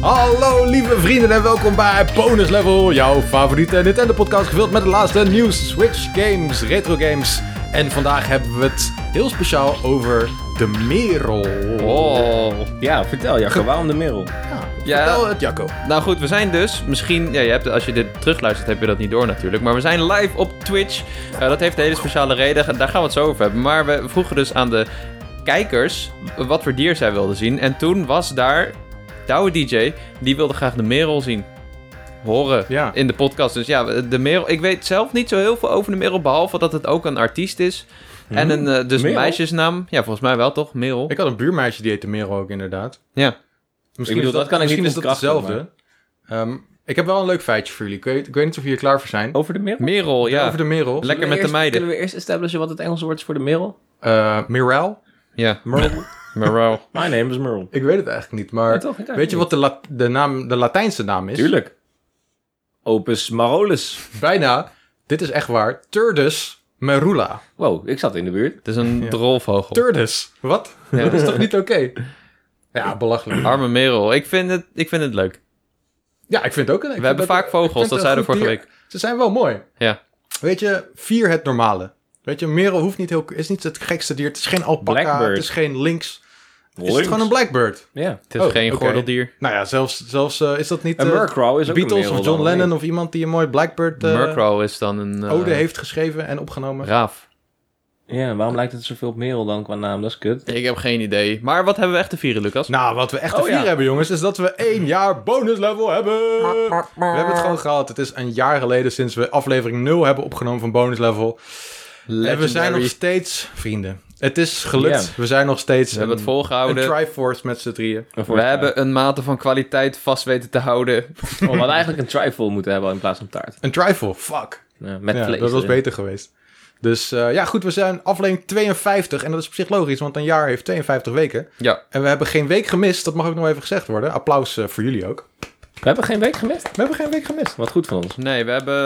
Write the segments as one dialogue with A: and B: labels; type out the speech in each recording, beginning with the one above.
A: Hallo lieve vrienden en welkom bij Bonus Level, jouw favoriete Nintendo podcast gevuld met de laatste nieuws, Switch games, retro games. En vandaag hebben we het heel speciaal over de Merel.
B: Oh. Ja, vertel Jacco, waarom de Merel?
A: Ja.
C: Ja.
A: Vertel het Jacco.
C: Nou goed, we zijn dus misschien. Ja, je hebt, als je dit terugluistert, heb je dat niet door natuurlijk. Maar we zijn live op Twitch. Eh, dat heeft een hele speciale reden. Daar gaan we het zo over hebben. Maar we vroegen dus aan de kijkers wat voor dier zij wilden zien. En toen was daar Douwe DJ. Die wilde graag de merel zien. Horen
A: Ja.
C: in de podcast. Dus ja, de merel. Ik weet zelf niet zo heel veel over de merel. Behalve dat het ook een artiest is. En een, eh, dus een
B: Merel?
C: meisjesnaam. Ja, volgens mij wel toch? Merel.
A: Hm? Ik had een buurmeisje die heette Merel ook inderdaad.
C: Ja.
A: Misschien
B: bedoel,
A: is dat,
B: dat kan ik
A: misschien
B: niet
A: is dat
B: ontkrachten,
A: hetzelfde. Ehm, ik heb wel een leuk feitje voor jullie. Ik weet, ik weet niet of jullie er klaar voor zijn.
B: Over de Merel?
C: Merel, ja.
A: Over de Merel.
C: Lekker
B: Zullen we
C: met de
B: eerst-
C: meiden.
B: Kunnen we eerst establishen wat het Engelse woord is voor de Merel?
A: Eh Mirel?
C: Ja,
A: Merel?
C: Merel.
B: My name is Merel.
A: ik weet het eigenlijk niet, maar
B: Ja, toch? Ik eigenlijk
A: weet je
B: niet.
A: wat de, La- de, naam, de Latijnse naam is?
B: Tuurlijk. Opus Marolus.
A: Bijna. Dit is echt waar. Turdus merula.
B: Wow, ik zat in de buurt.
C: Het is een drolvogel.
A: Turdus. Wat?
C: Ja.
A: Dat is toch niet oké? Ja, belachelijk.
C: Arme Merel, ik vind het, ik vind het leuk.
A: Ja, ik vind het ook een... ik
C: We
A: vind
C: hebben
A: dat-
C: vaak
A: ik
C: vogels,
A: vind
C: dat
A: het
C: zeiden
A: een
C: we
A: goed
C: vorige
A: dier. Ze zijn wel mooi.
C: Ja.
A: Weet je, vier het normale. Weet je, een merel hoeft niet heel... Is niet het gekste dier. Het is geen alpaca.
B: Blackbird.
A: Het is geen lynx. Is het
B: Links.
A: gewoon een blackbird?
B: Ja.
C: Het is
A: Oh,
C: geen
A: oké.
C: gordeldier.
A: Nou ja, zelfs, zelfs eh, is dat niet...
B: En
A: eh,
B: Murkrow is ook een
A: Beatles
B: merel
A: of John
B: dan,
A: Lennon
B: niet?
A: of iemand die een mooi blackbird eh,
C: Murkrow is dan een eh,
A: ode heeft geschreven en opgenomen.
C: raaf.
B: Ja, waarom lijkt het zoveel op Merel dan qua naam? Dat is kut.
C: Ik heb geen idee. Maar wat hebben we echt te vieren, Lucas?
A: Nou, wat we echt te
B: Oh, ja.
A: vieren hebben, jongens, is dat we één jaar bonus level hebben. We hebben
B: Eh.
A: het gewoon gehad. Het is een jaar geleden sinds we aflevering 0 hebben opgenomen van bonus level. En we zijn nog
C: Legendary.
A: steeds vrienden. Het is gelukt. We zijn nog steeds.
C: We hebben het
A: een
C: volgehouden.
A: Triforce met z'n drieën.
C: We hebben een mate van kwaliteit vast weten te houden.
B: Oh, we hadden eigenlijk een trifle moeten hebben in plaats van taart.
A: Een trifle. Fuck.
B: Ja, met
A: Ja,
B: vlees
A: dat was
B: erin.
A: beter geweest. Dus eh, ja, goed. We zijn aflevering 52. En dat is op zich logisch, want een jaar heeft 52 weken.
C: Ja,
A: En we hebben geen week gemist. Dat mag ook nog even gezegd worden. Applaus eh, voor jullie ook.
B: We hebben geen week gemist.
A: We hebben geen week gemist.
B: Wat goed van ons.
C: nee, we hebben...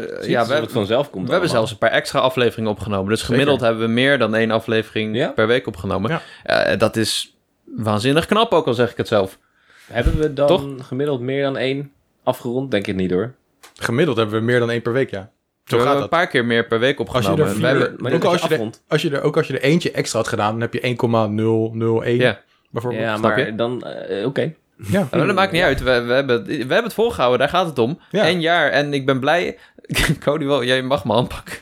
C: eh, Ja,
B: ja, dat
C: we,
B: het
C: hebben-
B: vanzelf komt
C: we hebben
B: allemaal.
C: zelfs een paar extra afleveringen opgenomen. Dus gemiddeld
A: Zeker.
C: hebben we meer dan één aflevering
B: Ja.
C: per week opgenomen.
A: Ja.
C: Eh, dat is waanzinnig knap ook, al zeg ik het zelf.
B: Hebben we dan
C: Toch?
B: gemiddeld meer dan één afgerond? Denk ik niet hoor.
A: Gemiddeld hebben we meer dan één per week, ja. Zo
C: we
A: gaat
C: hebben
A: dat.
C: een paar keer meer per week
A: Als je
B: Nou,
C: opgenomen.
A: er
C: We hebben-
A: vier,
B: maar
A: ook,
B: dit
A: als
B: is
A: je er,
B: afrond.
A: als je er, ook als je er eentje extra had gedaan, dan heb je 1,001
C: Ja.
A: bijvoorbeeld.
B: Ja,
C: snap
B: maar
C: je?
B: dan... eh, Oké.
A: Ja.
C: Nou, dat maakt niet uit. We, we, hebben, we hebben het volgehouden, daar gaat het om.
A: Ja.
C: Een jaar. En ik ben blij. Cody, wel, jij mag me aanpakken.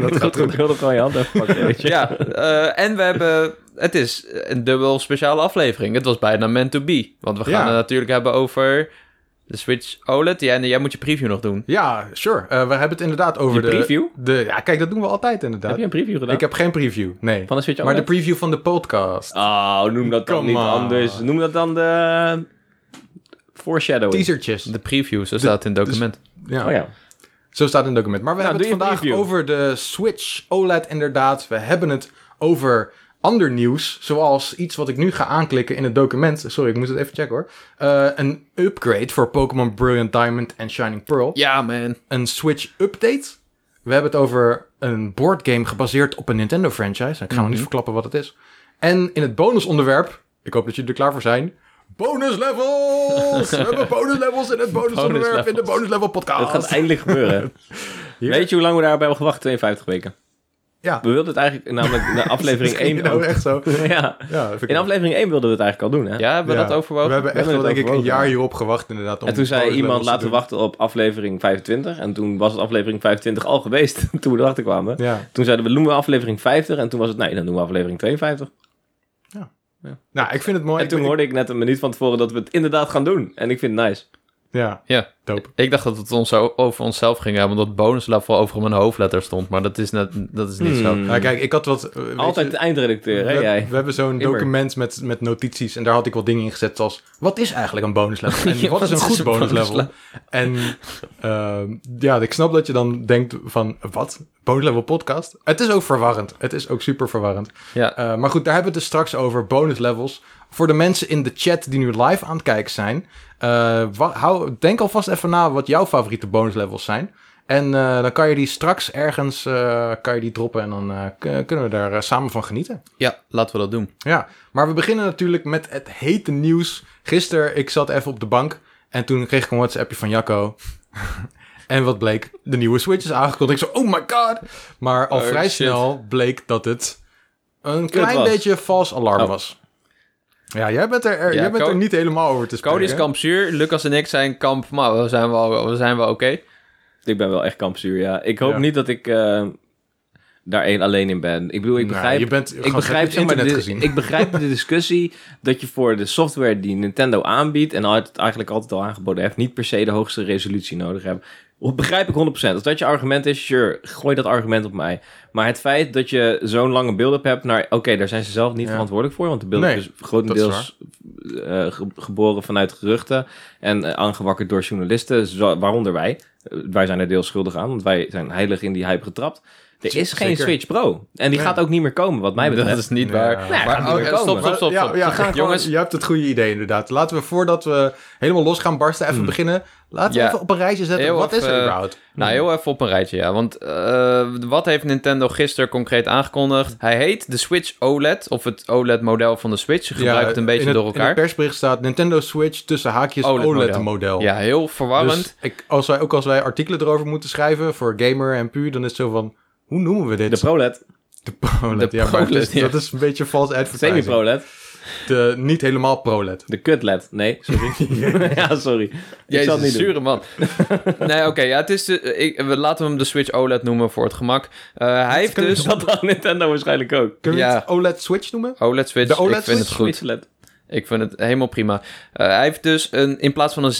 A: dat gaat
B: Ik
A: goed.
B: wilde gewoon je hand even pakken, weet je.
C: Ja, eh, en we hebben. Het is een dubbel speciale aflevering. Het was bijna meant to be. Want we gaan
A: Ja.
C: het natuurlijk hebben over de Switch OLED. Ja, en jij moet je preview nog doen.
A: Ja, sure. Eh, we hebben het inderdaad over
B: Je
A: de...
B: preview?
A: De, ja, kijk, dat doen we altijd
B: Heb
A: inderdaad.
B: je een preview gedaan?
A: Ik heb geen preview, nee.
B: Van de Switch
A: maar de
B: OLED?
A: preview van de podcast.
B: Oh, noem dat dan
A: Come
B: niet
A: on.
B: anders. Noem dat dan de... Foreshadowing.
A: Teasertjes.
C: De preview, zo staat het in het document.
A: ja.
B: Oh ja.
A: Zo staat het in het document. Maar we
B: Nou,
A: hebben het
B: doe je
A: vandaag
B: preview.
A: over de Switch OLED inderdaad. We hebben het over ander nieuws. Zoals iets wat ik nu ga aanklikken in het document. Sorry, ik moet het even checken hoor. Eh, een upgrade voor Pokémon Brilliant Diamond en Shining Pearl.
C: Ja, man.
A: Een Switch update. We hebben het over een boardgame gebaseerd op een Nintendo franchise. Ik ga nog
B: Mhm.
A: niet verklappen wat het is. En in het bonusonderwerp. Ik hoop dat jullie er klaar voor zijn. Bonus levels! We hebben bonus levels in het bonusonderwerp in de bonus level podcast.
B: Het gaat eindelijk gebeuren.
A: Hier.
B: Weet je hoe lang we daarop hebben gewacht? 52 weken.
A: Ja.
B: We wilden het eigenlijk namelijk na aflevering 1
A: Nou,
B: ook.
A: echt zo.
B: Ja.
A: Ja, dat vind ik
B: In
A: wel.
B: aflevering 1 wilden we het eigenlijk al doen, hè?
C: Ja, hebben we
A: Ja.
C: dat overwogen?
A: We hebben echt
B: We
A: wel,
B: hebben
A: denk
B: het
A: ik, een
B: overwogen.
A: jaar hierop gewacht inderdaad. Om
B: En toen zei
A: bonus levels
B: iemand,
A: te
B: laten we
A: doen.
B: wachten op aflevering 25. En toen was het aflevering 25 al geweest, toen we erachter kwamen.
A: Ja.
B: Toen zeiden we, doen we aflevering 50. En toen was het, nee, dan doen we aflevering 52.
A: Nou, ik vind het mooi.
B: En
A: Ik
B: toen
A: ben-
B: hoorde ik net een minuut van tevoren dat we het inderdaad gaan doen. En ik vind het nice.
A: Ja,
C: Ja.
A: dope.
C: Ik dacht dat we het ons zo over onszelf gingen hebben, omdat bonus level over mijn hoofdletter stond. Maar dat is, net, dat is niet zo.
B: Hmm.
A: Nou, kijk, ik had wat... eh, weet
B: Altijd
A: je,
B: de eindredacteur,
A: we,
B: hè jij?
A: we hebben zo'n
B: Immer.
A: document met, met notities en daar had ik wat dingen in gezet zoals... Wat is eigenlijk een bonuslevel? En
C: Ja,
A: wat is een
C: wat is
A: goed
C: een
A: bonuslevel? En ehm, ja, ik snap dat je dan denkt van, wat? Bonuslevel podcast? Het is ook verwarrend. Het is ook super verwarrend.
C: Ja.
A: Eh, maar goed, daar hebben we het dus straks over. Bonus levels. Voor de mensen in de chat die nu live aan het kijken zijn. eh, wa- hou, denk alvast even na wat jouw favoriete bonus levels zijn. En eh, dan kan je die straks ergens eh, kan je die droppen en dan eh, k- kunnen we daar eh, samen van genieten.
C: Ja, laten we dat doen.
A: Ja, maar we beginnen natuurlijk met het hete nieuws. Gisteren, ik zat even op de bank en toen kreeg ik een WhatsAppje van Jacco. en wat bleek? De nieuwe Switch is aangekondigd. Ik zo, oh my god! Maar al
B: Oh,
A: vrij
B: shit.
A: snel bleek dat het een klein
B: was.
A: beetje vals alarm
B: Oh.
A: was. Ja, jij bent er, er-
C: Ja,
A: jij bent
C: Co-
A: er niet helemaal over te spreken.
C: Cody is kamp zuur, Lucas en ik zijn kamp, maar we zijn wel, we zijn wel oké.
B: Ik ben wel echt kampzuur, ja. Ik hoop
A: Ja.
B: niet dat ik eh, daar één alleen in ben. Ik bedoel, ik
A: Nou,
B: begrijp...
A: je bent,
B: ik begrijp,
A: het
B: zeg maar,
A: internet
B: de-
A: gezien.
B: ik begrijp de discussie dat je voor de software die Nintendo aanbiedt... en het eigenlijk altijd al aangeboden heeft... niet per se de hoogste resolutie nodig hebt. Dat Begrijp ik 100%. Als dat je argument is, sure, gooi dat argument op mij. Maar het feit dat je zo'n lange build-up hebt naar... oké, daar zijn ze zelf niet
A: Ja.
B: verantwoordelijk voor... want de build-up
A: Nee,
B: is grotendeels eh, ge- geboren vanuit geruchten... en eh, aangewakkerd door journalisten, zo- waaronder wij. Eh, wij zijn er deels schuldig aan, want wij zijn heilig in die hype getrapt. Er is geen
A: Zeker.
B: Switch Pro. En
A: Nee.
B: die gaat ook niet meer komen, wat mij betreft.
C: Dat is niet
A: Ja.
C: waar.
A: Nee,
B: gaat niet
C: maar, oh,
B: meer
C: eh, stop,
B: komen.
C: stop, stop.
A: Ja,
C: stop.
A: ja, ga
C: Jongens,
A: gewoon- je hebt het goede idee inderdaad. Laten we voordat we helemaal los gaan barsten,
B: Hmm.
A: even beginnen. Laten
C: Ja.
A: we even op een rijtje zetten.
C: Heel
A: Wat is
C: even,
A: er überhaupt?
C: nou heel even op een rijtje, ja. Want eh, wat heeft Nintendo gisteren concreet aangekondigd? Hij heet de Switch OLED, of het OLED-model van de Switch. Je gebruikt
A: Ja,
C: het een beetje
A: in het-
C: door
A: In
C: elkaar.
A: het persbericht staat Nintendo Switch tussen haakjes
C: OLED-model.
A: OLED-model.
C: ja, heel verwarrend.
A: Dus ik, als wij, ook als wij artikelen erover moeten schrijven voor Gamer en Puur, dan is het zo van, hoe noemen we dit?
B: De ProLED,
A: De OLED.
C: de
A: ja, maar
C: ProLED,
A: dat-
C: ja.
A: Dat is een beetje vals advertising.
B: semi-ProLED,
A: De, niet helemaal ProLED.
B: de kut-LED. Nee, sorry. ja, sorry.
A: Dus
B: ik zal
C: Jezus,
B: het niet
C: zure
B: doen.
C: man. nee, oké, ja, het is de, eh, ik, we- laten we hem de Switch OLED noemen voor het gemak. Eh, hij heeft
A: kunnen we
C: dus...
B: Dat had Nintendo waarschijnlijk ook.
A: Kunnen
C: Ja.
A: we het OLED Switch noemen?
C: OLED E Switch,
A: De OLED
C: ik vind het
A: Switch?
C: goed.
B: Switch-LED.
C: Ik vind het helemaal prima. Eh, hij heeft dus een, in plaats van een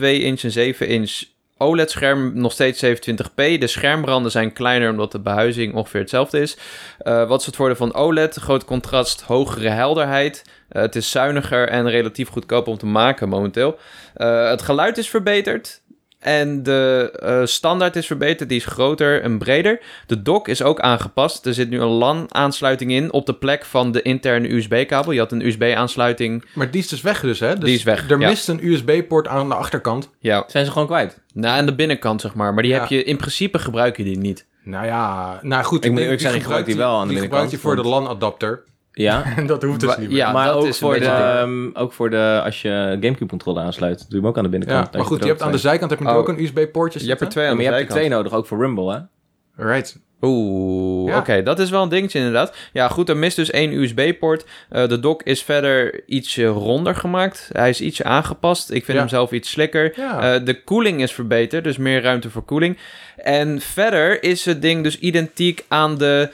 C: 6.2 inch, een 7 inch OLED-scherm, nog steeds 27p. De schermranden zijn kleiner omdat de behuizing ongeveer hetzelfde is. Eh, wat is het voordeel van OLED? Groot contrast, hogere helderheid. Eh, het is zuiniger en relatief goedkoop om te maken momenteel. Eh, het geluid is verbeterd. En de eh, standaard is verbeterd, die is groter en breder. De dock is ook aangepast. Er zit nu een LAN-aansluiting in op de plek van de interne USB-kabel. Je had een USB-aansluiting.
A: Maar die is dus weg dus, hè? Dus
C: Die is weg,
A: Er
C: ja.
A: mist een USB-poort aan de achterkant.
C: Ja,
B: Zijn ze gewoon kwijt?
C: nou, aan de binnenkant zeg maar. Maar die
A: Ja.
C: heb je in principe gebruik je die niet.
A: Nou ja, nou goed.
B: Ik moet eerlijk zeggen, ik gebruik die wel aan de
A: die
B: binnenkant,
A: gebruikt je voor de LAN-adapter.
B: Ja.
A: En dat hoeft dus
C: Wa-
A: niet meer.
C: ja,
B: maar
C: dat
B: ook,
C: is een
B: voor de,
C: beetje ding.
B: ehm, ook voor de, als je Gamecube-controller aansluit, doe je hem ook aan de
A: Ja,
B: binnenkant.
A: maar goed, je hebt aan de zijkant heb je
C: Oh.
A: natuurlijk ook een USB-poortje
C: Je hebt er twee
B: ja,
C: aan
B: maar
C: de
B: je hebt er
C: zijkant.
B: twee nodig, ook voor Rumble, hè?
A: Right.
C: Oeh,
A: Ja.
C: oké, dat is wel een dingetje inderdaad. Ja, goed, er mist dus één USB-poort. Eh, de dock is verder ietsje ronder gemaakt. Hij is ietsje aangepast. Ik vind
A: Ja.
C: hem zelf iets slikker.
A: Ja.
C: Eh, de koeling is verbeterd, dus meer ruimte voor koeling. En verder is het ding dus identiek aan de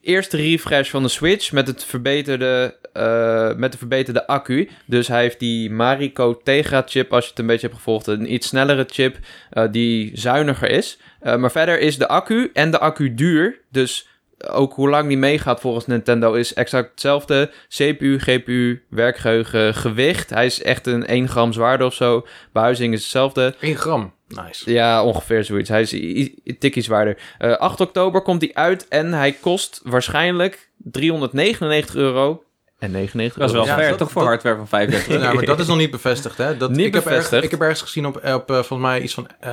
C: eerste refresh van de Switch met, het verbeterde, eh, met de verbeterde accu. Dus hij heeft die Marico Tegra-chip, als je het een beetje hebt gevolgd, een iets snellere chip eh, die zuiniger is. Eh, maar verder is de accu en de accu duur, dus ook hoe lang die meegaat volgens Nintendo is exact hetzelfde. CPU, GPU, werkgeheugen, gewicht. Hij is echt een 1 gram zwaarder of zo. Behuizing is hetzelfde.
A: 1 gram. Nice.
C: Ja, ongeveer zoiets. Hij is i- i- tikkie zwaarder. Eh, 8 oktober komt hij uit en hij kost waarschijnlijk 399 euro. En 99
B: Dat is wel
A: Ja,
B: fair,
A: dat-
B: toch voor
A: dat-
B: hardware van 35
A: Nou, maar dat is nog niet bevestigd, hè? Dat,
C: Niet
A: ik heb erg-
C: bevestigd.
A: ik heb ergens gezien op, op eh, volgens mij iets van eh,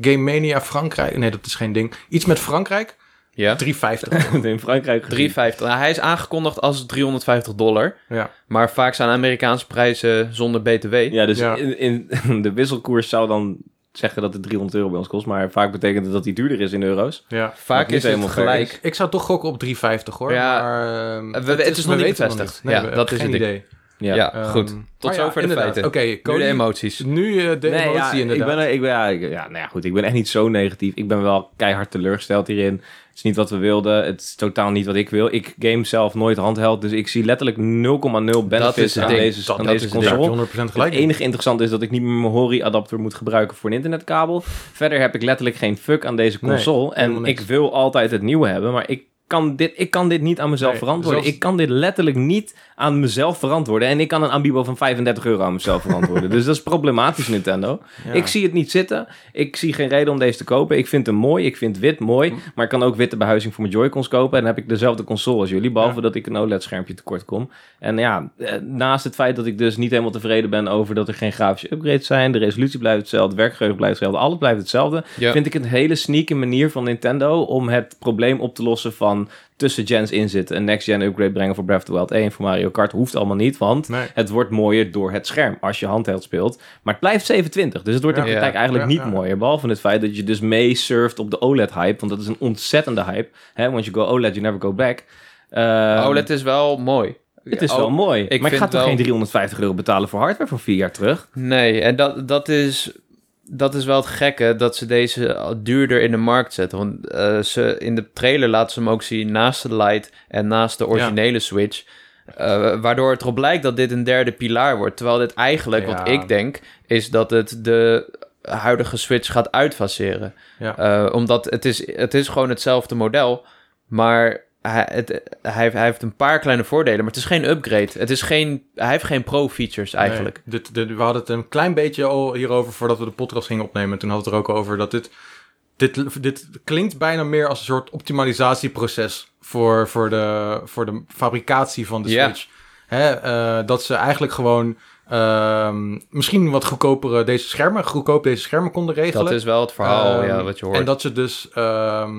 A: Game Mania Frankrijk. Nee, dat is geen ding. Iets met Frankrijk.
C: Ja,
A: 350.
B: in Frankrijk. gezien.
C: 350. Nou, hij is aangekondigd als 350 dollar.
A: ja.
C: Maar vaak zijn Amerikaanse prijzen zonder BTW.
B: Ja, dus
A: Ja.
B: In, in de wisselkoers zou dan zeggen dat het 300 euro bij ons kost, maar vaak betekent het dat die duurder is in euro's.
A: ja.
B: Wat
C: Vaak
B: niet
C: is het
B: helemaal fair
C: gelijk.
A: Ik zou toch gokken op 350 hoor.
C: Ja.
A: Maar, ehm,
C: we- het is
A: we
C: nog niet
A: weten
C: bevestigd.
A: Nee,
C: Ja,
A: we-
C: dat is
A: geen
C: het ding.
A: idee.
C: Ja,
A: Ehm,
C: goed. Tot
A: maar ja,
C: zover de
A: inderdaad.
C: feiten.
A: Oké,
C: Nu
A: Cody,
C: de emoties.
A: Nu eh, de
B: Nee,
A: emotie
B: ja, ik
A: inderdaad.
B: ben, er- ik ben, ja, ik- ja, nou ja, goed, ik ben echt niet zo negatief. Ik ben wel keihard teleurgesteld hierin. Het is niet wat we wilden. Het is totaal niet wat ik wil. Ik game zelf nooit handheld, dus ik zie letterlijk 0,0 benefits
C: het
B: aan
C: ding.
B: deze,
C: Dat-
B: aan
C: dat
B: deze
C: is het ding.
B: console.
A: Ja, 100%
B: Het
A: gelijk.
B: enige interessante is dat ik niet meer mijn Hori-adapter moet gebruiken voor een internetkabel. Verder heb ik letterlijk geen fuck aan deze
A: Nee,
B: console. en
A: helemaal niks.
B: ik wil altijd het nieuwe hebben, maar ik kan dit, ik kan dit niet aan mezelf
A: Nee,
B: verantwoorden.
A: zelfs-
B: Ik kan dit letterlijk niet aan mezelf verantwoorden. En ik kan een Amiibo van 35 euro aan mezelf verantwoorden. dus dat is problematisch, Nintendo. Ik zie het niet zitten. Ik zie geen reden om deze te kopen. Ik vind hem mooi. Ik vind wit mooi.
A: Hm.
B: Maar ik kan ook witte behuizing voor mijn Joy-Cons kopen. En dan heb ik dezelfde console als jullie. Behalve dat ik een OLED-schermpje tekort kom. En ja, eh, naast het feit dat ik dus niet helemaal tevreden ben over dat er geen grafische upgrades zijn. De resolutie blijft hetzelfde. Het werkgeheugen blijft hetzelfde. Alles blijft hetzelfde.
C: Ja.
B: Vind ik een hele sneaky manier van Nintendo om het probleem op te lossen van tussen gens inzitten. Een next-gen upgrade brengen voor Breath of the Wild 1 voor Mario Kart hoeft allemaal niet. Want
A: Nee.
B: het wordt mooier door het scherm als je handheld speelt. Maar het blijft 27. Dus het wordt in
C: Ja.
B: praktijk eigenlijk
A: Ja,
B: niet
A: ja.
B: mooier. Behalve het feit dat je dus mee surft op de OLED-hype. Want dat is een ontzettende hype. Hè? Once you go OLED, you never go back. Ehm,
C: OLED Oh, is wel mooi.
B: Het is wel
C: E Oh,
B: mooi. maar ik
C: vind
B: ga toch
C: wel-
B: geen 350 euro betalen voor hardware van vier jaar terug?
C: Nee, en dat, dat, is, dat is wel het gekke dat ze deze al duurder in de markt zetten. Want eh, ze, in de trailer laten ze hem ook zien naast de Lite en naast de originele Switch. Eh, waardoor het erop blijkt dat dit een derde pilaar wordt. Terwijl dit eigenlijk, wat
A: Ja.
C: ik denk, is dat het de huidige Switch gaat uitfaseren.
A: Ja.
C: Eh, omdat het is, het is gewoon hetzelfde model, maar hij, het, hij, heeft- hij heeft een paar kleine voordelen. Maar het is geen upgrade. Het is geen, hij heeft geen pro-features eigenlijk.
A: Nee, dit, dit- we hadden het een klein beetje al hierover voordat we de podcast gingen opnemen. Toen hadden we het er ook over dat dit, dit, dit klinkt bijna meer als een soort optimalisatieproces voor, voor, de, voor de fabricatie van de
C: Ja.
A: Switch. Hè, eh, dat ze eigenlijk gewoon ehm, misschien wat goedkopere deze schermen, goedkoop deze schermen konden regelen.
C: Dat is wel het verhaal
A: Ehm,
C: ja, wat je hoort.
A: En dat ze dus, ehm,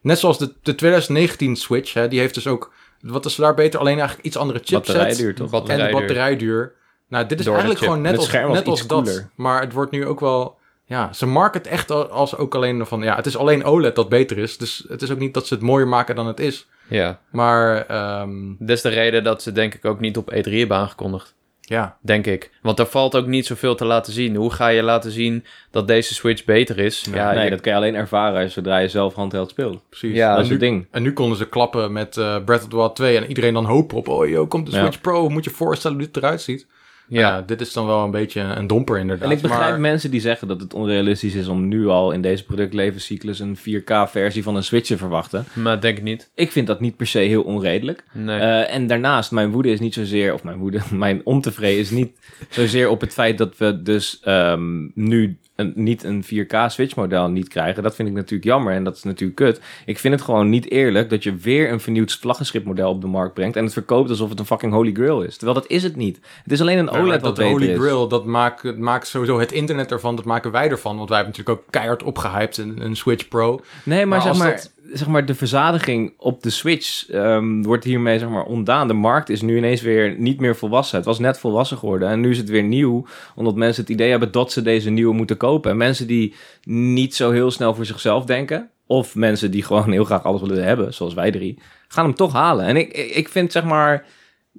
A: net zoals de, de 2019 Switch, hè, die heeft dus ook, wat is daar beter? Alleen eigenlijk iets andere
B: Batterij
A: chipset.
B: duur toch?
C: Wat-
A: En de
C: Batterijduur.
A: batterijduur. Nou, dit is
C: Door de
A: eigenlijk
C: chip.
A: gewoon net
B: Het
A: als,
B: scherm was
A: net
B: iets
A: als dat.
B: cooler.
A: Maar het wordt nu ook wel... Ja, ze market echt al- als ook alleen van... Ja, het is alleen OLED dat beter is. Dus het is ook niet dat ze het mooier maken dan het is.
C: Ja,
A: Maar ehm,
C: dat is de reden dat ze denk ik ook niet op E3 hebben aangekondigd.
A: ja,
C: Denk ik. Want er valt ook niet zoveel te laten zien. Hoe ga je laten zien dat deze Switch beter is? Ja,
B: nee,
C: je-
B: dat kan je alleen ervaren zodra je zelf handheld speelt.
A: precies.
C: Ja,
B: dat
A: en,
B: is
A: nu,
B: het ding.
A: en nu konden ze klappen met eh, Breath of the Wild 2. En iedereen dan hopen op... Oh, joh, komt de
B: Ja.
A: Switch Pro. Moet je voorstellen hoe dit eruit ziet.
C: ja.
A: Ja, dit is dan wel een beetje een domper inderdaad.
B: En ik begrijp
A: maar,
B: mensen die zeggen dat het onrealistisch is om nu al in deze productlevencyclus een 4K-versie van een Switch te verwachten.
C: maar denk ik niet.
B: Ik vind dat niet per se heel onredelijk.
C: Nee.
B: Eh, en daarnaast, mijn woede is niet zozeer, of mijn woede, mijn ontevreden is niet zozeer op het feit dat we dus ehm, nu een, niet een 4K Switch-model niet krijgen. Dat vind ik natuurlijk jammer en dat is natuurlijk kut. Ik vind het gewoon niet eerlijk dat je weer een vernieuwd vlaggenschipmodel op de markt brengt en het verkoopt alsof het een fucking holy grail is. Terwijl dat is het niet. Het is alleen een
A: maar
B: OLED
A: dat
B: dat E beter
A: Holy
B: is.
A: Grail, dat maakt, maakt sowieso het internet ervan. Dat maken wij ervan. Want wij hebben natuurlijk ook keihard opgehyped een, een Switch Pro.
B: Nee, maar,
A: Maar
B: zeg,
A: als
B: maar
A: dat-
B: zeg maar, de verzadiging op de Switch ehm, wordt hiermee zeg maar, ontdaan. De markt is nu ineens weer niet meer volwassen. Het was net volwassen geworden en nu is het weer nieuw. Omdat mensen het idee hebben dat ze deze nieuwe moeten kopen. En mensen die niet zo heel snel voor zichzelf denken... of mensen die gewoon heel graag alles willen hebben, zoals wij drie... gaan hem toch halen. En ik, ik ik vind zeg maar...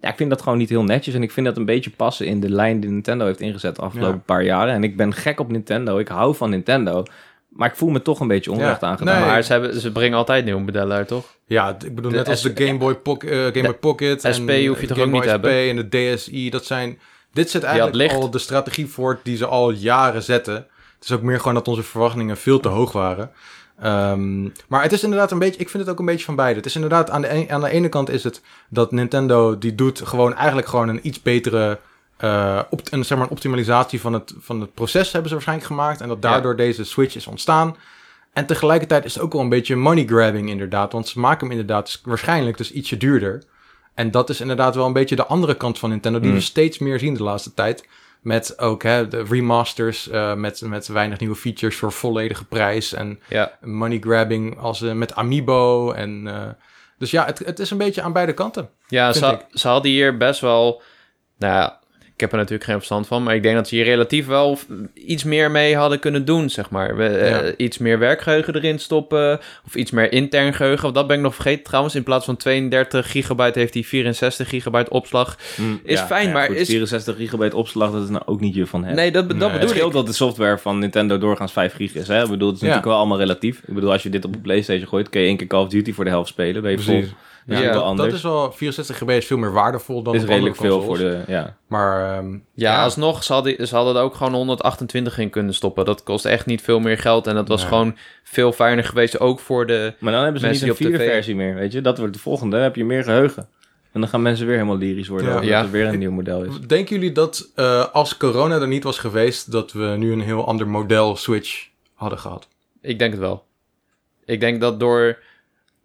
B: Ja, ik vind dat gewoon niet heel netjes. En ik vind dat een beetje passen in de lijn die Nintendo heeft ingezet de afgelopen
A: Ja.
B: paar jaren. En ik ben gek op Nintendo. Ik hou van Nintendo. Maar ik voel me toch een beetje onrecht
A: Ja.
B: aangedaan.
A: Nee.
C: Maar ze, hebben, ze brengen altijd nieuwe modellen uit, toch?
A: Ja, d- ik bedoel,
C: De
A: net als
C: S-
A: de Game Boy, Poc- eh, Game Boy Pocket.
C: SP
A: en
C: hoef je
A: de
C: toch ook
A: Game Boy
C: niet te
A: SP En de DSi, dat zijn... Dit zit
C: had
A: eigenlijk
C: licht.
A: al de strategie voort die ze al jaren zetten. Het is ook meer gewoon dat onze verwachtingen veel te hoog waren. Ehm, maar het is inderdaad een beetje... Ik vind het ook een beetje van beide. Het is inderdaad... Aan de, en- aan de ene kant is het dat Nintendo... Die doet gewoon eigenlijk gewoon een iets betere... eh op, een, zeg maar een optimalisatie van het, van het proces hebben ze waarschijnlijk gemaakt. En dat daardoor deze Switch is ontstaan. En tegelijkertijd is het ook wel een beetje money grabbing inderdaad. Want ze maken hem inderdaad dus waarschijnlijk dus ietsje duurder. En dat is inderdaad wel een beetje de andere kant van Nintendo... die
B: Mm.
A: we steeds meer zien de laatste tijd. Met ook hè, de remasters, eh, met, met weinig nieuwe features voor volledige prijs. En
C: Ja.
A: money grabbing als, eh, met Amiibo. En, eh, dus ja, het, het is een beetje aan beide kanten.
C: Ja,
A: Vind
C: ze, ze hadden hier best wel... Nou ja, ik heb er natuurlijk geen verstand van, maar ik denk dat ze hier relatief wel f- iets meer mee hadden kunnen doen, zeg maar. We, eh,
A: Ja.
C: iets meer werkgeheugen erin stoppen, of iets meer intern geheugen. Want dat ben ik nog vergeten trouwens. In plaats van 32 gigabyte heeft hij 64 gigabyte opslag.
B: Mm,
C: Is fijn, maar is-
B: 64 gigabyte opslag, dat is nou ook niet je van hebt.
C: Nee, dat, dat
A: Nee.
B: het
C: bedoel ik.
B: scheelt dat de software van Nintendo doorgaans 5 gig is. Hè? Ik bedoel, het is
A: Ja.
B: natuurlijk wel allemaal relatief. Ik bedoel, als je dit op de Playstation gooit, kun je één keer Call of Duty voor de helft spelen. Ben je vol. Ja,
C: Ja,
B: wel
A: dat,
B: anders.
A: dat is wel 64 GB is veel meer waardevol dan
B: is
A: op
B: redelijk
A: andere
B: veel voor
A: consoles.
B: de... Ja.
A: Maar ehm,
C: Ja,
A: ja,
C: alsnog, ze hadden, ze hadden er ook gewoon 128 in kunnen stoppen. Dat kost echt niet veel meer geld. En dat was
A: Nee.
C: gewoon veel fijner geweest, ook voor de...
B: Maar dan hebben ze
C: Mensen
B: niet een
C: die op
B: vierde
C: tv.
B: versie meer, weet je. Dat wordt de volgende, dan heb je meer geheugen. En dan gaan mensen weer helemaal lyrisch worden
A: Ja.
B: over
C: Ja.
B: dat het weer een nieuw model is.
A: denken jullie dat eh, als corona er niet was geweest, dat we nu een heel ander model Switch hadden gehad?
C: Ik denk het wel. Ik denk dat door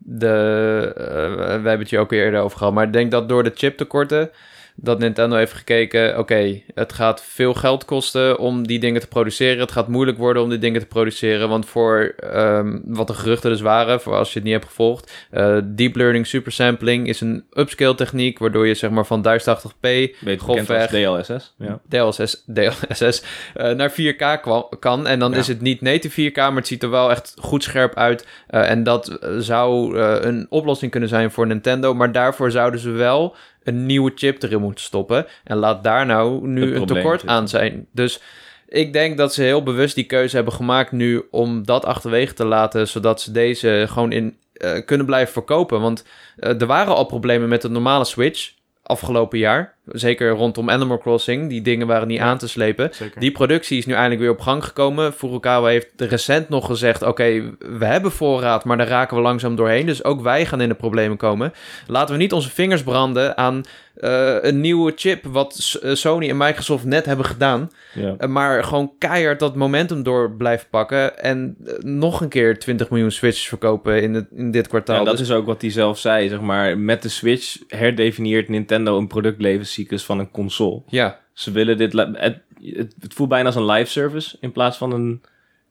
C: de... eh, we hebben het hier ook eerder over gehad. Maar ik denk dat door de chiptekorten... dat Nintendo heeft gekeken... Oké, het gaat veel geld kosten om die dingen te produceren. Het gaat moeilijk worden om die dingen te produceren. Want voor ehm, wat de geruchten dus waren... voor als je het niet hebt gevolgd... eh, deep learning supersampling is een upscale techniek... waardoor je zeg maar van 1080p...
B: Beter bekend als
C: grofweg
B: DLSS. Ja.
C: DLSS, DLSS eh, naar 4K kwa- kan. En dan
A: Ja.
C: is het niet native 4K, maar het ziet er wel echt goed scherp uit. Eh, en dat eh, zou eh, een oplossing kunnen zijn voor Nintendo. Maar daarvoor zouden ze wel een nieuwe chip erin moeten stoppen. En laat daar nou
B: Het
C: nu een
B: probleem
C: tekort
B: zitten.
C: aan zijn. Dus ik denk dat ze heel bewust die keuze hebben gemaakt nu om dat achterwege te laten, zodat ze deze gewoon in eh, kunnen blijven verkopen. Want eh, er waren al problemen met de normale Switch afgelopen jaar. Zeker rondom Animal Crossing. Die dingen waren niet
A: Ja.
C: aan te slepen.
A: Zeker.
C: Die productie is nu eindelijk weer op gang gekomen. Furukawa heeft recent nog gezegd: Oké, we hebben voorraad, maar daar raken we langzaam doorheen. Dus ook wij gaan in de problemen komen. Laten we niet onze vingers branden aan eh, een nieuwe chip, wat S- eh, Sony en Microsoft net hebben gedaan.
B: Ja.
C: Eh, maar gewoon keihard dat momentum door blijven pakken. En eh, nog een keer 20 miljoen switches verkopen in, het, in dit kwartaal.
B: En dat
C: Dus-
B: is ook wat hij zelf zei, zeg maar. Met de Switch herdefinieert Nintendo een productlevenscyclus van een console.
C: ja.
B: Ze willen dit... la- Het, het, het voelt bijna als een live service in plaats van een,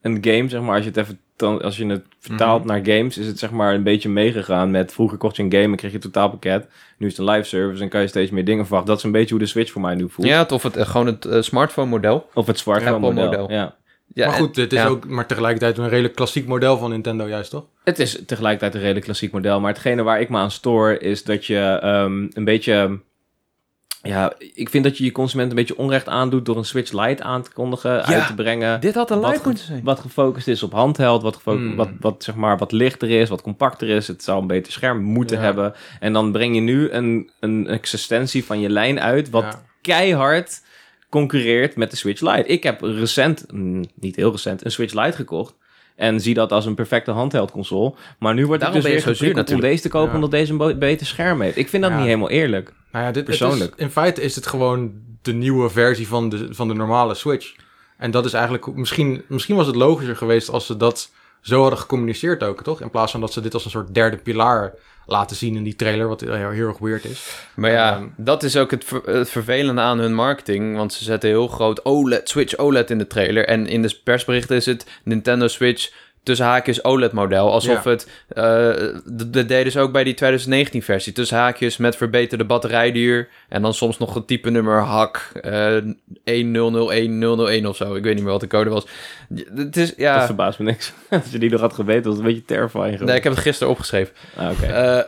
B: een game, zeg maar. Als je het even... tra- Als je het vertaalt naar games, is het zeg maar een beetje meegegaan met... Vroeger kocht je een game en kreeg je een totaalpakket. Nu is het een live service en kan je steeds meer dingen verwachten. Dat is een beetje hoe de Switch voor mij nu voelt.
C: ja, het- of het, eh, gewoon het eh, smartphone-model.
B: Of het smartphone model.
C: Apple-model.
B: Ja.
C: Ja,
A: maar goed,
C: en-
A: het is
C: ja.
A: ook maar tegelijkertijd een redelijk klassiek model van Nintendo juist, toch?
B: Het is tegelijkertijd een redelijk klassiek model. Maar hetgene waar ik me aan stoor is dat je ehm, een beetje... Ja, ik vind dat je je consument een beetje onrecht aandoet door een Switch Lite aan te kondigen, uit te brengen.
C: Dit had een
B: Wat
C: live
B: ge-
C: moeten zijn.
B: Wat gefocust is op handheld, wat, gefo-
A: Hmm.
B: wat, wat, zeg maar, wat lichter is, wat compacter is. Het zou een beter scherm moeten
A: Ja.
B: hebben. En dan breng je nu een, een existentie van je lijn uit, wat
A: Ja.
B: keihard concurreert met de Switch Lite. Ik heb recent, mm, niet heel recent, een Switch Lite gekocht. En zie dat als een perfecte handheld console. Maar nu wordt
C: Daarom
B: het dus
C: ben je zo zuur
B: weer geprikkeld om
C: natuurlijk.
B: deze te kopen
A: Ja.
B: omdat deze een bo- beter scherm heeft. Ik vind dat
A: Ja.
B: niet helemaal eerlijk.
A: Nou ja, dit, het
B: Persoonlijk.
A: is- in feite is het gewoon de nieuwe versie van de, van de normale Switch. En dat is eigenlijk... hoe- Misschien, misschien was het logischer geweest als ze dat zo hadden gecommuniceerd ook, toch? In plaats van dat ze dit als een soort derde pilaar laten zien in die trailer, wat heel, heel erg weird is.
C: Maar ja,
A: Ehm,
C: dat is ook het, ver- het vervelende aan hun marketing. Want ze zetten heel groot OLED, Switch OLED in de trailer. En in de persberichten is het Nintendo Switch tussen haakjes OLED-model. Alsof
A: Ja.
C: het... eh, d- dat deden ze ook bij die 2019-versie. Tussen haakjes met verbeterde batterijduur. En dan soms nog het type nummer hak. eh 1001001 of zo. Ik weet niet meer wat de code was. D- Het is...
B: Dat
C: Ja...
B: verbaast me niks. Als je die nog had geweten, was het een beetje terrifying.
C: Eh. Nee, ik
B: geweest.
C: heb het gisteren opgeschreven.
B: Ah, oké.
C: Eh,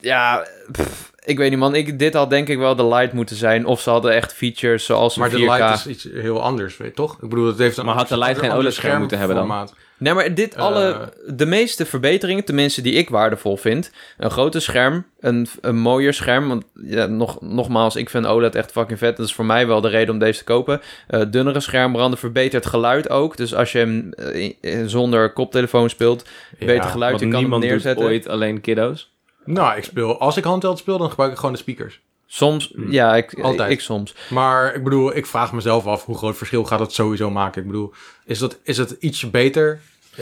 C: ja, pff, ik weet niet, man. Ik, dit had denk ik wel de light moeten zijn. Of ze hadden echt features zoals een
A: Maar
C: 4K.
A: de Lite is iets heel anders, weet, je, toch? Ik bedoel, het heeft een
B: Maar had de Lite
A: ander-
B: geen
A: ander
B: OLED-scherm moeten hebben dan?
A: schermformaat.
C: Nee, maar dit
A: Eh.
C: alle... De meeste verbeteringen, tenminste die ik waardevol vind... Een groter scherm, een, een mooier scherm. Want ja, nog, nogmaals, ik vind OLED echt fucking vet. Dat is voor mij wel de reden om deze te kopen. Eh, dunnere schermranden, verbeterd geluid ook. Dus als je hem eh, eh, zonder koptelefoon speelt...
A: Ja,
C: beter geluid,
B: Want
C: je kan hem
B: niemand
C: neerzetten.
B: doet ooit alleen kiddo's.
A: Nou, ik speel... Als ik handheld speel, dan gebruik ik gewoon de speakers.
C: Soms, ja, ik,
A: Mm. Altijd.
C: ik soms.
A: Maar ik bedoel, ik vraag mezelf af hoe groot verschil gaat het sowieso maken. Ik bedoel, is, dat, is het iets beter?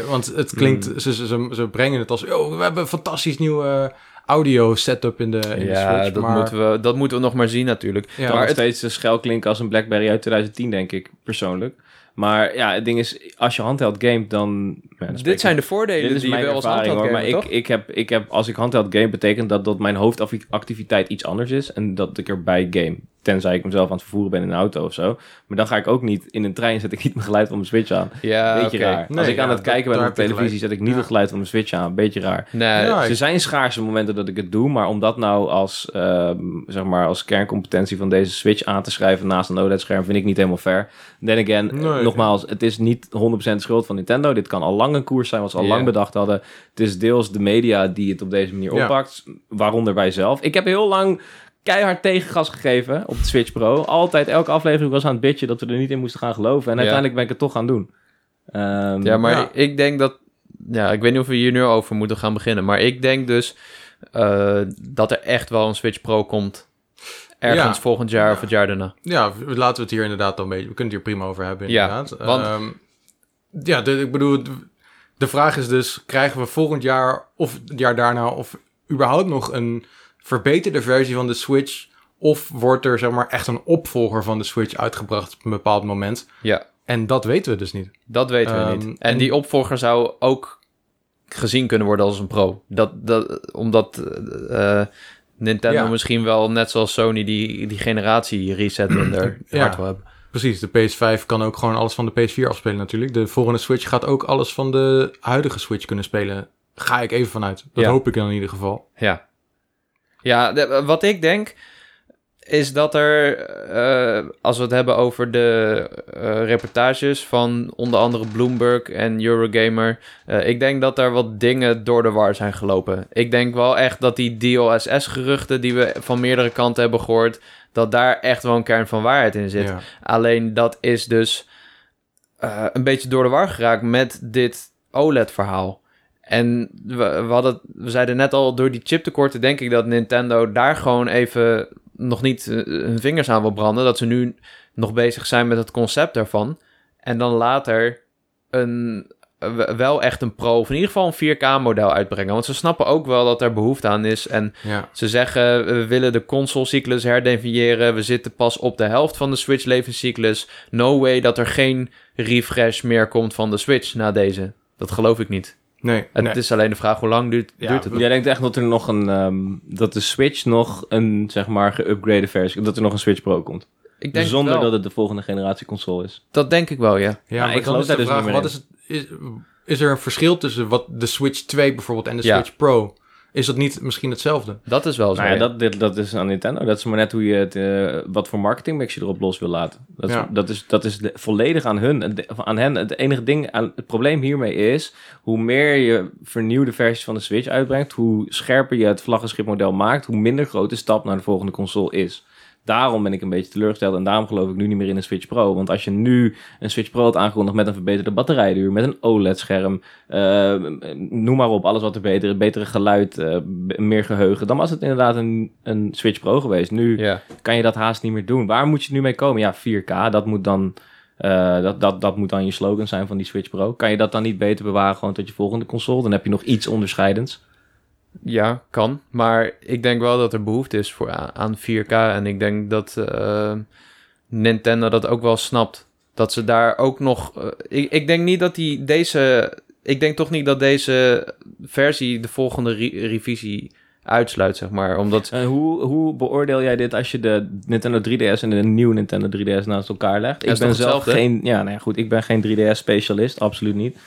A: Want het klinkt,
C: Hmm.
A: ze, ze- ze, ze brengen het als, oh, we hebben een fantastisch nieuwe audio setup in de, in de
C: Ja,
A: Switch.
C: dat,
A: maar,
C: moeten we, dat moeten we nog maar zien natuurlijk.
A: Ja,
B: Kan
C: maar
B: nog
C: het,
B: steeds een schel klinken als een Blackberry uit 2010, denk ik, persoonlijk. Maar ja, het ding is, als je handheld gamet, dan... ja, dan spreek
C: dit
B: ik-
C: zijn de voordelen
B: Dit is
C: die je
B: mijn
C: wel als
B: ervaring,
C: handheld
B: hoor. Maar
C: gamer,
B: ik,
C: toch?
B: ik, heb, ik heb, als ik handheld game, betekent dat dat mijn hoofdactiviteit iets anders is en dat ik erbij game. Tenzij ik mezelf aan het vervoeren ben in een auto of zo. Maar dan ga ik ook niet in een trein zet ik niet mijn geluid van mijn switch aan.
C: Ja,
B: Beetje
C: Ah, oké.
B: raar.
A: Nee,
B: Als ik
A: ja,
B: aan het
A: dat-
B: kijken ben
A: daar
B: op
A: heb je
B: televisie, zet ik niet
A: Ja.
B: het geluid van mijn switch aan. Beetje raar.
C: Nee,
A: Ja,
B: Er
A: ik-
B: Eh, zijn schaarse momenten dat ik het doe, maar om dat nou als, ehm, zeg maar als kerncompetentie van deze Switch aan te schrijven naast een OLED-scherm vind ik niet helemaal fair. Then again, eh,
A: Nee.
B: nogmaals, het is niet 100% schuld van Nintendo. Dit kan al lang een koers zijn wat ze al
C: Ja.
B: lang bedacht hadden. Het is deels de media die het op deze manier
A: Ja.
B: oppakt, waaronder wij zelf. Ik heb heel lang keihard tegengas gegeven op de Switch Pro. Altijd, elke aflevering was aan het bitchen dat we er niet in moesten gaan geloven.
C: Ja.
B: En uiteindelijk ben ik het toch gaan doen. Ehm,
C: Ja, maar
A: Ja.
C: ik denk dat... Ja, ik weet niet of we hier nu over moeten gaan beginnen. Maar ik denk dus eh, dat er echt wel een Switch Pro komt. Ergens
A: Ja.
C: volgend jaar of het jaar daarna.
A: Ja, we- laten we het hier inderdaad dan mee. We kunnen het hier prima over hebben.
C: Ja,
A: Inderdaad.
C: want-
A: Ehm, ja, de- ik bedoel, de- de vraag is dus: krijgen we volgend jaar of het jaar daarna of überhaupt nog een verbeterde versie van de Switch? Of wordt er zeg maar echt een opvolger van de Switch uitgebracht op een bepaald moment?
C: Ja,
A: En dat weten we dus niet.
C: dat weten we
A: Ehm,
C: niet. En,
A: en-
C: die opvolger zou ook gezien kunnen worden als een pro. Dat, dat, omdat eh, eh, Nintendo
A: Ja.
C: misschien wel, net zoals Sony, die, die generatie reset in haar
A: Ja.
C: hart wil hebben.
A: Precies, de PS5 kan ook gewoon alles van de PS4 afspelen natuurlijk. De volgende Switch gaat ook alles van de huidige Switch kunnen spelen. Ga ik even vanuit. Dat
C: Ja.
A: hoop ik dan in ieder geval.
C: Ja. Ja, de- wat ik denk is dat er, eh, als we het hebben over de eh, reportages van onder andere Bloomberg en Eurogamer, eh, ik denk dat daar wat dingen door de war zijn gelopen. Ik denk wel echt dat die DLSS-geruchten die we van meerdere kanten hebben gehoord, dat daar echt wel een kern van waarheid in zit.
A: Ja.
C: Alleen dat is dus eh, een beetje door de war geraakt met dit OLED-verhaal. En we, we, hadden, we zeiden net al, door die chiptekorten denk ik dat Nintendo daar gewoon even nog niet eh, hun vingers aan wil branden. Dat ze nu nog bezig zijn met het concept daarvan. En dan later een, eh, wel echt een pro, of in ieder geval een 4K-model uitbrengen. Want ze snappen ook wel dat er behoefte aan is. En
A: Ja.
C: ze zeggen, we willen de consolecyclus herdefiniëren. We zitten pas op de helft van de Switch levenscyclus. No way dat er geen refresh meer komt van de Switch na deze. Dat geloof ik niet.
A: Nee.
C: Het
A: nee.
C: is alleen de vraag hoe lang duurt,
A: Ja,
C: duurt het. nog?
B: Jij denkt echt dat er nog een ehm, dat de Switch nog een zeg maar geüpgrade versie, dat er nog een Switch Pro komt,
C: Ik denk
B: zonder
C: wel.
B: dat het de volgende generatie console is.
C: Dat denk ik wel, ja.
A: Ja,
B: Ja,
A: maar
B: ik
A: ik dan
B: geloof
A: is de
B: daar dus
A: vraag,
B: niet meer
A: wat is, het, is, is er een verschil tussen wat de Switch 2 bijvoorbeeld en de
C: Ja.
A: Switch Pro? Is dat niet misschien hetzelfde?
C: Dat is wel zo.
B: Nou ja,
C: ja.
B: dat, dit, dat is aan Nintendo. Dat is maar net hoe je het, eh, wat voor marketingmix je erop los wil laten. Dat is,
A: Ja.
B: dat is, dat is de- volledig aan hun, en de- aan hen. Het enige ding, aan, het probleem hiermee is, hoe meer je vernieuwde versies van de Switch uitbrengt, hoe scherper je het vlaggenschipmodel maakt, hoe minder groot de stap naar de volgende console is. Daarom ben ik een beetje teleurgesteld en daarom geloof ik nu niet meer in een Switch Pro. Want als je nu een Switch Pro had aangekondigd met een verbeterde batterijduur, met een OLED-scherm, eh, noem maar op, alles wat er beter is, betere geluid, eh, b- meer geheugen, dan was het inderdaad een, een Switch Pro geweest. Nu
C: Ja.
B: kan je dat haast niet meer doen. Waar moet je nu mee komen? Ja, 4K, dat moet dan, eh, dat, dat, dat moet dan je slogan zijn van die Switch Pro. Kan je dat dan niet beter bewaren gewoon tot je volgende console? Dan heb je nog iets onderscheidends.
C: Ja, kan. Maar ik denk wel dat er behoefte is voor, a- aan 4K. En ik denk dat eh, Nintendo dat ook wel snapt. Dat ze daar ook nog. eh, ik, ik denk niet dat die deze. Ik denk toch niet dat deze versie de volgende re- revisie uitsluit, zeg maar. Omdat.
B: En hoe, hoe beoordeel jij dit als je de Nintendo 3DS en de nieuwe Nintendo 3DS naast elkaar legt?
C: Is
B: ik ben
C: toch
B: zelf
C: hetzelfde?
B: geen, ja, nou ja, goed, ik ben geen 3DS-specialist, absoluut niet.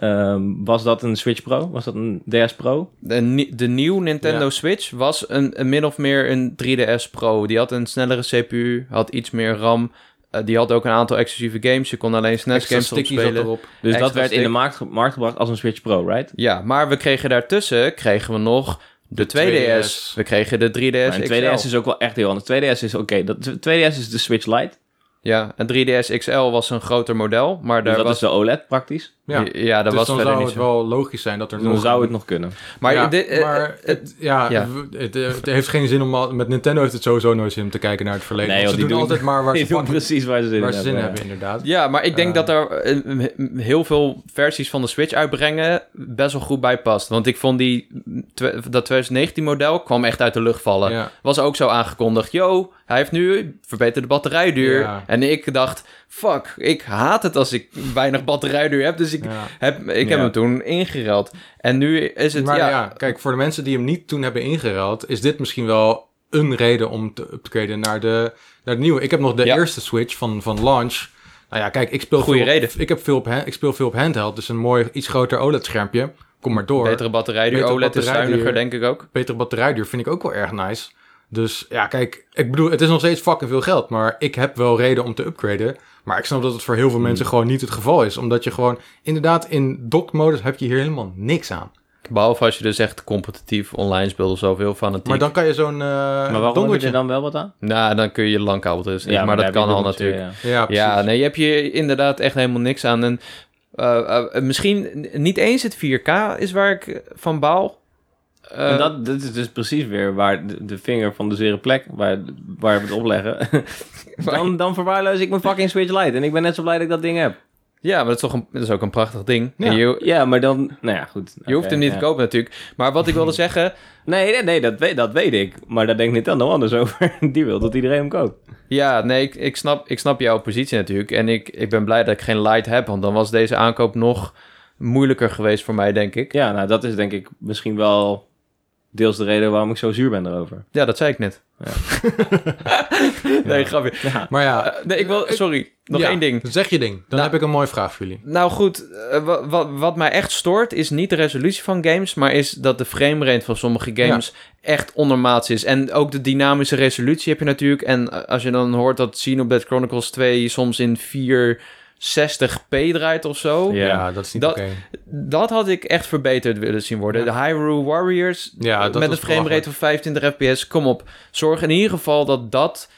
B: Ehm, was dat een Switch Pro? Was dat een DS Pro?
C: De, ni- de nieuwe Nintendo
A: Ja.
C: Switch was een, een min of meer een 3DS Pro. Die had een snellere CPU, had iets meer RAM. eh, die had ook een aantal exclusieve games. Je kon alleen
B: Nou,
C: SNES
A: Extra
C: games erop
A: stickies zat
C: spelen.
A: erop.
B: Dus
C: Extra
B: dat werd in
C: stick.
B: de markt, ge- markt gebracht als een Switch Pro, right?
C: Ja, maar we kregen daartussen kregen we nog de, 2DS.
A: 2DS.
C: We kregen de 3DS
B: Maar een
C: XL.
B: 2DS is ook wel echt heel anders. 2DS is oké, dat 2DS is de Switch Lite.
C: Ja, en 3DS XL was een groter model, maar
B: Dus
C: daar
B: dat
C: was...
B: is de OLED praktisch.
A: Ja.
C: Ja, dat
A: dus
C: was
A: dan
C: verder
A: zou
C: niet
A: het
C: zo.
A: wel logisch zijn dat er
B: Dus dan
A: nog...
B: zou het nog kunnen.
C: Maar,
A: ja,
C: dit, eh,
A: maar
C: eh,
A: het, ja,
C: ja.
A: w- Het, eh, het heeft geen zin om... al- Met Nintendo heeft het sowieso nooit zin om te kijken naar het verleden.
B: Nee,
A: Want
B: joh,
A: ze
B: die
A: doen,
B: doen-
A: altijd maar waar ze,
B: Ik weet
A: pakken-
B: precies waar ze zin
A: waar
B: in
A: ze zin in
B: hebben.
A: hebben, inderdaad.
C: ja, maar ik denk
A: Eh.
C: dat er eh, m- m- heel veel versies van de Switch uitbrengen best wel goed bij past. Want ik vond die, twe- dat 2019-model kwam echt uit de lucht vallen.
A: Ja.
C: Was ook zo aangekondigd. Yo, hij heeft nu verbeterde batterijduur.
A: Ja.
C: En ik dacht, fuck, ik haat het als ik weinig batterijduur heb. Dus ik,
A: Ja.
C: Heb, ik heb
B: Ja.
C: hem toen ingereld. En nu is het,
A: Maar ja.
C: ja,
A: kijk, voor de mensen die hem niet toen hebben ingeruild... is dit misschien wel een reden om te upgraden naar de, naar de nieuwe. Ik heb nog de
C: Ja.
A: eerste Switch van, van launch. Nou ja, kijk, ik speel,
C: Goeie
A: veel, op-
C: reden.
A: Ik, heb veel op, ha- ik speel veel op handheld, dus een mooi, iets groter OLED-schermpje. Kom maar door.
C: Betere batterij, die
A: Betere
C: OLED is
A: batterijduur.
C: zuiniger, denk ik ook.
A: betere batterijduur vind ik ook wel erg nice. Dus ja, kijk, ik bedoel, het is nog steeds fucking veel geld, maar ik heb wel reden om te upgraden. Maar ik snap dat het voor heel veel mensen
C: Hmm.
A: gewoon niet het geval is. Omdat je gewoon, inderdaad, in dock-modus heb je hier helemaal niks aan.
C: Behalve als je dus echt competitief online speelt of zo, heel fanatiek.
A: Maar dan kan je zo'n eh
B: maar waarom heb je
A: dongeltje-
B: er dan wel wat aan?
C: Nou, dan kun je langkabel dus. maar, dat
B: daar heb
C: kan
B: je
C: al
B: dongeltje,
C: natuurlijk.
A: Ja, precies.
C: Ja, nee, je hebt hier inderdaad echt helemaal niks aan. En eh, eh, misschien n- niet eens het 4K is waar ik van baal. Eh,
B: en dat, dat is dus precies weer waar de, de vinger van de zere plek, waar, waar we het opleggen. dan, dan verwaarloos ik mijn fucking Switch Lite. En ik ben net zo blij dat ik dat ding heb.
C: Ja, maar dat is toch een, dat is ook een prachtig ding.
A: Ja.
C: En Je, je
B: Ja, maar dan... Nou ja, goed. Je
C: hoeft hem niet te kopen natuurlijk. Maar wat ik wilde zeggen,
B: Nee, nee, nee dat, weet, dat weet ik. Maar daar denkt Nintendo anders over. Die wil dat iedereen hem koopt.
C: Ja, nee, ik, ik, snap, ik snap jouw positie natuurlijk. En ik, ik ben blij dat ik geen light heb, want dan was deze aankoop nog moeilijker geweest voor mij, denk ik.
B: Ja, nou, dat is denk ik misschien wel deels de reden waarom ik zo zuur ben erover.
C: Ja, dat zei ik net. nee, grapje.
A: Maar ja,
C: Eh, nee, ik wil, sorry, nog
A: ja,
C: één ding.
A: Zeg je ding, dan heb ik een mooie vraag voor jullie.
C: Nou goed, eh, wa- wa- wat mij echt stoort is niet de resolutie van games, maar is dat de framerate van sommige games echt ondermaats is. En ook de dynamische resolutie heb je natuurlijk. En eh, als je dan hoort dat Xenoblade Chronicles 2 soms in 460p draait of zo.
B: Ja.
A: Ja, dat is niet
C: Dat-
A: oké.
C: Dat had ik echt verbeterd willen zien worden. De Hyrule Warriors
A: Ja, dat
C: met een
A: was
C: framerate van 25 fps. Kom op, zorg in ieder geval dat dat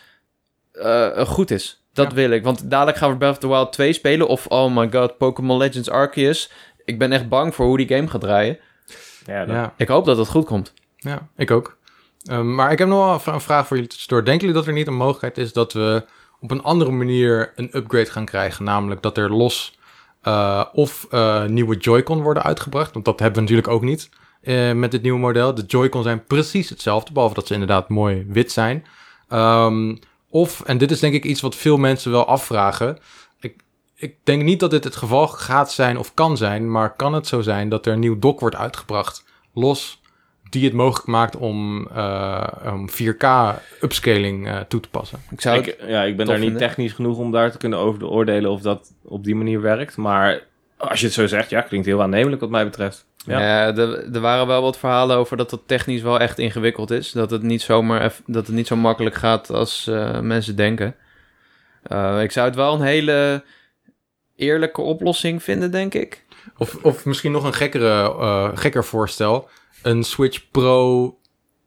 C: eh, goed is. Dat
A: Ja.
C: wil ik, want dadelijk gaan we Breath of the Wild 2 spelen. Of, oh my god, Pokémon Legends Arceus. Ik ben echt bang voor hoe die game gaat draaien.
B: Ja, dat-
A: Ja,
C: Ik hoop dat het goed komt.
A: ja, ik ook. Ehm, maar ik heb nog wel een vra- een vraag voor jullie tussendoor. Denken jullie dat er niet een mogelijkheid is dat we op een andere manier een upgrade gaan krijgen? Namelijk dat er los eh, of eh, nieuwe Joy-Con worden uitgebracht. Want dat hebben we natuurlijk ook niet eh, met dit nieuwe model. De Joy-Con zijn precies hetzelfde, behalve dat ze inderdaad mooi wit zijn. Ehm, of, en dit is denk ik iets wat veel mensen wel afvragen. Ik, ik denk niet dat dit het geval gaat zijn of kan zijn. Maar kan het zo zijn dat er een nieuw dock wordt uitgebracht? Los die het mogelijk maakt om, eh, om 4K upscaling eh, toe te passen.
C: Ik zou het-
B: ik, ja, ik ben
C: tof
B: daar niet
C: vinden.
B: technisch genoeg om daar te kunnen over oordelen of dat op die manier werkt. Maar als je het zo zegt, ja, klinkt heel aannemelijk wat mij betreft. Ja.
C: Ja, Eh, er, er waren wel wat verhalen over dat dat technisch wel echt ingewikkeld is. Dat het niet, zomaar eff- dat het niet zo makkelijk gaat als eh, mensen denken. Eh, ik zou het wel een hele eerlijke oplossing vinden, denk ik.
A: Of, of misschien nog een gekkere, eh, gekker voorstel. Een Switch Pro,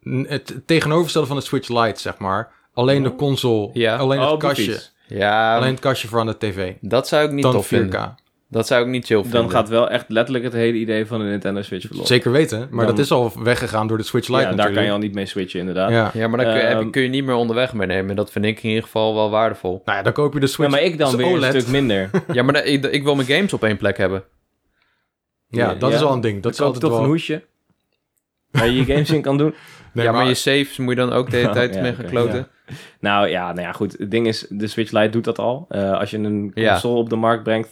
A: n- het tegenovergestelde van de Switch Lite, zeg maar. Alleen de console,
C: Ja.
A: alleen
B: Oh,
A: het
B: op de
A: kastje.
B: fiets.
C: Ja,
A: Alleen het kastje voor aan de tv.
C: dat zou ik niet
A: Dan 4K.
C: tof vinden. Dat zou ik niet chill vinden.
B: Dan gaat wel echt letterlijk het hele idee van de Nintendo Switch verloren.
A: Zeker weten, maar
B: Dan-
A: dat is al weggegaan door de Switch Lite
B: Ja, daar kan je
A: natuurlijk.
B: al niet mee switchen, inderdaad.
A: ja.
C: Ja, maar dan kun je, heb je-
B: Ehm.
C: kun je niet meer onderweg meenemen. Dat vind ik in ieder geval wel waardevol.
A: Nou ja, dan koop je de
B: Ja,
A: Switch.
B: maar ik dan
A: dus
B: weer
A: OLED.
B: een stuk minder.
C: ja, maar dan- ik, ik wil mijn games op één plek hebben.
A: Ja, dat
B: Ja.
A: is al een ding. Dat is
B: koop
A: altijd
B: toch een
A: wel...
B: hoesje. Waar je je games in kan doen.
A: Nee,
C: ja, maar,
A: maar-
C: je saves moet je dan ook de hele tijd
B: Ja,
C: mee gaan
B: oké,
C: kloten.
B: Nou ja, nou ja, goed. Het ding is, de Switch Lite doet dat al. Eh, als je een
C: Ja.
B: console op de markt brengt,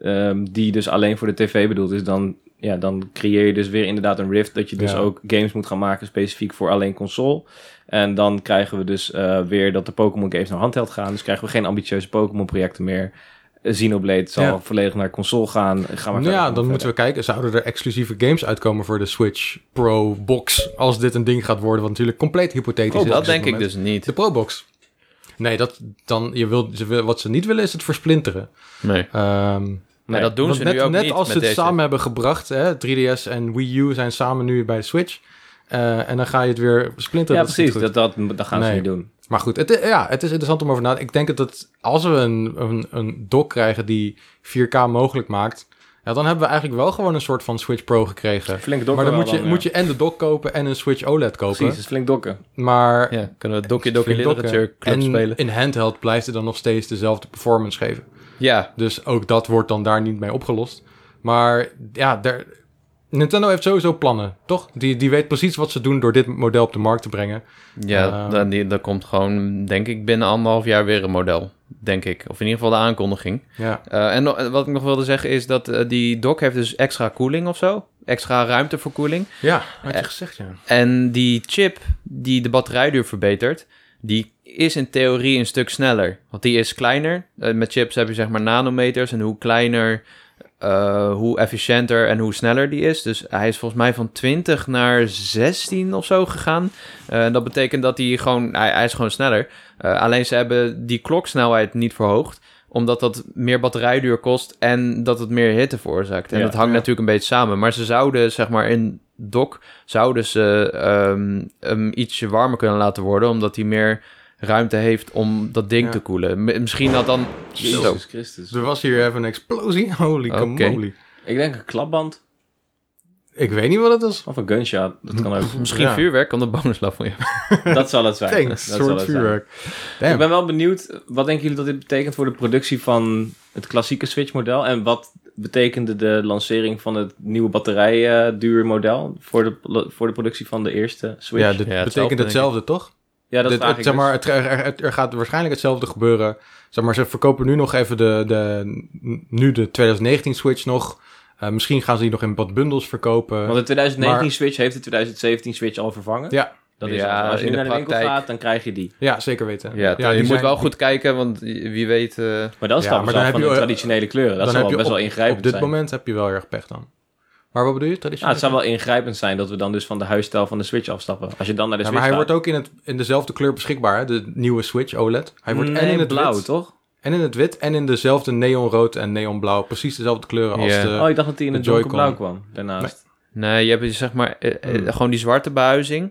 B: ehm, die dus alleen voor de tv bedoeld is, dan, ja, dan creëer je dus weer inderdaad een rift. Dat je dus
A: Ja.
B: ook games moet gaan maken specifiek voor alleen console. En dan krijgen we dus eh, weer dat de Pokémon games naar handheld gaan. Dus krijgen we geen ambitieuze Pokémon projecten meer. Eh, Xenoblade zal
A: Ja.
B: volledig naar console gaan. Gaan we
A: Nou ja, dan moeten we kijken. Zouden er exclusieve games uitkomen voor de Switch Pro Box? Als dit een ding gaat worden, wat natuurlijk compleet hypothetisch is. op
C: dat
A: dit
C: denk ik
A: moment.
C: dus niet.
A: De Pro Box. Nee, dat, dan, je wil, ze wil- wat ze niet willen is het versplinteren.
C: Nee.
A: Ehm,
C: Maar dat doen
A: want
C: ze
A: net,
C: nu ook
A: net
C: niet
A: als
C: met
A: ze het
C: deze.
A: samen hebben gebracht, hè, 3DS en Wii U zijn samen nu bij de Switch. Eh, en dan ga je het weer splinteren.
B: Ja,
A: dat is niet
B: precies.
A: goed.
B: Dat, dat, dat gaan ze
A: Nee.
B: niet doen.
A: Maar goed, het, i- ja, het is interessant om over na te Ik denk dat het- als we een, een, een dock krijgen die 4K mogelijk maakt... Ja, dan hebben we eigenlijk wel gewoon een soort van Switch Pro gekregen.
B: Flink
A: maar
B: dokken
A: dan
B: wel
A: moet je,
B: dan, ja.
A: moet je en de dock kopen en een Switch OLED kopen.
B: Precies, het is flink dokken.
A: Maar
C: Ja, kunnen we Doki Doki
A: flink
C: Literature
A: dokken.
C: Club
A: en
C: spelen.
A: in handheld blijft het dan nog steeds dezelfde performance geven.
C: Ja,
A: Dus ook dat wordt dan daar niet mee opgelost. Maar ja, daar, Nintendo heeft sowieso plannen, toch? Die, die weet precies wat ze doen door dit model op de markt te brengen.
C: ja
A: Ehm.
C: dan, die, dan komt gewoon, denk ik, binnen anderhalf jaar weer een model. Denk ik. Of in ieder geval de aankondiging.
A: Ja,
C: Eh, en no- wat ik nog wilde zeggen is dat eh, die dock heeft dus extra koeling of zo. extra ruimte voor koeling.
A: Ja, had je gezegd, ja.
C: En die chip die de batterijduur verbetert, die is in theorie een stuk sneller. Want die is kleiner. Eh, Met chips heb je zeg maar nanometers. En hoe kleiner, eh, hoe efficiënter en hoe sneller die is. Dus hij is volgens mij van 20 naar 16 of zo gegaan. Eh, en dat betekent dat hij gewoon, hij, hij is gewoon sneller. Eh, alleen ze hebben die kloksnelheid niet verhoogd omdat dat meer batterijduur kost en dat het meer hitte veroorzaakt. En
B: Ja,
C: dat hangt
A: ja.
C: natuurlijk een beetje samen. Maar ze zouden, zeg maar, in dock zouden ze ehm, hem ietsje warmer kunnen laten worden, omdat hij meer ruimte heeft om dat ding
A: Ja.
C: te koelen. M- misschien dat dan... Zo.
B: Jezus Christus.
A: Dus Er was hier even een explosie. Holy
C: Oké.
A: camoli.
B: Ik denk een klapband
A: Ik weet niet wat het is.
B: of een gunshot. Dat kan ook.
C: Misschien
A: Ja.
C: vuurwerk kan de bonus level hebben.
B: Dat zal het zijn.
A: Thanks,
B: dat zal
A: soort
B: het zijn.
A: vuurwerk.
B: Ik
A: Damn.
B: ben wel benieuwd, wat denken jullie dat dit betekent voor de productie van het klassieke Switch-model? En wat betekende de lancering van het nieuwe batterijduurmodel voor de, voor de productie van de eerste Switch?
A: Ja,
B: Ja,
A: dit
C: Ja, hetzelfde,
A: betekent hetzelfde, toch?
B: dat
A: Dit-
B: vraag
A: het,
B: ik
A: zeg
B: dus.
A: maar, het, er, er- er gaat waarschijnlijk hetzelfde gebeuren. Zeg maar, ze verkopen nu nog even de, de, nu de 2019 Switch nog. Eh, misschien gaan ze die nog in wat bundels verkopen.
B: Want de 2019
A: maar-
B: Switch heeft de 2017 Switch al vervangen.
A: Ja.
B: Dat is
C: Ja,
B: het. Als je
C: in
B: nu
C: de
B: naar de winkel
C: praktijk.
B: gaat, dan krijg je die.
A: Ja, zeker weten.
C: Ja,
A: die
C: je moet
A: zijn-
C: wel goed kijken, want wie weet... eh,
B: Maar dan
A: Ja,
B: stappen
A: maar
B: ze
A: dan
B: af
A: heb
B: van
A: je,
B: de
A: eh,
B: traditionele kleuren. Dat
A: dan
B: zou
A: heb
B: wel best
A: op-
B: wel ingrijpend
A: Op dit
B: zijn.
A: moment heb je wel erg pech dan. Maar wat bedoel je?
B: Ja, het
A: Traditioneel?
B: zou wel ingrijpend zijn dat we dan dus van de huisstijl van de Switch afstappen. Als je dan naar de
A: Ja,
B: Switch
A: maar hij
B: gaat.
A: wordt ook in, het, in dezelfde kleur beschikbaar, hè? de nieuwe Switch OLED. Hij wordt en
B: Nee,
A: in het
B: blauw,
A: wit,
B: toch?
A: en in het wit en in dezelfde neonrood en neonblauw. Precies dezelfde kleuren als
C: Ja.
A: de...
B: Oh, ik dacht dat die in
A: de
B: het donkerblauw
A: Joy-Con.
B: kwam daarnaast.
C: nee, je hebt dus zeg maar eh, eh, gewoon die zwarte behuizing.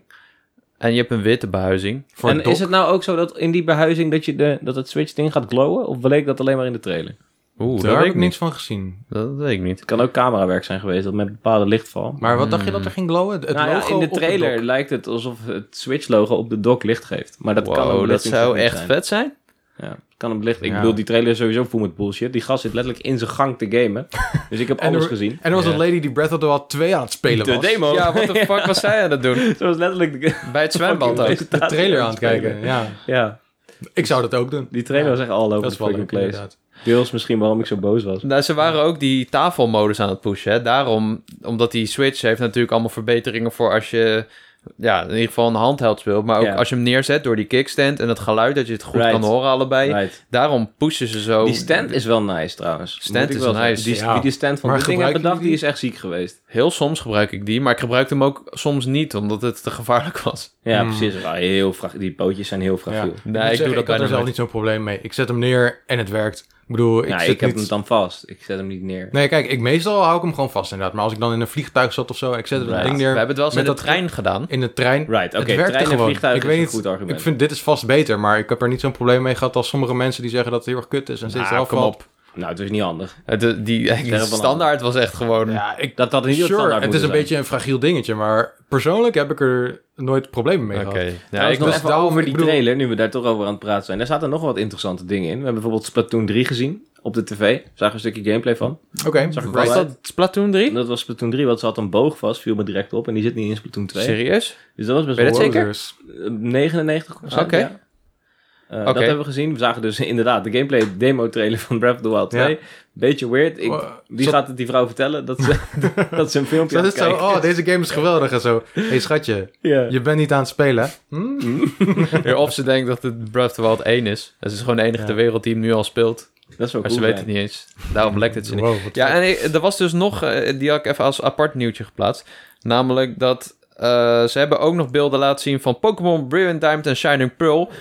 C: En je hebt een witte behuizing.
A: voor
B: en
A: het dock.
B: is het nou ook zo dat in die behuizing dat, je de, dat het Switch-ding gaat glowen? Of bleek dat alleen maar in de trailer?
C: Oeh,
A: Daar
C: dat
A: heb ik
C: weet ik niet.
A: niks van gezien.
C: Dat weet ik niet.
B: Het kan ook camerawerk zijn geweest, dat met bepaalde lichtval.
A: Maar wat dacht je dat er ging glowen? Het
B: nou ja,
A: logo
B: in de
A: op het
B: trailer
A: dock.
B: lijkt het alsof het Switch-logo op de dock licht geeft. Maar dat kan
C: Wow,
B: ook
C: dat zou echt
B: zijn.
C: vet zijn.
B: Ja, kan een belicht. Ik
A: Ja.
B: bedoel, die trailer is sowieso vol met bullshit. Die gast zit letterlijk in zijn gang te gamen. Dus ik heb
A: En
B: alles
A: er-
B: gezien.
A: En er was
C: Ja.
A: een lady die Breath of the Wild 2 aan het spelen
B: De
A: was.
B: demo.
C: Ja, wat de fuck was zij aan het doen?
B: Zo was letterlijk de,
C: Bij het zwembad ook.
A: De trailer aan het kijken, ja.
B: Ja,
A: Ik zou dat ook doen.
B: die trailer was echt al over
A: Dat
B: de
A: is wel
B: fucking
A: leuk,
B: place.
A: inderdaad.
B: Deels misschien waarom ik zo boos was.
C: Nou, ze waren ook die tafelmodus aan het pushen. Hè? Daarom, omdat die Switch heeft natuurlijk allemaal verbeteringen voor als je... Ja, in ieder geval een handheld speelt. Maar ook
B: Ja.
C: als je hem neerzet door die kickstand en het geluid dat je het goed
B: Right.
C: kan horen allebei.
B: Right. Oh,
C: Daarom pushen ze zo.
B: Die stand is wel nice trouwens.
C: Stand
B: Moet ik
C: is
B: wel zeggen.
C: nice,
B: Die,
A: ja.
B: Wie die stand van
A: Maar
B: die ding heeft
A: gebruiken
B: bedacht, die
A: jullie
B: is echt ziek geweest.
C: Heel soms gebruik ik die, maar ik gebruikte hem ook soms niet, omdat het te gevaarlijk was.
B: Ja,
A: Mm.
B: precies. Ah, heel fra- die pootjes zijn heel
A: Ja.
B: fragiel.
C: Nee,
A: moet
C: ik doe
A: zeggen,
C: dat
A: ik had
C: bijna
A: er zelf
C: nooit.
A: niet zo'n probleem mee. Ik zet hem neer en het werkt. Ik bedoel, ik
B: nou,
A: zit
B: ik heb
A: niet...
B: hem dan vast. Ik zet hem niet neer.
A: Nee, kijk, ik, meestal hou ik hem gewoon vast inderdaad. Maar als ik dan in een vliegtuig zat of zo en ik zet het
B: Right.
A: ding
C: We
A: neer...
C: hebben het wel eens
A: met
C: in de
A: dat-
C: trein gedaan.
A: In de trein.
B: Right, oké.
A: het werkte
B: trein en
A: gewoon.
B: vliegtuig
A: ik
B: is
A: weet
B: een
A: niet,
B: goed argument.
A: Ik vind dit is vast beter, maar ik heb er niet zo'n probleem mee gehad als sommige mensen die zeggen dat het heel erg kut is en steeds
C: Ah,
A: eraf
C: kom
A: valt.
C: op.
B: Nou, het is niet handig.
C: Het- Die, die
B: Verre van
C: standaard was echt gewoon...
A: Ja, ik,
B: Dat dat niet het
A: sure,
B: standaard
A: het is een
B: moeten zijn.
A: beetje een fragiel dingetje, maar persoonlijk heb ik er nooit problemen mee
C: Oké.
A: gehad.
C: Ja, ik
B: ik nog
A: dus
B: even
A: daarom-
B: over die
A: ik bedoel-
B: trailer, nu we daar toch over aan het praten zijn. Daar zaten nog wat interessante dingen in. We hebben bijvoorbeeld Splatoon 3 gezien op de tv. Zagen een stukje gameplay van.
A: Oké,
B: Zag ik
A: right.
B: wel.
C: Was dat Splatoon 3?
B: En dat was Splatoon 3, want ze had een boog vast, viel me direct op. En die zit niet in Splatoon 2.
C: Serieus?
B: Dus dat was best
C: Ben je
B: wel
C: dat zeker?
A: Losers.
B: Eh, 99
C: Oké.
B: ja. Eh,
C: Oké.
B: Dat hebben we gezien. We zagen dus inderdaad de gameplay demo trailer van Breath of the Wild 2.
A: Ja.
B: Beetje weird. Ik,
A: Wow.
B: wie
A: Zat-
B: gaat het die vrouw vertellen dat ze, dat ze een filmpje
A: Dat
B: aan
A: is
B: het
A: zo,
B: kijken
A: oh, deze game is geweldig en zo. Hé hey, schatje,
B: is? Ja.
A: je bent niet aan het spelen. hè? Hm?
C: Ja, Of ze denkt dat het Breath of the Wild 1 is. Dat is gewoon de enige
A: Ja.
C: ter wereld die hem nu al speelt.
B: Dat is wel
C: Maar
B: cool
C: ze weten
B: zijn.
C: het niet eens. Daarom lekt het ze niet.
A: Wow, wat
C: Ja,
A: vet.
C: en ik- er was dus nog... eh, Die had ik even als apart nieuwtje geplaatst. Namelijk dat... eh, ze hebben ook nog beelden laten zien van Pokémon Brilliant Diamond en Shining Pearl.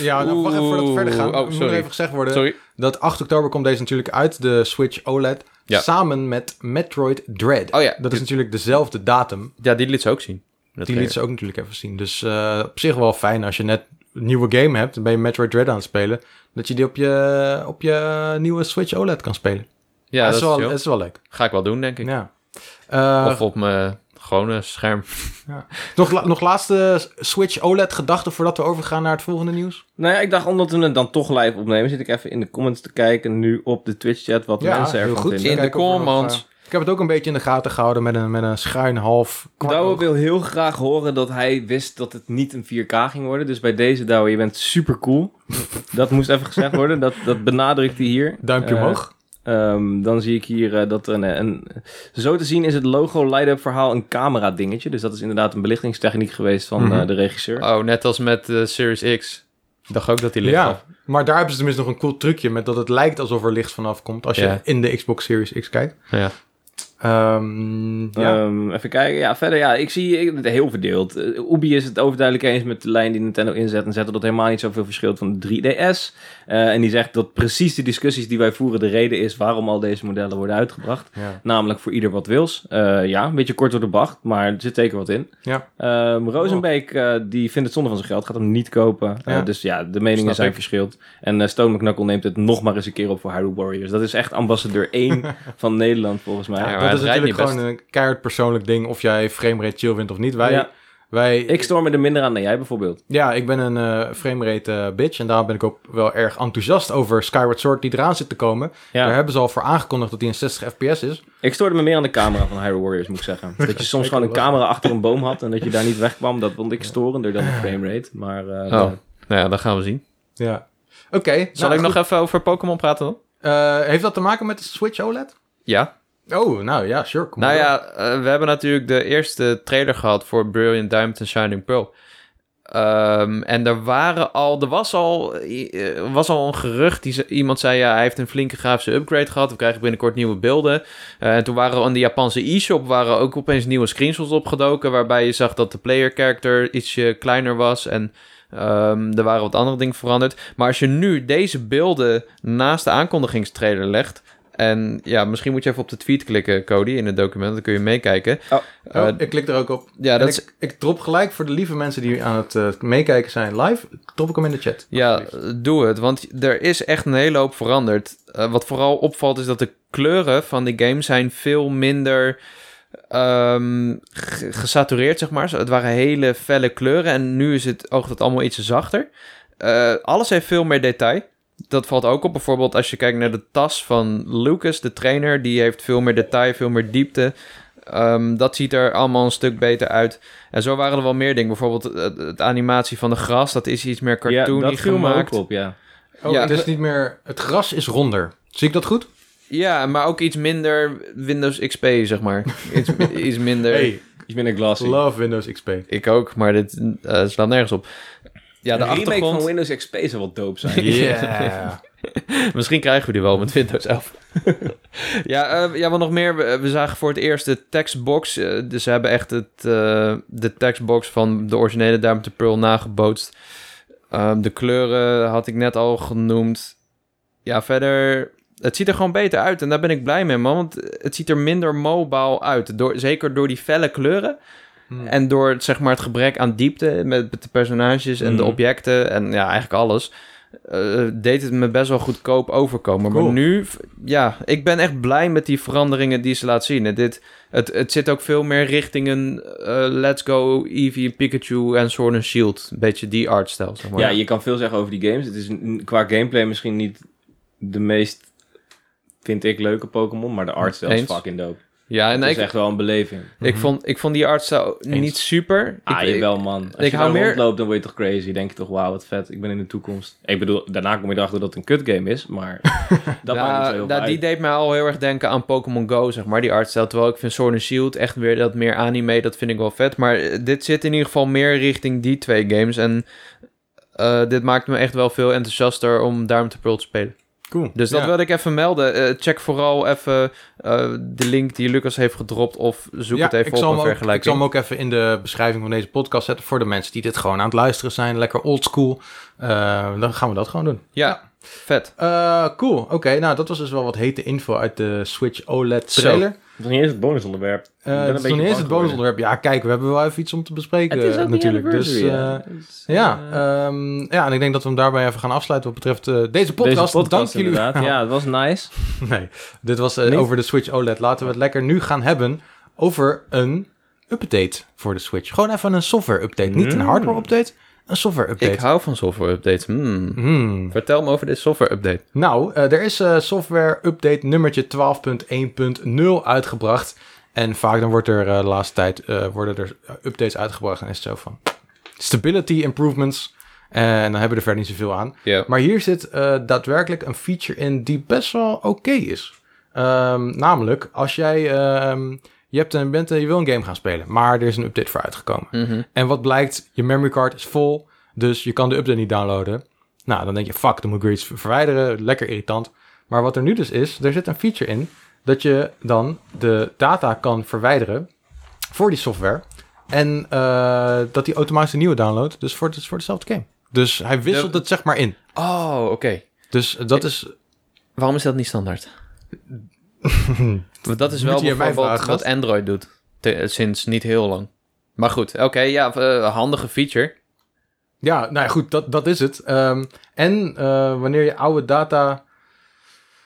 A: ja nou, wacht even voordat we verder gaan.
C: Oeh, oh,
A: moet nog
C: sorry.
A: even gezegd worden
C: Sorry.
A: dat 8 oktober komt deze natuurlijk uit, de Switch OLED,
C: Ja.
A: samen met Metroid Dread.
C: Oh ja.
A: Dat is natuurlijk dezelfde datum.
C: Ja, die liet ze ook zien.
A: Die liet ze ook natuurlijk even zien. Dus eh, op zich wel fijn als je net een nieuwe game hebt. Dan ben je Metroid Dread aan het spelen. Dat je die op je, op je nieuwe Switch OLED kan spelen.
C: Ja, dat is
A: wel,
C: chill.
A: is wel leuk.
C: Ga ik wel doen, denk ik.
A: Ja. Eh,
C: Of op mijn gewone scherm.
A: nog, la- nog laatste Switch OLED gedachten voordat we overgaan naar het volgende nieuws?
B: Nou ja, ik dacht omdat we het dan toch live opnemen, zit ik even in de comments te kijken nu op de Twitch chat wat mensen ervan vinden.
C: In de
A: Kijken of er nog,
C: comments.
A: eh, ik heb het ook een beetje in de gaten gehouden met een, met een schuin half kwart
B: Douwe
A: oog.
B: wil heel graag horen dat hij wist dat het niet een 4K ging worden. Dus bij deze Douwe, je bent super cool. dat moest even gezegd worden. Dat, dat benadrukt hij hier.
A: Duimpje
B: Eh,
A: omhoog.
B: eh, Ehm, dan zie ik hier eh, dat er een, een... Zo te zien is het logo light-up verhaal een camera dingetje. Dus dat is inderdaad een belichtingstechniek geweest van
A: Mhm.
B: eh, de regisseur.
C: Oh, net als met de Series X. Ik dacht ook dat die licht
A: Ja,
C: gaf.
A: maar daar hebben ze tenminste nog een cool trucje met dat het lijkt alsof er licht vanaf komt als
C: Ja.
A: je in de Xbox Series X kijkt.
C: Ja.
A: Ehm, ja.
B: Ehm, even kijken. Ja, verder. Ja, ik zie ik, heel verdeeld. Eh, Ubi is het overduidelijk eens met de lijn die Nintendo inzet. En zet dat het helemaal niet zoveel verschilt van de 3DS. Eh, en die zegt dat precies de discussies die wij voeren de reden is waarom al deze modellen worden uitgebracht.
A: ja.
B: Namelijk voor ieder wat wils. Eh, ja, een beetje kort door de bocht, maar er zit zeker wat in.
A: Ja.
B: Ehm, Rosenbeek eh, die vindt het zonde van zijn geld, gaat hem niet kopen. Eh,
A: Ja.
B: dus ja, de meningen
A: Snap
B: zijn
A: ik.
B: verschild. En eh Stone McNuckle neemt het nog maar eens een keer op voor Hyrule Warriors. Dat is echt ambassadeur 1 van Nederland volgens mij.
C: Ja, maar
A: dat is
C: het rijdt
A: natuurlijk
C: niet
A: gewoon
C: best.
A: een keihard persoonlijk ding of jij framerate chill wint of niet. Wij,
B: Ja.
A: wij,
B: Ik storm me er minder aan dan jij bijvoorbeeld.
A: ja, ik ben een eh, framerate eh, bitch en daarom ben ik ook wel erg enthousiast over Skyward Sword die eraan zit te komen. Daar
B: Ja.
A: hebben ze al voor aangekondigd dat die in 60 fps is.
B: Ik stoorde me meer aan de camera van Hyrule Warriors, moet ik zeggen. Dat je soms gewoon een camera achter een boom had en dat je daar niet wegkwam. Dat vond ik storender dan de framerate. Maar eh,
C: Oh, nou ja, dat gaan we zien.
A: Ja. Oké. nou, Eh,
C: Zal ik nog even over Pokémon praten dan?
A: heeft dat te maken met de Switch OLED?
C: Ja.
A: Oh, nou ja, sure. kom
C: Nou
A: maar door.
C: ja, eh, we hebben natuurlijk de eerste trailer gehad voor Brilliant Diamond en Shining Pearl. Ehm, en er waren al, er was al, eh, was al een gerucht. Die, ze- iemand zei, ja, hij heeft een flinke grafische upgrade gehad. We krijgen binnenkort nieuwe beelden. Eh, en toen waren aan de Japanse e-shop waren ook opeens nieuwe screenshots opgedoken. Waarbij je zag dat de player character ietsje kleiner was. En ehm, er waren wat andere dingen veranderd. Maar als je nu deze beelden naast de aankondigingstrailer legt. En ja, misschien moet je even op de tweet klikken, Cody, in het document. Dan kun je meekijken.
B: Oh.
C: Eh,
A: Oh, ik klik er ook op.
C: ja,
A: En
C: dat
A: ik,
C: is,
A: ik drop gelijk voor de lieve mensen die aan het eh, meekijken zijn live. Drop ik hem in de chat.
C: ja,
A: alsjeblieft.
C: doe het. Want er is echt een hele hoop veranderd. Eh, wat vooral opvalt is dat de kleuren van die game zijn veel minder ehm, ge- gesatureerd, zeg maar. Zo, Het waren hele felle kleuren en nu is het oog dat allemaal iets zachter. Eh, alles heeft veel meer detail. Dat valt ook op. Bijvoorbeeld als je kijkt naar de tas van Lucas, de trainer. Die heeft veel meer detail, veel meer diepte. Ehm, dat ziet er allemaal een stuk beter uit. En zo waren er wel meer dingen. Bijvoorbeeld de animatie van de gras. Dat is iets meer
B: ja,
C: cartoony
B: dat viel me ook
C: gemaakt.
B: op, ja.
A: Oh,
C: Ja.
A: het is niet meer... Het gras is ronder. Zie ik dat goed?
C: Ja, maar ook iets minder Windows XP, zeg maar. Iets, iets minder...
A: Hey,
B: Iets minder glassy.
A: love Windows XP.
C: Ik ook, maar dit eh, slaat nergens op. Ja, de
B: Een remake
C: achtergrond...
B: van Windows XP zou wel dope zijn.
A: Yeah.
C: Misschien krijgen we die wel met Windows 11. ja, eh, ja, wat nog meer. We, we zagen voor het eerst de tekstbox. eh, dus ze hebben echt het, eh, de tekstbox van de originele Diamond and Pearl nagebootst. Ehm, de kleuren had ik net al genoemd. Ja, verder... Het ziet er gewoon beter uit en daar ben ik blij mee, man. Want het ziet er minder mobile uit. Door, zeker door die felle kleuren.
A: Hmm.
C: En door het, zeg maar, het gebrek aan diepte met met de personages en de
B: Mhm.
C: objecten en ja, eigenlijk alles, eh, deed het me best wel goedkoop overkomen.
A: Cool.
C: Maar nu, v- ja, ik ben echt blij met die veranderingen die ze laat zien. En dit, het, het zit ook veel meer richting een eh, Let's Go Eevee, Pikachu en Sword and Shield. Een beetje die artstijl, zeg maar.
B: Ja, je kan veel zeggen over die games. Het is een- qua gameplay misschien niet de meest, vind ik, leuke Pokémon. Maar de artstyle is
C: Eens.
B: fucking dope.
C: Ja, en
B: het
C: ik,
B: is echt wel een beleving.
C: ik, vond, ik vond die artstijl
B: Eens.
C: niet super.
B: Ah,
C: ik,
B: jawel man. Als
C: ik
B: je
C: hou
B: hou
C: meer-
B: rondloopt, dan word je toch crazy. Denk je toch, wauw, wat vet. Ik ben in de toekomst. Ik bedoel, daarna kom je erachter dat het een kutgame is. Maar dat
C: Ja,
B: maakt niet zo heel
C: nou,
B: veel
C: die
B: uit.
C: deed mij al heel erg denken aan Pokémon Go, zeg maar, die artstijl. Terwijl ik vind Sword and Shield echt weer dat meer anime, dat vind ik wel vet. Maar eh, dit zit in ieder geval meer richting die twee games. En eh, dit maakt me echt wel veel enthousiaster om Diamond and Pearl te spelen.
A: Cool.
C: Dus dat
A: Ja.
C: wilde ik even melden. Eh, check vooral even eh, de link die Lucas heeft gedropt of zoek
A: Ja,
C: het even
A: ik zal
C: op
A: hem ook- Ik
C: een
A: zal
C: vergelijking.
A: hem ook even in de beschrijving van deze podcast zetten voor de mensen die dit gewoon aan het luisteren zijn. Lekker oldschool. Eh dan gaan we dat gewoon doen.
C: Ja, vet.
A: Eh, cool. Oké, nou dat was dus wel wat hete info uit de Switch OLED
C: Zo.
A: trailer.
B: Dat is niet eens het bonusonderwerp. Ik ben
A: Eh
B: een
A: dat is
B: beetje
A: nog niet eens
B: bang
A: het
B: geworden.
A: bonusonderwerp. Ja, kijk, we hebben wel even iets om te bespreken
B: Het is ook
A: natuurlijk.
B: natuurlijk.
A: Dus eh, ja, ehm, ja, en ik denk dat we hem daarbij even gaan afsluiten wat betreft eh, deze podcast.
B: Deze podcast
A: Dank jullie
B: inderdaad.
A: wel.
B: Ja, het was nice.
A: Nee, dit was eh,
B: Niet?
A: over de Switch OLED. Laten we het lekker nu gaan hebben over een update voor de Switch. Gewoon even een software update. Niet een
B: Mm.
A: hardware update, een software update.
C: Ik hou van software updates. Hmm.
A: Hmm.
C: Vertel me over dit software update.
A: Nou, eh, er is eh, software update nummertje 12.1.0 uitgebracht. En vaak dan wordt er eh, de laatste tijd eh, worden er eh, updates uitgebracht en is het zo van stability improvements. En dan hebben we er verder niet zoveel aan.
C: Ja.
A: Maar hier zit eh, daadwerkelijk een feature in die best wel oké is. Ehm, namelijk, als jij... ehm, je, hebt een, bent, eh, je wil een game gaan spelen, maar er is een update voor uitgekomen.
C: Mhm.
A: En wat blijkt, je memory card is vol, dus je kan de update niet downloaden. Nou, dan denk je, fuck, dan moet ik weer iets ver- verwijderen. Lekker irritant. Maar wat er nu dus is, er zit een feature in dat je dan de data kan verwijderen voor die software. En eh, dat die automatisch een nieuwe downloadt, dus voor, het, voor dezelfde game. Dus hij wisselt
C: Ja.
A: het zeg maar in.
C: Oh, oké.
A: Dus dat is...
C: Waarom is dat niet standaard? Want dat is
A: Moet
C: wel
A: je aan mij
C: bijvoorbeeld
A: vragen,
C: wat
A: gast.
C: Android doet. Te- sinds niet heel lang. Maar goed, oké, ja, eh, handige feature.
A: Ja, nou ja, goed, dat, dat is het. Ehm, en eh, wanneer je oude data...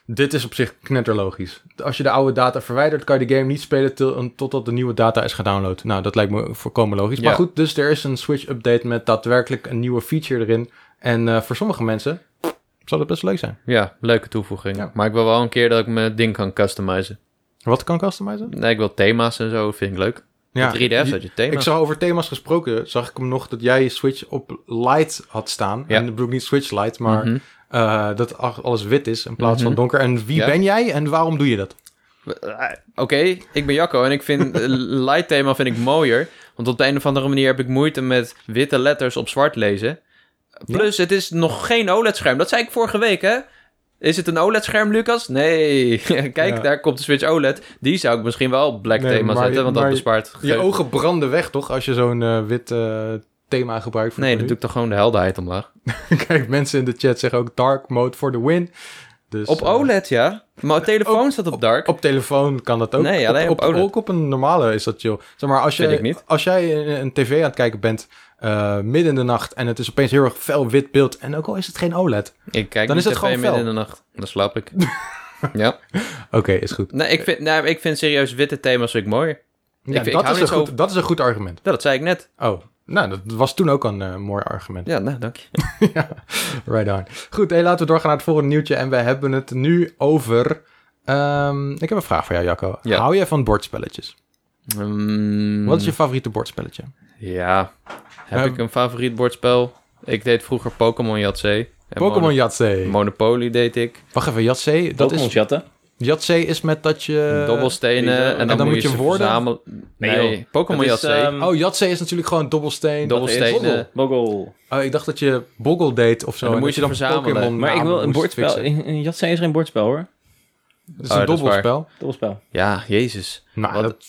A: Dit is op zich knetterlogisch. Als je de oude data verwijdert, kan je de game niet spelen til- totdat de nieuwe data is gedownload. Nou, dat lijkt me voorkomen logisch.
C: Ja.
A: Maar goed, dus er is een Switch-update met daadwerkelijk een nieuwe feature erin. En eh, voor sommige mensen zal dat best leuk zijn.
C: Ja, leuke toevoeging.
A: Ja.
C: Maar ik wil wel een keer dat ik mijn ding kan customizen.
A: Wat kan customizen?
C: Nee, ik wil thema's en zo, vind ik leuk. Ja, 3DS
A: je-
C: had je thema's.
A: Ik zag over thema's gesproken, zag ik hem nog dat jij je Switch op light had staan.
C: Ja.
A: En ik bedoel niet Switch light, maar
C: Mhm.
A: eh, dat al- alles wit is in plaats
C: Mhm.
A: van donker. En wie
C: Ja.
A: ben jij en waarom doe je dat?
C: Eh, Oké, ik ben Jacco en ik vind eh, light thema vind ik mooier. Want op de een of andere manier heb ik moeite met witte letters op zwart lezen. Plus, het is nog geen OLED-scherm. Dat zei ik vorige week, hè? Is het een OLED-scherm, Lucas? Nee. Kijk,
A: Ja.
C: daar komt de Switch OLED. Die zou ik misschien wel op black
A: Nee,
C: thema
A: maar-
C: zetten, want dat
A: maar-
C: bespaart...
A: Je
C: geheugen.
A: ogen branden weg, toch? Als je zo'n eh, wit eh, thema gebruikt. Voor
C: Nee, dan
A: het
C: doe ik toch gewoon de helderheid omlaag.
A: menu. Kijk, mensen in de chat zeggen ook dark mode for the win. Dus,
C: Op
A: eh,
C: OLED, ja. Maar telefoon staat op dark.
A: Op telefoon kan dat ook.
C: Nee, alleen op OLED.
A: Ook op een normale is dat chill. Zeg maar, als,
C: Vind
A: je,
C: ik niet.
A: als jij een, een tv aan het kijken bent eh, midden in de nacht... en het is opeens heel erg fel wit beeld... en ook al is het geen OLED.
C: Ik kijk
A: Dan
C: niet
A: is het
C: tv
A: gewoon
C: midden in
A: fel.
C: de nacht. Dan slaap ik. ja.
A: Oké, is goed.
C: Nee, ik vind, nee, ik vind serieus witte thema's vind ik mooier.
A: Ja,
C: ik
A: dat,
C: hou
A: is een
C: niet
A: goed
C: zo-
A: dat is een goed argument.
C: Ja, dat zei ik net.
A: Oh, nou, dat was toen ook een eh, mooi argument.
C: Ja, nou, dank je.
A: Right on. Goed, hey, laten we doorgaan naar het volgende nieuwtje. En we hebben het nu over... ehm, ik heb een vraag voor jou, Jacco.
C: Ja.
A: Hou jij van bordspelletjes?
C: Mm,
A: Wat is je favoriete bordspelletje?
C: Ja, heb
A: Eh,
C: ik een favoriet bordspel? Ik deed vroeger Pokémon Yatzee. En
A: Pokémon Eh,
C: Mono-
A: Yahtzee.
C: Monopoly deed ik.
A: Wacht even, Yahtzee. Dat
B: Pokémon
A: is,
B: chatten.
A: Yahtzee is met dat je...
C: Dobbelstenen.
B: die-
C: en, dan moet je,
A: woorden?
C: verzamelen.
B: Nee,
C: Nee,
B: joh.
C: Pokémon
B: Dat is,
C: Yatzee.
B: ehm,
A: Oh, Yahtzee is natuurlijk gewoon dobbelsteen.
C: dobbelstenen.
B: Boggel.
A: Oh, ik dacht dat je Boggle deed of zo.
C: eh. En dan
A: en
C: moet
A: dat
C: je verzamelen.
A: Pokémon
B: Maar ik
A: namen
B: wil een
A: moest
B: bordspel.
A: fixen.
B: In, in Yahtzee is geen bordspel hoor.
A: Het is
C: Oh,
A: een
C: dat is waar.
A: dobbelspel.
B: Dubbelspel.
C: Ja, jezus.
A: Nou,
C: Wat-
A: dat-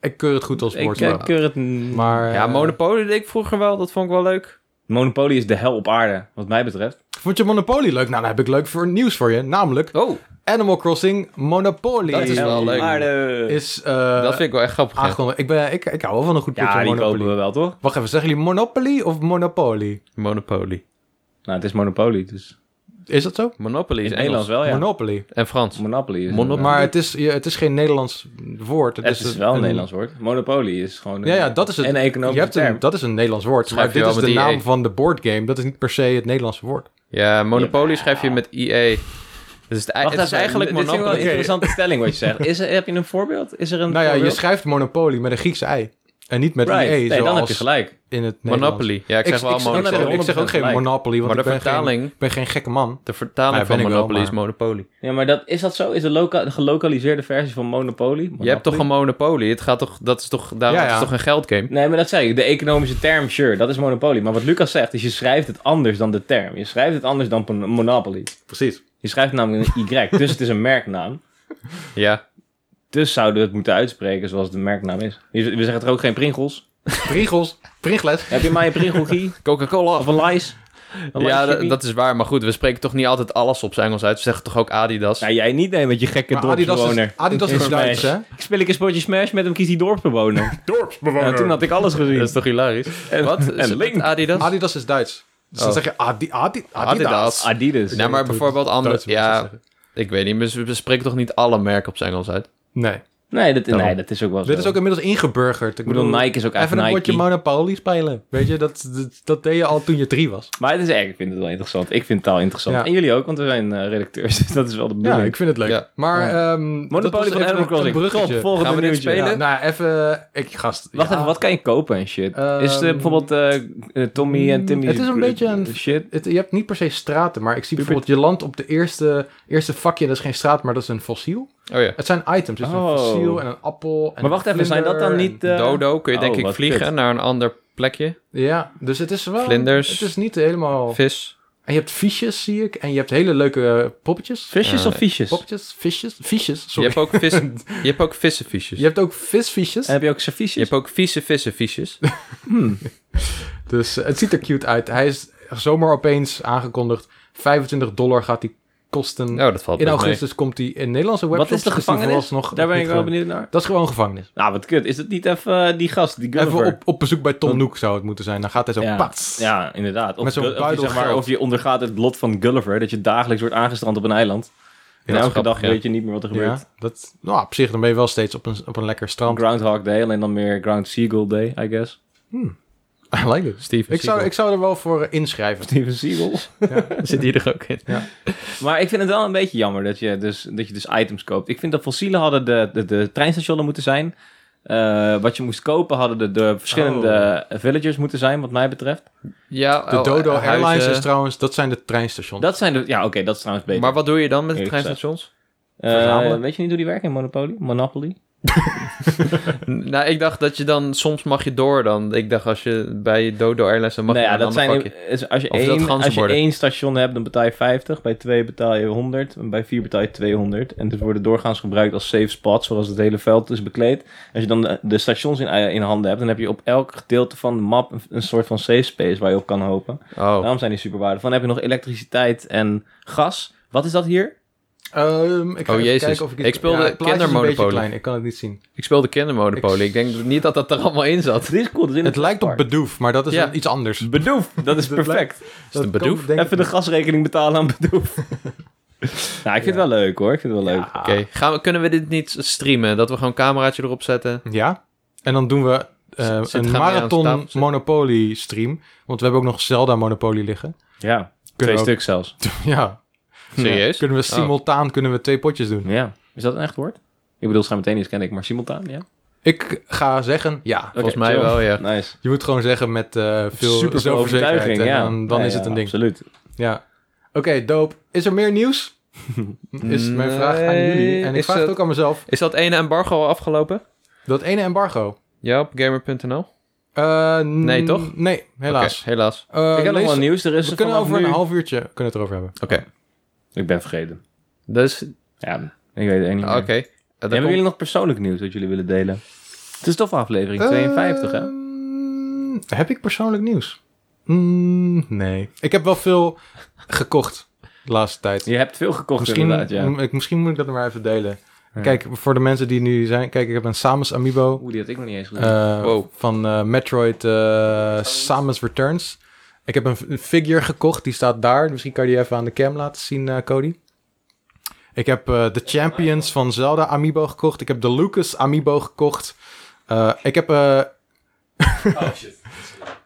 A: ik keur het goed als
B: Ik
A: bordspel.
B: eh, keur het... n-
A: maar
C: Ja,
A: eh,
C: Monopoly deed ik vroeger wel. Dat vond ik wel leuk.
B: Monopoly is de hel op aarde, wat mij betreft.
A: vond je Monopoly leuk? Nou, dan heb ik leuk voor nieuws voor je. Namelijk
C: Oh,
A: Animal Crossing Monopoly.
C: Dat is
B: Hel
C: wel
B: op
C: leuk.
B: aarde.
A: Is, eh,
C: dat vind ik wel echt grappig. ja.
A: aangekondigd. Ik, ben, ik, ik hou wel van een goed potje
B: ja, die kopen we
A: Monopoly.
B: wel, toch?
A: Wacht even, zeggen jullie Monopoly of Monopoly?
C: Monopoly.
B: Nou, het is Monopoly, dus...
A: Is dat zo?
C: Monopoly
B: In
C: is
B: het
C: Engels.
B: Nederlands wel, ja.
A: Monopoly.
C: En Frans.
B: Monopoly is...
C: Mono-
A: Maar het is, ja, het is geen Nederlands woord.
B: het is wel een
A: een-
B: Nederlands woord. Monopoly is gewoon... een-
A: Ja, ja, dat is het.
B: En een economische
A: je hebt een-
B: term.
A: Dat is een Nederlands woord.
C: Schrijf
A: maar
C: je
A: dit is
C: wel
A: de
C: met IE.
B: E.
A: naam van de boardgame. Dat is niet per se het Nederlandse woord.
C: Ja, Monopoly schrijf je met IE. Dus het,
B: Wacht
C: het is
B: even,
C: eigenlijk
B: dit vind ik wel
C: Monopoly.
B: een interessante stelling wat je zegt. Is er, heb je een voorbeeld? Is er een
A: nou ja, je
B: voorbeeld?
A: schrijft Monopoly met een Griekse ei. En niet met een IE,
B: Right. Nee, dan heb je
A: zoals
B: gelijk.
A: in het Nederlands.
C: Monopoly. Ja, ik
A: Ik,
C: zeg oh,
A: ik-
C: wel
A: ik zeg-
C: Monopoly.
A: ik zeg- ik zeg ook geen
B: Gelijk.
A: Monopoly, want
C: Maar de
A: ik ben geen,
C: vertaling,
A: ik ben geen gekke man.
C: de
A: Maar
C: vertaling
A: ja,
C: van
A: ben ik wel,
C: Monopoly is
A: maar-
C: Monopoly.
B: Ja, maar dat, is dat zo? Is de loka- de gelokaliseerde versie van Monopoly?
C: Je hebt toch een Monopoly? Het gaat toch, dat is toch, daarom
A: Ja,
C: is
A: ja.
C: het toch een geldgame?
B: Nee, maar dat zei ik. De economische term, sure, dat is Monopoly. Maar wat Lucas zegt, is je schrijft het anders dan de term. Je schrijft het anders dan pon- Monopoly.
A: Precies.
B: Je schrijft namelijk een Y, dus het is een merknaam.
C: Ja.
B: Dus zouden we het moeten uitspreken zoals de merknaam is. Je- We zeggen er ook geen Pringles.
A: Priegels, Priegles.
B: Heb je maar een Pringelgie?
C: Coca-Cola.
B: Of een Lies? Een
C: Ja,
B: Lies
C: d- dat is waar. Maar goed, we spreken toch niet altijd alles op zijn Engels uit. We zeggen toch ook Adidas?
B: Nou, jij niet, nee, met je gekke
A: Maar Adidas
B: dorpsbewoner.
A: is, Adidas is
B: Smash.
A: Duits, hè?
B: Ik speel ik een spotje Smash met hem, kies die dorpsbewoner.
A: Dorpsbewoner.
B: Ja, toen had ik alles gezien.
C: Dat is toch hilarisch? Wat? Is het
B: Link.
C: Adidas?
A: Adidas is Duits. Dus dan
C: Oh.
A: zeg je Adi, Adi, Adidas.
C: Adidas.
B: Adidas.
C: Nou, maar bijvoorbeeld andere...
A: Duits moet je
C: Ja,
A: zeggen.
C: ik weet niet. maar We we spreken toch niet alle merken op zijn Engels uit?
A: Nee.
B: Nee, dat, nee,
A: Daarom.
B: dat is ook wel zo.
A: Dit is ook inmiddels ingeburgerd. Ik
B: ik bedoel, Nike is ook echt
A: Even een
B: Nike.
A: potje Monopoly spelen. Weet je, dat, dat, dat deed je al toen je drie was.
B: Maar het is erg, ik vind het wel interessant. Ik vind taal interessant.
A: Ja.
B: En jullie ook, want we zijn eh, redacteurs, dus dat is wel de
A: Ja,
B: bedoeling.
A: ik vind het leuk.
C: Ja.
A: Maar, ehm dat was
B: Monopoly van
A: even
B: Animal
A: een- een
B: Crossing. Kom,
A: bruggetje.
B: volgende
C: Gaan we dit
B: nieuwtje.
C: spelen?
A: Ja, nou, even... Ik, gast...
B: Wacht
A: ja.
B: even, wat kan je kopen en shit?
A: Ehm,
B: is er bijvoorbeeld eh, eh, Tommy en
A: mm,
B: Timmy... eh,
A: het is een beetje een-
B: Shit.
A: Het, je hebt niet per se straten, maar ik zie
B: Pupert.
A: bijvoorbeeld... Je land op de eerste, eerste vakje, dat is geen straat, maar dat is een fossiel.
C: Oh ja.
A: Het zijn items. Het is
B: Oh.
A: een fossiel en een appel. En
B: Maar wacht
A: een
B: even, zijn dat
A: vlinder
B: dan
A: en-
B: niet... eh,
C: Dodo kun je denk
B: oh,
C: ik
B: wat
C: vliegen
B: kut.
C: naar een ander plekje.
A: Ja, dus het is wel...
C: Vlinders.
A: Het is niet helemaal...
C: Vis.
A: En je hebt visjes, zie ik. En je hebt hele leuke eh, poppetjes.
B: Visjes
C: Ja,
B: of viesjes? En
A: Poppetjes? Visjes? Visjes,
C: Je
A: sorry.
C: hebt ook vissen. je hebt ook vissenfiches.
A: Je hebt ook visvisjes.
B: heb je ook
C: Je
B: serviesjes?
C: hebt ook vieze vissenfiches.
A: Dus eh, het ziet er cute uit. Hij is zomaar opeens aangekondigd. 25 dollar gaat hij kosten.
C: Nou, dat valt
A: in
C: best
A: augustus komt hij in Nederlandse webshops.
B: is de
A: dus die
B: gevangenis?
A: vooralsnog
B: Daar ben
A: niet
B: ik wel
A: gewoon-
B: benieuwd naar.
A: Dat is gewoon gevangenis.
B: Nou, wat kut. Is dat niet even eh, die gast, die
A: Even
B: Gulliver?
A: op, op bezoek bij Tom Nook zou het moeten zijn. Dan gaat hij zo
B: Ja.
A: pats.
B: Ja, inderdaad. Of,
A: Met zo'n
B: Gul- of je,
A: buidel
B: zeg maar,
A: geld.
B: of je ondergaat het lot van Gulliver, dat je dagelijks wordt aangestrand op een eiland. En
C: dat is
B: elke dag
C: grappig, ja.
B: weet je niet meer wat er gebeurt.
A: Ja, dat, nou, op zich dan ben je wel steeds op een, op een lekker strand.
B: Groundhog Day, alleen dan meer Ground Seagull Day, I guess.
A: I like it.
C: Steven
A: Ik zou, ik zou er wel voor eh, inschrijven.
B: Steven Seagull.
C: Zit hier er ook in?
B: Maar ik vind het wel een beetje jammer dat je dus, dat je dus items koopt. Ik vind dat fossielen hadden de, de, de treinstationen moeten zijn. Eh, wat je moest kopen hadden de, de verschillende villagers moeten zijn, wat mij betreft.
C: Ja,
A: De
C: oh,
A: Dodo
C: eh,
A: Airlines
C: huizen.
A: is trouwens, dat zijn de treinstations.
B: Dat zijn de... Ja, oké, dat is trouwens beter.
C: Maar wat doe je dan met de
B: Eerlijk gezegd.
C: treinstations?
B: Eh,
A: verzamelen.
B: weet je niet hoe die werken in Monopoly? Monopoly?
C: N- Nou, ik dacht dat je dan soms mag je door dan. Ik dacht als je bij Dodo Airlines dan mag
B: nou
C: je
B: ja,
C: naar een
B: dat
C: ander
B: zijn...
C: vakje.
B: is- Als je,
C: Of is dat
B: één, als je
C: ganzenborden?
B: één station hebt, dan betaal je 50. Bij twee betaal je 100. En bij vier betaal je 200. En dus worden doorgaans gebruikt als safe spots, zoals het hele veld is bekleed. Als je dan de, de stations in, eh, in handen hebt, dan heb je op elk gedeelte van de map een, een soort van safe space waar je op kan hopen.
C: Oh.
B: Daarom zijn die super waardevol. Dan heb je nog elektriciteit en gas. Wat is dat hier?
A: Ehm, ik ga
C: Oh,
A: even
C: jezus.
A: kijken of ik, het-
C: Ik speelde
A: het plaatje is een
C: kindermonopoly.
A: beetje klein, Ik kan het niet zien.
C: Ik speelde kindermonopolie. Ik denk niet dat dat er allemaal in zat.
B: Dit is cool. dit is in
A: Het lijkt op
B: park.
A: Bedoof, maar dat is
C: Ja.
A: een- iets anders.
B: Bedoef. Dat is
A: Dat
B: perfect.
A: Is
C: het een Bedoof?
B: Even de gasrekening betalen aan Bedoef. nou, ik vind het wel leuk hoor. Ik vind het wel leuk.
A: Ah.
C: Oké, gaan we- kunnen we dit niet streamen? Dat we gewoon een cameraatje erop zetten?
A: Ja. En dan doen we eh,
C: Zit- zit-
A: een
C: gaan we aan tafel
A: marathon
C: zitten?
A: Monopoly stream. Want we hebben ook nog Zelda Monopoly liggen.
B: Ja, twee
A: Kunnen we ook-
B: stuk zelfs.
A: Ja.
C: Serieus?
A: Kunnen we simultaan kunnen we twee potjes doen.
B: Ja. Is dat een echt woord? Ik bedoel, simultaneous ken ik, maar simultaan, ja.
A: Ik ga zeggen ja.
C: Volgens mij wel, ja.
B: Nice.
A: Je moet gewoon zeggen met eh, veel
B: Super veel
A: zelfverzekerdheid
B: overtuiging,
A: En
B: ja.
A: dan, dan
B: Ja,
A: is
B: ja,
A: het een ding.
B: Absoluut.
A: Ja. Oké, dope. Is er meer nieuws? is mijn vraag aan jullie. En ik
C: Is
A: vraag het
C: het-
A: ook aan mezelf.
C: Is dat ene embargo al afgelopen?
A: Dat ene embargo.
C: Ja, op gamer.nl?
A: Eh, n-
C: Nee, toch?
A: Nee, helaas.
C: Oké, helaas.
A: Eh,
B: ik heb nog
A: lees-
B: wel nieuws. Er is
A: we
B: er
A: kunnen
B: vanaf
A: over
B: nu-
A: een half uurtje kunnen we het erover hebben.
C: Oké.
B: Ik ben vergeten.
C: Dus,
B: Ja, ik weet het echt niet
A: Ah,
B: meer.
C: oké. Eh, dat
B: Hebben
C: komt-
B: jullie nog persoonlijk nieuws dat jullie willen delen? Het is toch aflevering 52,
A: Eh,
B: hè?
A: Ehm, Heb ik persoonlijk nieuws? Mm, nee. Ik heb wel veel gekocht de laatste tijd.
B: Je hebt veel gekocht
A: misschien,
B: inderdaad, ja.
A: m- ik, misschien moet ik dat maar even delen.
B: Ja.
A: Kijk, voor de mensen die nu zijn... Kijk, ik heb een Samus Amiibo
B: Oeh, die had ik nog niet eens gezien.
A: eh,
C: Wow.
A: van eh, Metroid eh, Samus Returns. Ik heb een, f- een figure gekocht, die staat daar. Misschien kan je die even aan de cam laten zien, eh, Cody. Ik heb eh, de Champions van Zelda Amiibo gekocht. Ik heb de Lucas Amiibo gekocht. Eh, ik heb... eh,
B: Oh shit.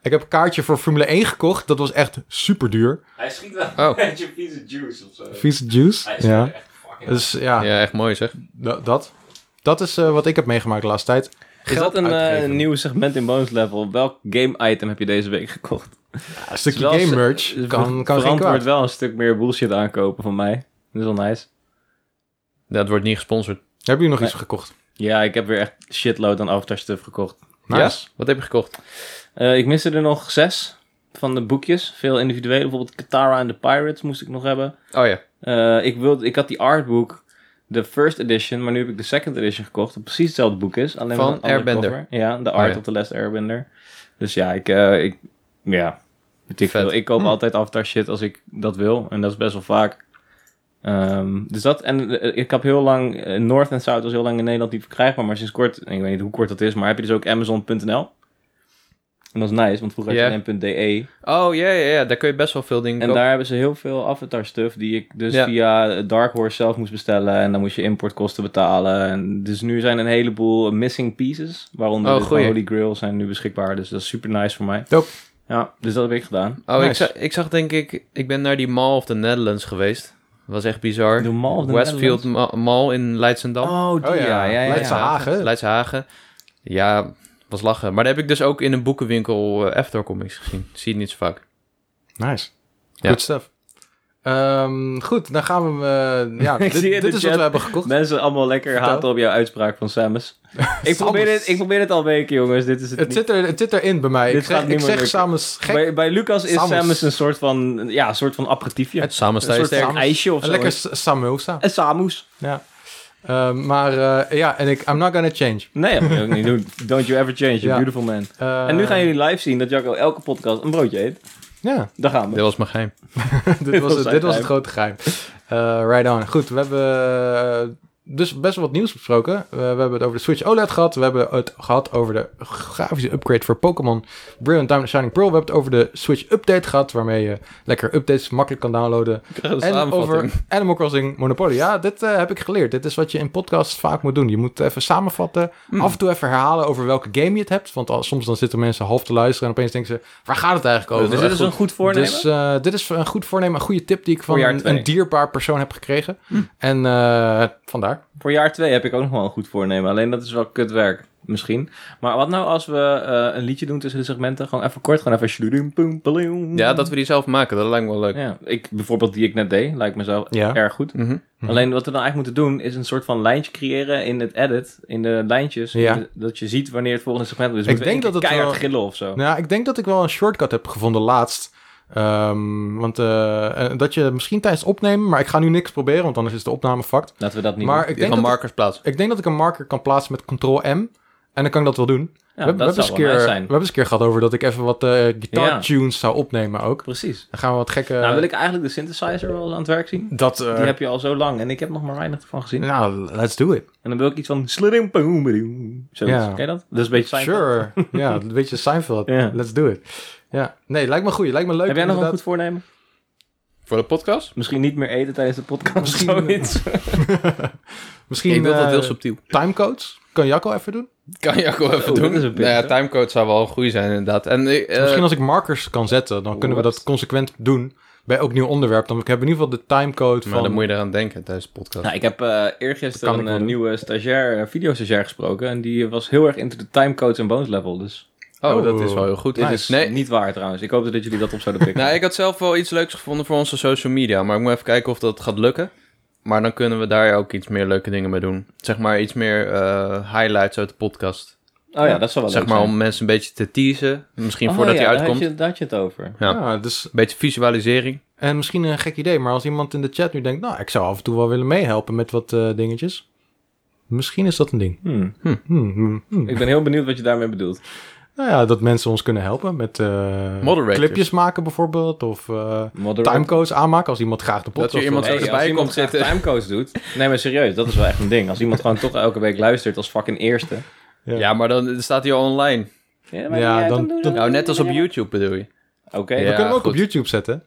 A: Ik heb een kaartje voor Formule 1 gekocht. Dat was echt super duur.
B: Hij schiet wel
C: Oh.
B: beetje vieze juice of zo.
A: Vieze juice. Eh, Ja. Dus ja,
C: Ja, echt mooi zeg.
A: da- dat. Dat is eh, wat ik heb meegemaakt de laatste tijd.
B: Is dat een, eh,
A: uitgeven.
B: nieuw segment in Bones Level? Welk game item heb je deze week gekocht?
A: Ja, Een stukje game merch kan, kan geen
B: Verantwoord
A: kwaad.
B: wel een stuk meer bullshit aankopen van mij. Dat is wel nice.
C: Dat wordt niet gesponsord.
A: Heb je nog iets
B: Nee.
A: gekocht?
B: Ja, ik heb weer echt shitload aan Avatar stuff gekocht.
A: Nice.
C: Ja? Wat heb je gekocht?
B: Eh, ik miste er nog zes van de boekjes. Veel individuele. Bijvoorbeeld Katara and the Pirates moest ik nog hebben.
C: Oh ja.
B: Eh, ik, wilde, ik had die artbook, de first edition, maar nu heb ik de second edition gekocht. Dat precies hetzelfde boek is. Alleen
C: Van
B: met een andere
C: Airbender.
B: cover. Ja, de art
C: Oh ja.
B: of the last Airbender. Dus ja, ik... eh, ik ja, weet ik,
C: Vet.
B: veel. ik koop altijd Avatar shit als ik dat wil. En dat is best wel vaak. Ehm, dus dat, en eh, ik heb heel lang, eh, North en South was heel lang in Nederland niet verkrijgbaar, maar sinds kort, en ik weet niet hoe kort dat is, maar heb je dus ook Amazon.nl. En dat is nice, want vroeger
C: Ja.
B: had je nm.de.
C: Oh, ja, ja, ja. Daar kun je best wel veel dingen
B: En
C: kopen.
B: daar hebben ze heel veel avatar stuff die ik dus
C: Ja.
B: via Dark Horse zelf moest bestellen. En dan moest je importkosten betalen. En dus nu zijn een heleboel missing pieces, waaronder
C: Oh,
B: de
C: goeie.
B: Holy Grail zijn nu beschikbaar. Dus dat is super nice voor mij.
A: Dope.
B: Ja, dus dat heb ik gedaan.
C: Oh, ik,
A: Nice.
C: zag, ik zag denk ik... Ik ben naar die Mall of the Netherlands geweest. was echt bizar.
B: De Mall of the
C: Westfield Ma- Mall in Leidsendam.
B: Oh, die,
A: Oh ja,
B: ja, ja, ja.
A: Leidse
B: ja.
A: Hagen.
C: Leidse Hagen. Ja, was lachen. Maar daar heb ik dus ook in een boekenwinkel eh After Comics gezien. Zie je niet zo vaak.
A: Nice.
C: Ja.
A: Good stuff. Ehm, goed, dan gaan we... eh, ja,
B: Ik
A: dit,
B: zie in de
A: dit is wat
B: chat.
A: we hebben gekocht.
B: Mensen allemaal lekker
A: Vertel.
B: haten op jouw uitspraak van Samus. ik, probeer dit, ik probeer dit al weken, jongens. Dit is het,
A: Het
B: niet.
A: zit, er, het zit erin bij mij.
B: Dit
A: Ik zeg,
B: gaat niet
A: ik
B: meer
A: zeg
B: lukken.
A: samen s- gek.
B: Bij, bij Lucas is
A: Samus.
B: Samus, een soort van, ja, een soort van aperitiefje.
C: Het samen sta
B: een
C: je
B: soort
C: sterk.
A: Samus.
B: van ijsje of
A: Een
B: zo.
A: lekker s- samosa.
B: Een Samus.
A: Ja. Ehm, maar eh, ja, en ik... I'm not gonna change.
B: Nee, dat moet je ook niet doen. Don't you ever change, you're
A: Ja.
B: beautiful man.
A: Eh,
B: En nu gaan jullie live zien dat Jacco elke podcast een broodje eet.
A: Ja,
B: Daar gaan
C: Dit
B: we.
C: was mijn geheim.
A: dit was,
B: was
A: het,
B: zijn
A: dit was het
B: geheim.
A: grote geheim. Eh, right on. Goed, we hebben eh, dus best wel wat nieuws besproken. Eh, we hebben het over de Switch OLED gehad. We hebben het gehad over de grafische upgrade voor Pokémon Brilliant Diamond Shining Pearl. We hebben het over de Switch Update gehad, waarmee je lekker updates makkelijk kan downloaden. En over Animal Crossing Monopoly. Ja, dit eh, heb ik geleerd. Dit is wat je in podcasts vaak moet doen. Je moet even samenvatten.
B: Hmm.
A: Af en toe even herhalen over welke game je het hebt. Want al- soms dan zitten mensen half te luisteren en opeens denken ze... Waar gaat het eigenlijk over?
B: Dus dit is een goed voornemen.
A: Dus eh, dit is een goed voornemen, een goede tip die ik van
B: Voor jaar
A: een,
B: twee.
A: een dierbaar persoon heb gekregen. En eh, vandaar.
B: Voor jaar 2 heb ik ook nog wel een goed voornemen. Alleen dat is wel kut werk. Misschien. Maar wat nou als we eh, een liedje doen tussen de segmenten? Gewoon even kort, gewoon even... shloedoem, poem, paloem.
C: Ja, dat we die zelf maken. Dat lijkt me wel leuk.
B: Ja, ik, bijvoorbeeld die ik net deed, lijkt mezelf
A: Ja.
B: erg goed.
C: Mhm.
B: Alleen wat we dan eigenlijk moeten doen, is een soort van lijntje creëren in het edit, in de lijntjes.
A: Ja.
B: Dat je ziet wanneer het volgende segment is. Dus
A: Ik
B: moeten we
A: denk
B: één
A: dat
B: keer
A: het
B: keihard
A: wel-
B: gillen of zo.
A: Nou, ik denk dat ik wel een shortcut heb gevonden laatst. Ehm, want eh, eh, dat je misschien tijdens het opnemen, maar ik ga nu niks proberen, want anders is de opname fucked.
B: Laten we dat niet
A: Maar ik
C: Ik denk
A: denk,
C: gaan
A: dat,
C: markers plaatsen.
A: ik denk dat ik een marker kan plaatsen met Ctrl-M. En dan kan ik dat wel doen.
B: doen. Ja,
A: we, hebben-
B: dat
A: we hebben
B: zou
A: eens
B: wel
A: keer,
B: nice
A: we
B: zijn.
A: hebben eens keer gehad over dat ik even wat eh
B: Ja.
A: guitar tunes zou opnemen ook.
B: Precies.
A: Dan gaan we wat gekke...
B: nou, wil ik eigenlijk de synthesizer wel aan het werk zien.
A: dat, eh,
B: Die heb je al zo lang en ik heb nog maar weinig ervan gezien.
A: Nou, let's do it.
B: En dan wil ik iets van... sliding, boom, boom. Zo,
A: Ja.
B: ken je dat? Dat is een beetje zijn.
A: Sure. ja, een beetje Seinfeld.
B: Ja.
A: Let's do it. Ja. Nee, lijkt me goed. Lijkt me leuk.
B: Heb jij nog een goed
A: inderdaad.
B: voornemen?
C: Voor de podcast?
B: Misschien niet meer eten tijdens de podcast
A: Misschien-
B: zoiets.
A: Misschien
C: ik wil dat
A: eh,
C: heel subtiel.
A: timecodes. Kan Jacco even doen?
C: Kan je ook wel even doen.
B: Oh, dat is een
C: nou ja,
B: pittig, hè?
C: timecode zou wel goed zijn inderdaad. En, eh, eh,
A: Misschien als ik markers kan zetten, dan kunnen we
B: What?
A: dat consequent doen bij ook nieuw onderwerp. Dan hebben we in ieder geval de timecode
C: Maar
A: van...
C: dan moet je eraan denken tijdens de podcast.
B: Nou, ik heb eh
A: Dat kan
B: eergisteren
A: ik
B: een
A: wel
B: eh,
A: doen.
B: nieuwe stagiair, eh, videostagiair gesproken. En die was heel erg into de timecodes en bones level. Dus
C: Oh,
A: Oh.
C: dat is wel heel goed.
A: Dit
B: dit
A: is-
B: is
C: Nee.
B: niet waar trouwens. Ik hoopte dat jullie dat op zouden pikken.
C: Nou, ik had zelf wel iets leuks gevonden voor onze social media. Maar ik moet even kijken of dat gaat lukken. Maar dan kunnen we daar ook iets meer leuke dingen mee doen. Zeg maar iets meer eh, highlights uit de podcast.
B: oh ja, dat zou wel
C: zeg
B: leuk
C: maar
B: zijn.
C: om mensen een beetje te teasen. Misschien
B: Oh
C: voordat
B: ja,
C: hij
B: daar
C: uitkomt.
B: Had je, daar had je het over.
C: Ja.
A: Ja, dus,
C: Een beetje visualisering.
A: en misschien een gek idee, maar als iemand in de chat nu denkt, nou, ik zou af en toe wel willen meehelpen met wat eh, dingetjes. Misschien is dat een ding.
B: Hmm.
A: Hmm, hmm, hmm.
B: Ik ben heel benieuwd wat je daarmee bedoelt.
A: Nou ja, dat mensen ons kunnen helpen met eh,
C: Moderators.
A: clipjes maken bijvoorbeeld. Of eh
B: Moderator.
A: timecodes aanmaken als iemand graag de podcast
C: er iemand
A: wil
B: Hey,
C: erbij
B: als iemand
C: komt
B: graag
C: zitten.
B: timecodes doet. Nee, maar serieus, dat is wel echt een ding. Als iemand gewoon toch elke week luistert als fucking eerste.
A: Ja.
C: Ja, maar dan staat hij al online.
B: Ja,
A: maar Ja, ja, dan- dan doen we dan-
C: Nou, net als op YouTube bedoel je.
B: Oké.
A: We
C: Ja,
A: kunnen hem ook
C: goed.
A: op YouTube zetten.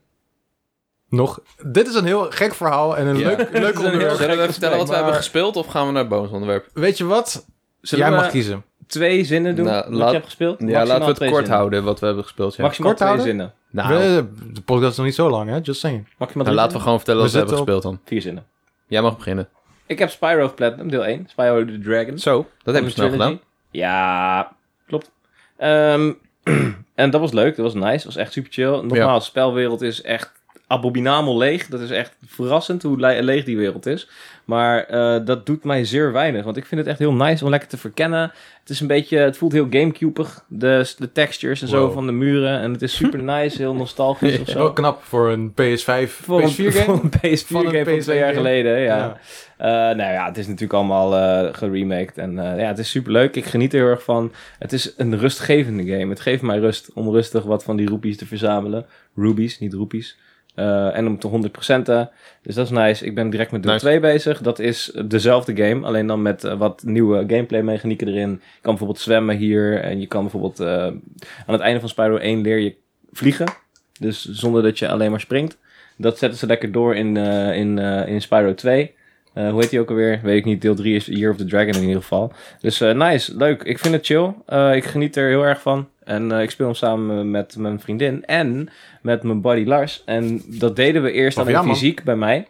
A: Nog. Dit is een heel gek verhaal en een
C: Ja.
A: leuk, leuk onderwerp.
C: Zullen we even vertellen wat we
A: maar-
C: hebben gespeeld of gaan we naar het bonusonderwerp?
A: Weet je wat?
B: Zullen
A: Jij
B: we
A: mag kiezen.
B: twee zinnen doen
C: Nou,
B: wat
C: laat-
B: je hebt gespeeld?
C: Ja,
B: Maximaal
C: laten we het
B: twee
C: kort
B: zinnen.
C: houden wat we hebben gespeeld. Ja.
B: Maximaal
A: Kort
B: twee
A: houden?
B: zinnen.
C: Nou,
A: We- de podcast is nog niet zo lang, hè? Just saying.
B: Maximaal
C: nou,
B: drie
C: laten we gewoon vertellen
A: We
C: wat we hebben
A: zitten
C: gespeeld dan.
B: zinnen? Vier zinnen.
C: Jij mag beginnen.
B: Ik heb Spyro of Platinum, deel 1. Spyro the Dragon.
C: Zo, dat hebben we snel
B: Trilogy.
C: gedaan.
B: Ja, klopt. Ehm, en dat was leuk, dat was nice, dat was echt super chill. Nogmaals,
C: Ja.
B: de spelwereld is echt abominabel leeg. Dat is echt verrassend hoe le- leeg die wereld is. Maar eh, dat doet mij zeer weinig, want ik vind het echt heel nice om lekker te verkennen. Het is een beetje, het voelt heel Gamecubeig, de, de textures en zo
A: Wow.
B: van de muren. En het is super nice, heel nostalgisch of zo.
A: Wel knap voor een PS5,
B: Voor een,
A: PS4
B: voor
A: game.
B: een PS4
A: Van een
B: game van
A: PS4
B: twee jaar
A: game.
B: geleden, ja.
A: Ja.
B: Eh, nou ja, het is natuurlijk allemaal eh geremaked en eh, ja, het is super leuk. Ik geniet er heel erg van. Het is een rustgevende game. Het geeft mij rust om rustig wat van die rupees te verzamelen. Rubies, niet roepies. Eh, en om te 100%. te. Dus dat is nice. Ik ben direct met deel
C: Nice.
B: 2 bezig. Dat is dezelfde game, alleen dan met eh, wat nieuwe gameplay mechanieken erin. Je kan bijvoorbeeld zwemmen hier. En je kan bijvoorbeeld eh, aan het einde van Spyro 1 leer je vliegen. Dus zonder dat je alleen maar springt. Dat zetten ze lekker door in, eh, in, eh, in Spyro 2. Eh, hoe heet die ook alweer? Weet ik niet. Deel 3 is Year of the Dragon in ieder geval. Dus eh, nice, leuk. Ik vind het chill. Eh, ik geniet er heel erg van. En eh, ik speel hem samen met mijn vriendin en met mijn buddy Lars. En dat deden we eerst
A: Oh,
B: alleen
A: ja, man.
B: fysiek bij mij.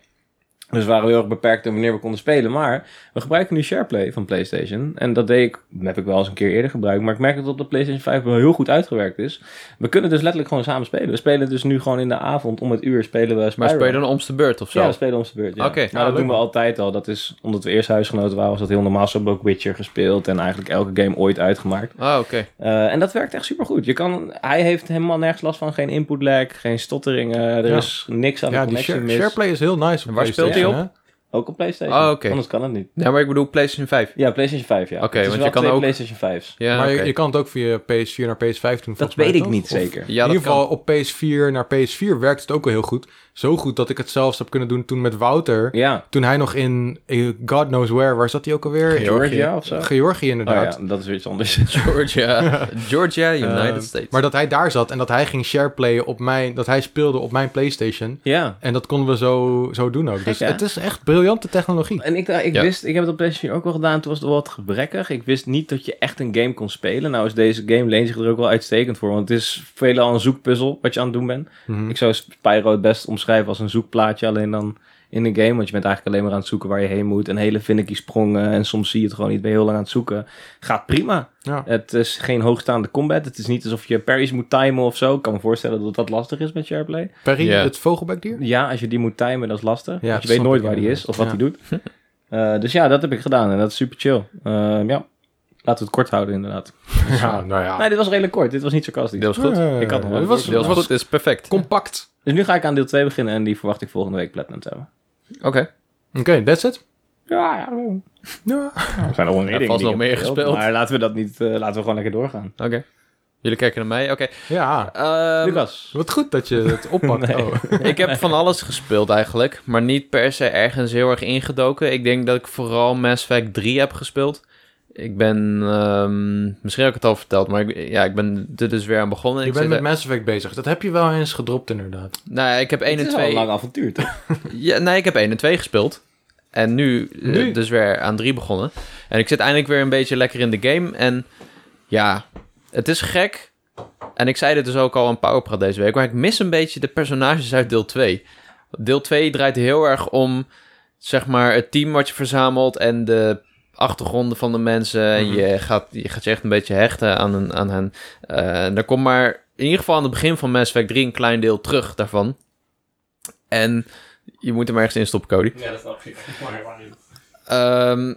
B: Dus we waren heel erg beperkt in wanneer we konden spelen. Maar we gebruiken nu SharePlay van PlayStation. En dat deed ik, dat heb ik wel eens een keer eerder gebruikt. Maar ik merk dat het op de PlayStation 5 wel heel goed uitgewerkt is. We kunnen dus letterlijk gewoon samen spelen. We spelen dus nu gewoon in de avond om het uur spelen we
C: Maar
B: Spyro.
C: speel je dan om de beurt of zo?
B: Ja, we spelen om zijn beurt. Ja.
C: Oké. nou,
B: Maar
A: Ja,
B: dat
A: leuk,
B: doen we
A: man.
B: altijd al. Dat is omdat we eerst huisgenoten waren, was dat heel normaal. Zo hebben we ook Witcher gespeeld en eigenlijk elke game ooit uitgemaakt.
C: Ah, oké.
B: Eh, en dat werkt echt supergoed. Je kan, hij heeft helemaal nergens last van. Geen input lag, geen stotteringen. Er
A: Ja.
B: is niks aan
A: Ja,
B: de
A: die
B: connectie
A: share,
B: mis.
A: SharePlay is heel nice.
C: En waar speelt die
A: PlayStation,
B: Ook op PlayStation.
C: Oh, oké.
B: Anders kan het niet.
C: Ja, maar ik bedoel PlayStation 5.
B: Ja, PlayStation 5, ja.
C: Oké,
B: Het is
C: want
B: wel
C: je kan
B: twee
C: ook-
B: PlayStation 5's.
A: hè?
C: Ja,
A: Maar je,
C: oké.
A: je kan het ook via PS4 naar PS5 doen.
B: Dat
A: volgens mij,
B: weet ik
A: toch?
B: niet
A: Of-
B: zeker.
C: ja,
A: in
C: dat
A: ieder
C: kan.
A: geval op PS4 naar PS4 werkt het ook wel heel goed. Zo goed dat ik het zelfs heb kunnen doen toen met Wouter.
B: Ja,
A: Toen hij nog in eh, God knows where, waar zat hij ook alweer?
B: Georgia of zo. Oh
A: Georgië inderdaad.
B: ja, dat is weer iets anders.
C: Georgia. Georgia, United
A: Eh,
C: States.
A: Maar dat hij daar zat en dat hij ging shareplayen op mijn... Dat hij speelde op mijn PlayStation.
B: ja.
A: En dat konden we zo, zo doen ook. dus
B: hè?
A: het is echt briljante technologie.
B: En ik, eh, ik
C: Ja.
B: wist, ik heb het op PlayStation ook wel gedaan. Toen was het wel wat gebrekkig. Ik wist niet dat je echt een game kon spelen. Nou is deze game leent zich er ook wel uitstekend voor. Want het is veelal een zoekpuzzel wat je aan het doen bent.
A: Mhm.
B: Ik zou Spyro het best omschrijven als een zoekplaatje. Alleen dan in een game. Want je bent eigenlijk alleen maar aan het zoeken waar je heen moet. En hele finicky sprongen. En soms zie je het gewoon niet. Ben je heel lang aan het zoeken. Gaat prima.
A: Ja.
B: Het is geen hoogstaande combat. Het is niet alsof je parries moet timen of zo. Ik kan me voorstellen dat dat lastig is met SharePlay.
A: Perry,
C: Ja.
A: het vogelbekdier?
B: Ja, als je die moet timen, dat is lastig.
A: Ja,
B: want
A: dat
B: je weet
A: snap
B: nooit
A: ik
B: waar die is
A: inderdaad.
B: of wat
A: Ja.
B: hij doet. Eh, dus ja, dat heb ik gedaan en dat is super chill. Ehm, ja, laten we het kort houden inderdaad.
A: Ja, nou ja.
B: Nee, dit was redelijk kort. Dit was niet sarcastisch.
C: Deels goed.
A: Eh,
B: Ik had nog wel
A: het was,
B: een voorbeeld.
A: het
C: Deels
A: was
C: goed is perfect.
A: compact.
B: Dus nu ga ik aan deel 2 beginnen en die verwacht ik volgende week platinum te hebben.
C: Oké.
A: Oké, that's it.
B: Ja, ja.
A: Ja.
B: Nou, Er zijn nog wel meer
C: Er
B: dingen
C: valt
B: die
C: nog
B: ik
C: meer
B: heb
C: gespeeld.
B: Maar laten we dat niet, eh, laten we gewoon lekker doorgaan.
C: Oké. Jullie kijken naar mij. Oké.
A: ja.
C: Ehm,
B: Lucas.
A: Wat goed dat je het oppakt.
B: Nee.
A: oh.
C: ik heb van alles gespeeld eigenlijk, maar niet per se ergens heel erg ingedoken. Ik denk dat ik vooral Mass Effect 3 heb gespeeld. Ik ben, ehm, misschien heb ik het al verteld, maar ik, ja, ik ben er dus weer aan begonnen.
A: Je
C: Ik
A: bent
C: zit
A: met
C: er-
A: Mass Effect bezig. Dat heb je wel eens gedropt inderdaad.
C: Nou, ja, ik heb 1
B: Het
C: en
B: is wel
C: 2.
B: een lang avontuur, toch?
C: Ja, nee, ik heb 1 en 2 gespeeld. En nu, eh,
A: Nu?
C: dus weer aan 3 begonnen. En ik zit eindelijk weer een beetje lekker in de game. En ja, het is gek. En ik zei dit dus ook al aan Powerpraat deze week. Maar ik mis een beetje de personages uit deel 2. Deel 2 draait heel erg om, zeg maar, het team wat je verzamelt en de achtergronden van de mensen. En
A: Mhm.
C: je, gaat, je gaat je echt een beetje hechten aan, hun- aan hen. Eh, en daar komt maar in ieder geval aan het begin van Mass Effect 3 een klein deel terug daarvan. En je moet hem ergens in stoppen, Cody.
B: Ja, dat snap ik.
C: Ehm,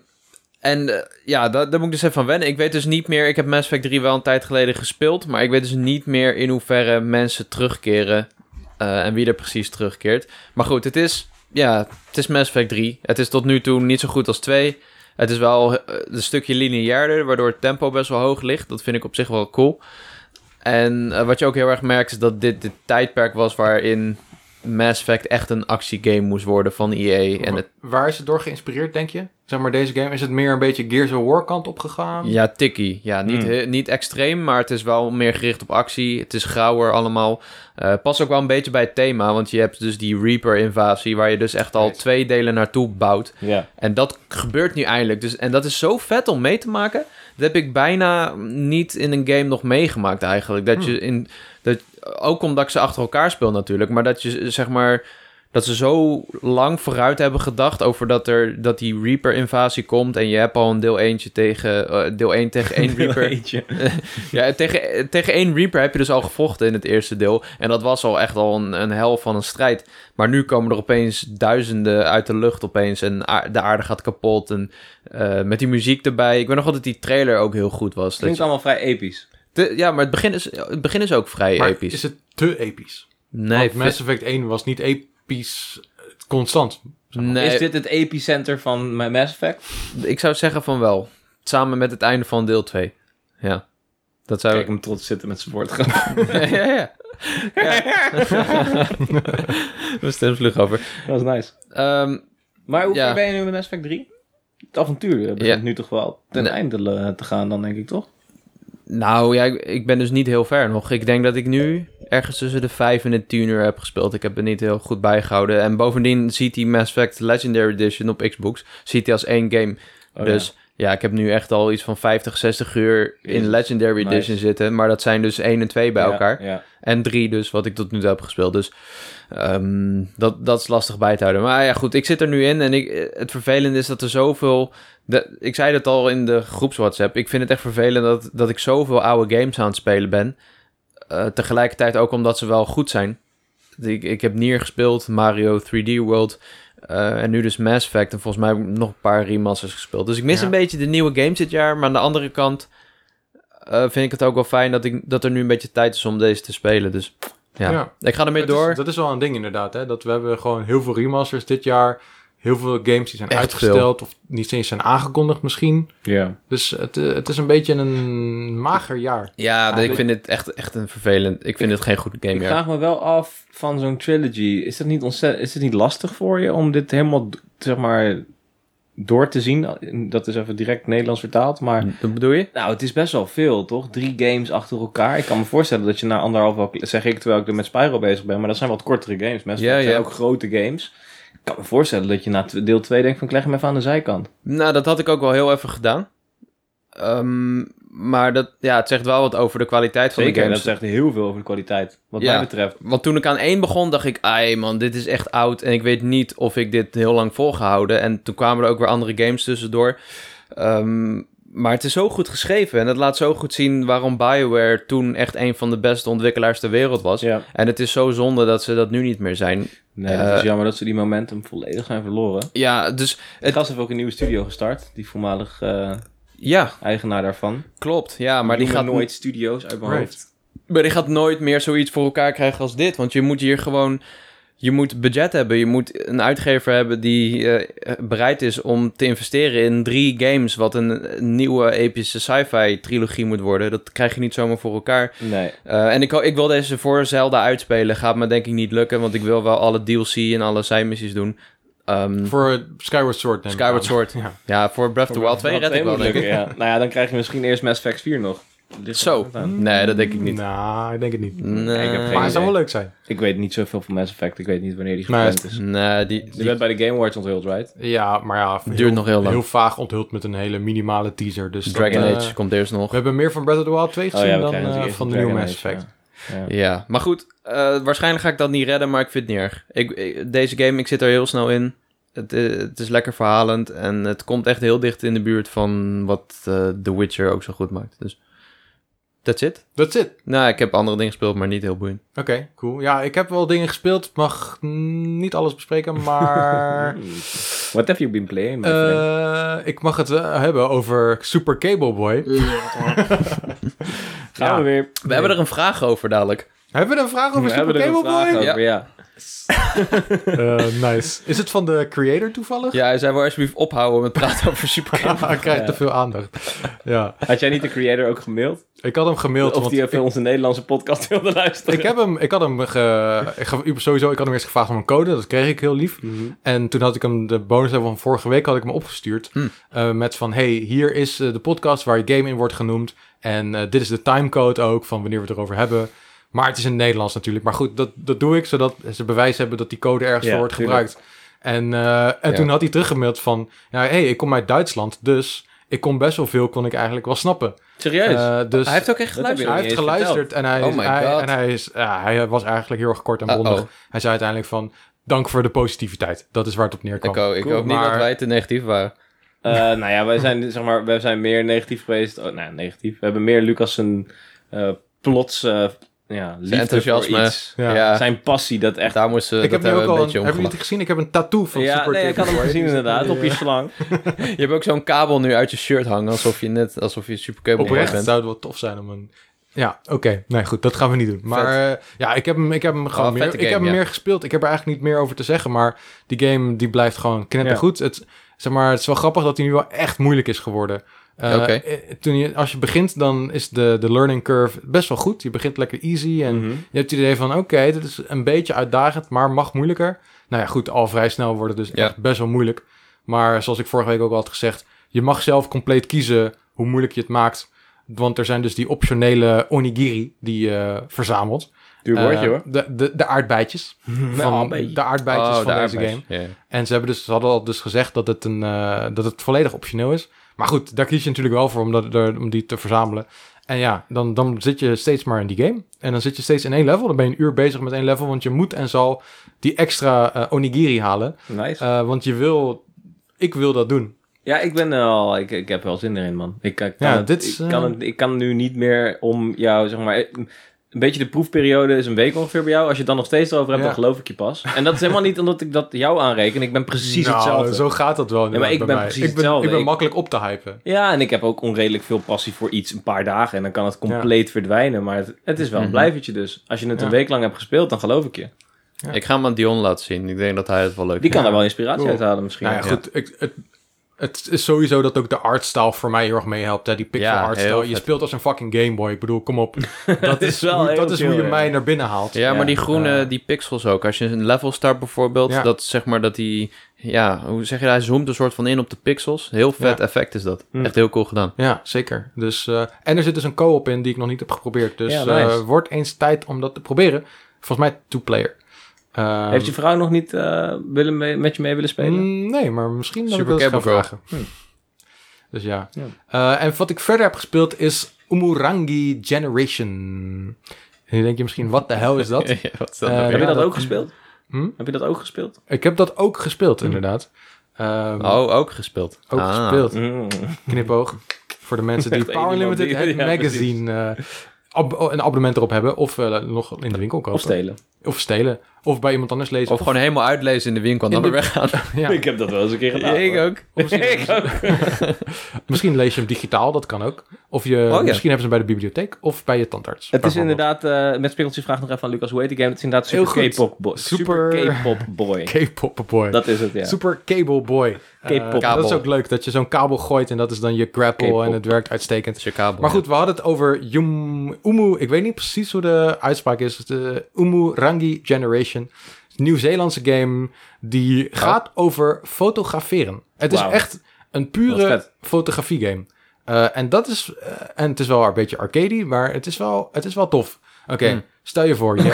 C: en eh, ja, daar, daar moet ik dus even van wennen. Ik weet dus niet meer... Ik heb Mass Effect 3 wel een tijd geleden gespeeld... maar ik weet dus niet meer in hoeverre mensen terugkeren... eh, en wie er precies terugkeert. Maar goed, het is... Ja, het is Mass Effect 3. Het is tot nu toe niet zo goed als 2. Het is wel eh, een stukje lineairder... waardoor het tempo best wel hoog ligt. Dat vind ik op zich wel cool. En eh, wat je ook heel erg merkt... is dat dit het tijdperk was waarin... Mass Effect echt een actiegame moest worden van EA. En het
A: Waar is het door geïnspireerd, denk je? Zeg maar, deze game, is het meer een beetje Gears of War kant opgegaan?
C: Ja, tikkie. Ja, niet,
B: Mm.
C: he- niet extreem, maar het is wel meer gericht op actie. Het is grauwer allemaal. Eh past ook wel een beetje bij het thema, want je hebt dus die Reaper-invasie... waar je dus echt al
A: Right.
C: twee delen naartoe bouwt.
B: Ja.
C: En dat gebeurt nu eindelijk. Dus, en dat is zo vet om mee te maken. Dat heb ik bijna niet in een game nog meegemaakt eigenlijk. Dat je in, dat, ook omdat ik ze achter elkaar speel natuurlijk. Maar dat je zeg maar. Dat ze zo lang vooruit hebben gedacht over dat, er, dat die Reaper-invasie komt. En je hebt al een deel eentje tegen. eh, deel 1 tegen 1 Reaper.
B: Eentje.
C: Ja, tegen, tegen één Reaper heb je dus al gevochten in het eerste deel. En dat was al echt al een, een hel van een strijd. Maar nu komen er opeens duizenden uit de lucht opeens. En aar- de aarde gaat kapot. En eh, met die muziek erbij. Ik weet nog wel dat die trailer ook heel goed was. Dat
B: Klinkt
C: je-
B: allemaal vrij episch.
C: Te- ja, maar het begin, is, het begin is ook vrij
A: maar
C: episch.
A: is het te episch?
C: nee,
A: Want Mass Effect 1 was niet episch eh, constant.
C: vi- nee
B: Is dit het epicenter van mijn Mass Effect?
C: ik zou zeggen van wel. Samen met het einde van deel 2. Ja. Dat zou
B: Kijk hem trots zitten met zijn woordgrap.
C: ja, ja, ja. We stemmen vlug over.
B: Dat is nice.
C: Ehm,
B: Maar hoe
C: Ja.
B: ver ben je nu met Mass Effect 3? Het avontuur eh, begint
C: Ja.
B: nu toch wel ten
C: Nee.
B: einde eh, te gaan dan, denk ik, toch?
C: nou ja, ik, ik ben dus niet heel ver nog. Ik denk dat ik nu ergens tussen de 5 en de 10 uur heb gespeeld. Ik heb het niet heel goed bijgehouden. En bovendien ziet die Mass Effect Legendary Edition op Xbox ziet hij als één game.
B: Oh,
C: dus ja. ik heb nu echt al iets van 50, 60 uur in
B: Jezus,
C: Legendary
B: nice.
C: Edition zitten. Maar dat zijn dus 1 en 2 bij
B: Ja,
C: elkaar.
B: Ja.
C: En drie dus, wat ik tot nu toe heb gespeeld. Dus ehm, dat, dat is lastig bij te houden. Maar ja, goed, ik zit er nu in. En ik, het vervelende is dat er zoveel... De, ik zei dat al in de groeps-WhatsApp. Ik vind het echt vervelend dat, dat ik zoveel oude games aan het spelen ben. Eh, tegelijkertijd ook omdat ze wel goed zijn. Ik, ik heb Nier gespeeld, Mario 3D World... eh, en nu dus Mass Effect. En volgens mij heb ik nog een paar remasters gespeeld. Dus ik mis
A: Ja.
C: een beetje de nieuwe games dit jaar. Maar aan de andere kant eh, vind ik het ook wel fijn dat, ik, dat er nu een beetje tijd is om deze te spelen. Dus ja. ik ga ermee
A: Het is-
C: door.
A: dat is wel een ding inderdaad. Hè? Dat we hebben gewoon heel veel remasters dit jaar. Heel veel games die zijn
C: Echt
A: uitgesteld of niet eens zijn aangekondigd misschien.
B: Ja.
A: Dus het, eh, het is een beetje een mager jaar.
C: Ja,
A: Ah,
C: ik
A: dit-
C: vind het echt, echt een vervelend. Ik vind het geen goed game
B: Ik
C: meer.
B: vraag me wel af van zo'n trilogy. Is het niet, ontzett- is het niet lastig voor je om dit helemaal, d- zeg maar, door te zien? Dat is even direct Nederlands vertaald, maar...
C: Wat bedoel je?
B: Nou, het is best wel veel, toch? Drie games achter elkaar. Ik kan me voorstellen dat je na anderhalf wel... Zeg ik terwijl ik er met Spyro bezig ben, maar dat zijn wat kortere games. Mensen
C: Ja,
B: dat zijn
C: ja.
B: ook grote games. Ik kan me voorstellen dat je na tw- deel 2 denkt van... Ik leg hem even aan de zijkant.
C: Nou, dat had ik ook wel heel even gedaan. Ehm, maar dat, ja, het zegt wel wat over de kwaliteit van de
B: Zeker, dat
C: games.
B: zegt heel veel over de kwaliteit. Wat
C: Ja.
B: mij betreft.
C: Want toen ik aan één begon, dacht ik... Ai man, dit is echt oud en ik weet niet of ik dit heel lang vol ga houden. En toen kwamen er ook weer andere games tussendoor. Ehm, maar het is zo goed geschreven en het laat zo goed zien... waarom BioWare toen echt een van de beste ontwikkelaars ter wereld was.
B: Ja.
C: En het is zo zonde dat ze dat nu niet meer zijn.
B: Nee, het is
C: Eh.
B: jammer dat ze die momentum volledig zijn verloren.
C: Ja, dus
B: Het gast heeft ook een nieuwe studio gestart. Die voormalig eh,
C: ja,
B: eigenaar daarvan.
C: klopt. Ja, Ah, maar die
B: Noemen
C: gaat,
B: nooit studio's uit mijn
A: Right.
B: hoofd.
C: maar die gaat nooit meer zoiets voor elkaar krijgen als dit. Want je moet hier gewoon... Je moet budget hebben. Je moet een uitgever hebben die eh, bereid is om te investeren in drie games... wat een, een nieuwe epische sci-fi trilogie moet worden. Dat krijg je niet zomaar voor elkaar.
B: Nee.
C: Eh, en ik, ho- ik wil deze voor Zelda uitspelen. Gaat me denk ik niet lukken, want ik wil wel alle DLC en alle zijmissies doen. Ehm,
A: Voor Skyward Sword denk ik
C: Skyward
A: aan.
C: Sword.
A: Ja.
C: Ja, voor Breath of the Wild 2
B: Dat
C: red ik wel,
B: moet
C: denk ik.
B: lukken, ja. Nou ja, dan krijg je misschien eerst Mass Effect 4 nog. Dat ligt er
C: Zo.
B: aan.
C: Nee, dat denk ik niet.
A: Nou, ik denk het niet.
C: Nee,
B: Ik heb
A: Maar
B: geen-
A: het zou wel leuk zijn.
B: Ik weet niet zoveel van Mass Effect. Ik weet niet wanneer die
A: Maar
B: gepland is.
C: Nee, die,
B: Die
C: die-
B: werd bij de Game Awards onthuld, right?
A: Ja, maar ja,
C: Duurt nog heel lang.
A: Heel vaag onthuld met een hele minimale teaser. Dus dat,
C: Dragon
A: eh,
C: Age Oh komt eerst nog.
A: We hebben meer van Breath of the Wild 2 gezien
B: we
A: dan
B: krijgen
A: eh,
B: natuurlijk eerst
A: van de
B: een
A: nieuwe Mass
B: Dragon Age,
A: Effect.
B: ja. Ja.
C: Ja, maar goed. eh, waarschijnlijk ga ik dat niet redden, maar ik vind het niet erg. Ik, ik- deze game, ik zit er heel snel in. Het, eh, het is lekker verhalend en het komt echt heel dicht in de buurt van wat eh, The Witcher ook zo goed maakt. Dus, that's it.
A: That's it.
C: Nou, ik heb andere dingen gespeeld, maar niet heel boeiend.
A: Oké, cool. Ja, ik heb wel dingen gespeeld. Mag niet alles bespreken, maar...
B: What have you been playing, my friend?
A: Eh, ik mag het eh, hebben over Super Cable Boy.
B: Gaan we weer.
C: We hebben er een vraag over dadelijk.
A: Hebben we een vraag over
B: We
A: Super
B: hebben er
A: Cable
B: een vraag
A: Boy?
B: over, ja.
A: Eh, nice. Is het van de creator toevallig? Ah,
C: Ja, hij zei, wil alsjeblieft ophouden met praten over Supercam.
A: Hij krijgt te veel aandacht. Ja,
B: Had jij niet de creator ook gemaild?
A: ik had hem gemaild.
B: Of
A: want
B: die even
A: ik,
B: onze Nederlandse podcast wilde luisteren?
A: ik heb hem, ik had hem ge, ik gaf- sowieso, ik had hem eerst gevraagd om een code. Dat kreeg ik heel lief.
B: Mhm.
A: En toen had ik hem de bonus van vorige week had ik hem opgestuurd.
C: Hm.
A: eh, met van, hey, hier is eh, de podcast waar je game in wordt genoemd. En eh, dit is de timecode ook van wanneer we het erover hebben. Maar het is in het Nederlands natuurlijk. Maar goed, dat, dat doe ik zodat ze bewijs hebben dat die code ergens
B: Ja,
A: voor wordt
B: tuurlijk.
A: gebruikt. En, eh, en
C: Ja.
A: toen had hij teruggemaild van, nou, hey, ik kom uit Duitsland, dus ik kon best wel veel, kon ik eigenlijk wel snappen.
B: Serieus?
A: Eh, dus
C: hij heeft ook echt
B: Dat heb je
C: geluisterd.
A: hij
B: nog
A: heeft
B: niet eens
A: geluisterd en hij,
C: Oh
A: is-
C: my
A: hij,
C: God.
A: en hij, is, ja, hij was eigenlijk heel erg kort en bondig.
C: Uh-oh.
A: Hij zei uiteindelijk van, dank voor de positiviteit. Dat is waar het op neerkwam.
C: Ik eh, ook, ik
B: Cool,
C: ook niet
A: maar-
C: dat wij te negatief waren.
B: Eh, nou ja, wij zijn, zeg maar, wij zijn meer negatief geweest. Oh, nou, negatief. We hebben meer Lucas zijn eh plots eh, ja, liefde
C: enthousiasme.
B: voor iets.
A: Ja.
C: Ja,
B: Zijn passie, dat echt...
C: daar moesten we
A: Ik
C: dat
A: heb nu
C: hebben
A: ook
C: we
A: al
C: een
A: een, hebben
C: beetje
A: jullie
C: omgelachen.
A: het gezien? Ik heb een tattoo van
B: ja,
A: Super
B: nee, ik
A: Cable
B: had hem
A: Boy.
B: gezien
A: Dus dat-
B: inderdaad, op
A: eh,
B: je slang.
C: Je hebt ook zo'n kabel nu uit je shirt hangen, alsof je net, alsof je supercable
A: Oprecht
C: bent.
A: zou het wel tof zijn om een... Ja, oké. Nee, goed, dat gaan we niet doen. Maar eh, ja, ik heb hem, ik heb hem gewoon
C: Wel een
A: meer,
C: vette
A: ik heb hem
C: game, ja.
A: meer gespeeld. Ik heb er eigenlijk niet meer over te zeggen, maar die game die blijft gewoon knettergoed. Het, zeg maar, het is wel grappig dat hij nu wel echt moeilijk is geworden. Eh,
C: Oké.
A: eh, toen je, als je begint, dan is de, de learning curve best wel goed. Je begint lekker easy en
B: Mhm.
A: je hebt het idee van, oké, dit is een beetje uitdagend, maar mag moeilijker. Nou ja, goed, al vrij snel wordt het dus
C: Ja.
A: echt best wel moeilijk. Maar zoals ik vorige week ook al had gezegd, je mag zelf compleet kiezen hoe moeilijk je het maakt. Want er zijn dus die optionele onigiri die je verzamelt.
B: Duur woordje
A: Eh,
B: hoor.
A: De, de, de aardbeidjes. Van,
B: aardbeidjes.
A: de aardbeidjes
C: Oh,
A: van
C: de
A: deze
C: aardbeis.
A: game.
C: Ja.
A: En ze, hebben dus, ze hadden al dus gezegd dat het, een, eh, dat het volledig optioneel is. Maar goed, daar kies je natuurlijk wel voor om, dat, er- om die te verzamelen. En ja, dan, dan zit je steeds maar in die game. En dan zit je steeds in één level. Dan ben je een uur bezig met één level. Want je moet en zal die extra eh, onigiri halen.
B: Nice.
A: Eh, want je wil... Ik wil dat doen.
B: ja, ik ben er al. Ik, ik heb wel zin erin, man. Ik, ik kan,
A: Ja,
B: het,
A: dit is,
B: ik,
A: eh,
B: kan het, ik kan nu niet meer om jou, zeg maar. eh, Een beetje de proefperiode is een week ongeveer bij jou. Als je het dan nog steeds erover hebt,
A: Ja.
B: dan geloof ik je pas. En dat is helemaal niet omdat ik dat jou aanreken. Ik ben precies
A: Nou,
B: hetzelfde.
A: Zo gaat dat wel. inderdaad
B: ik
A: bij
B: ben
A: mij.
B: precies
A: ik ben,
B: hetzelfde.
A: Ik ben
B: Ik-
A: makkelijk op te hypen.
B: Ja, en ik heb ook onredelijk veel passie voor iets een paar dagen. En dan kan het compleet verdwijnen. Maar het, het is wel een
C: Mhm.
B: blijvertje dus. Als je het
A: Ja.
B: een week lang hebt gespeeld, dan geloof ik je.
A: Ja.
C: Ik ga hem aan Dion laten zien. Ik denk dat hij het wel leuk
B: Die kan
C: vindt.
B: daar wel inspiratie
A: Cool.
B: uit halen misschien.
A: Nou ja, goed. Ik, het, het is sowieso dat ook de artstyle voor mij heel erg meehelpt. hè, Die pixel
C: Ja, heel
A: artstyle. Je
C: vet.
A: speelt als een fucking Game Boy. Ik bedoel, kom op. Dat is,
B: wel
A: hoe,
B: heel
A: dat is hoe je
B: chill, ja.
A: mij naar binnen haalt.
C: Ja, maar
B: Ja.
C: die groene,
A: Eh.
C: die pixels ook. Als je een level start bijvoorbeeld,
A: Ja.
C: dat zeg maar dat die, ja, hoe zeg je dat? Hij zoomt een soort van in op de pixels. Heel vet
A: Ja. Mm.
C: effect is dat.
B: Hm.
C: Echt heel cool gedaan.
A: Ja, zeker. Dus, eh, en er zit dus een co-op in die ik nog niet heb geprobeerd. Dus
B: Ja,
A: eh
B: nice.
A: wordt eens tijd om dat te proberen. Volgens mij two-player. Ehm,
B: Heeft je vrouw nog niet eh, willen mee- met je mee willen spelen?
A: Mm, Nee, maar misschien dat
C: Super
A: ik dat eens
C: Cable
A: ga
C: Girl.
A: vragen. Hm. Dus ja. Eh, en wat ik verder heb gespeeld is Umurangi Generation. En nu denk je misschien, wat de hel is dat?
C: Ja, wat is dat
A: Eh,
C: nou
B: heb
C: weer?
A: ja,
B: je dat,
A: dat-
B: ook gespeeld?
A: Hm?
B: Heb je dat ook gespeeld?
A: Ik heb dat ook
B: Mm.
A: gespeeld, inderdaad. Ehm,
C: Oh, ook gespeeld.
A: Ook
C: Ah.
A: gespeeld.
B: Mm.
A: Knipoog. Voor de mensen die
B: Echt
A: Power
B: één iemand
A: Limited
B: die-
A: Head
B: ja,
A: Magazine eh, ab- oh, een abonnement erop hebben. Of eh, nog in de winkel kopen.
B: Of stelen.
A: Of stelen. Of bij iemand anders lezen.
C: Of gewoon helemaal uitlezen in de winkel en dan
A: In
C: weer weggaan.
A: Ja.
B: Ik heb dat wel eens een keer gedaan. hoor.
C: ook.
A: Of misschien,
B: ik ook.
A: misschien lees je hem digitaal, dat kan ook. Of je,
C: ja.
A: misschien hebben ze hem bij de bibliotheek of bij je tandarts.
B: Het is
A: bijvoorbeeld.
B: inderdaad, eh, met Spikkeltje vraagt nog even aan Lucas, hoe heet die game? Het is inderdaad
A: Heel
B: Super
A: goed.
B: K-pop boy.
A: Super-
B: K-pop boy.
A: K-pop boy.
B: Dat is het, ja.
A: Super cable boy. Eh,
B: K-pop.
A: dat is
C: Kabel.
A: ook leuk, dat je zo'n kabel gooit en dat is dan je grapple
C: K-pop.
A: en het werkt uitstekend.
C: Chicago.
A: Maar goed, we hadden het over Yum, Umu. Ik weet niet precies hoe de uitspraak is. De Umu Rangi Generation. Nieuw-Zeelandse game die gaat over fotograferen. Het is
B: Oh. Wauw.
A: echt een
B: Wat
A: pure
B: vet.
A: fotografie game. Eh, en dat is. eh, en het is wel een beetje arcade, maar het is wel, het is wel tof. Oké,
C: Hmm.
A: stel je voor. Je,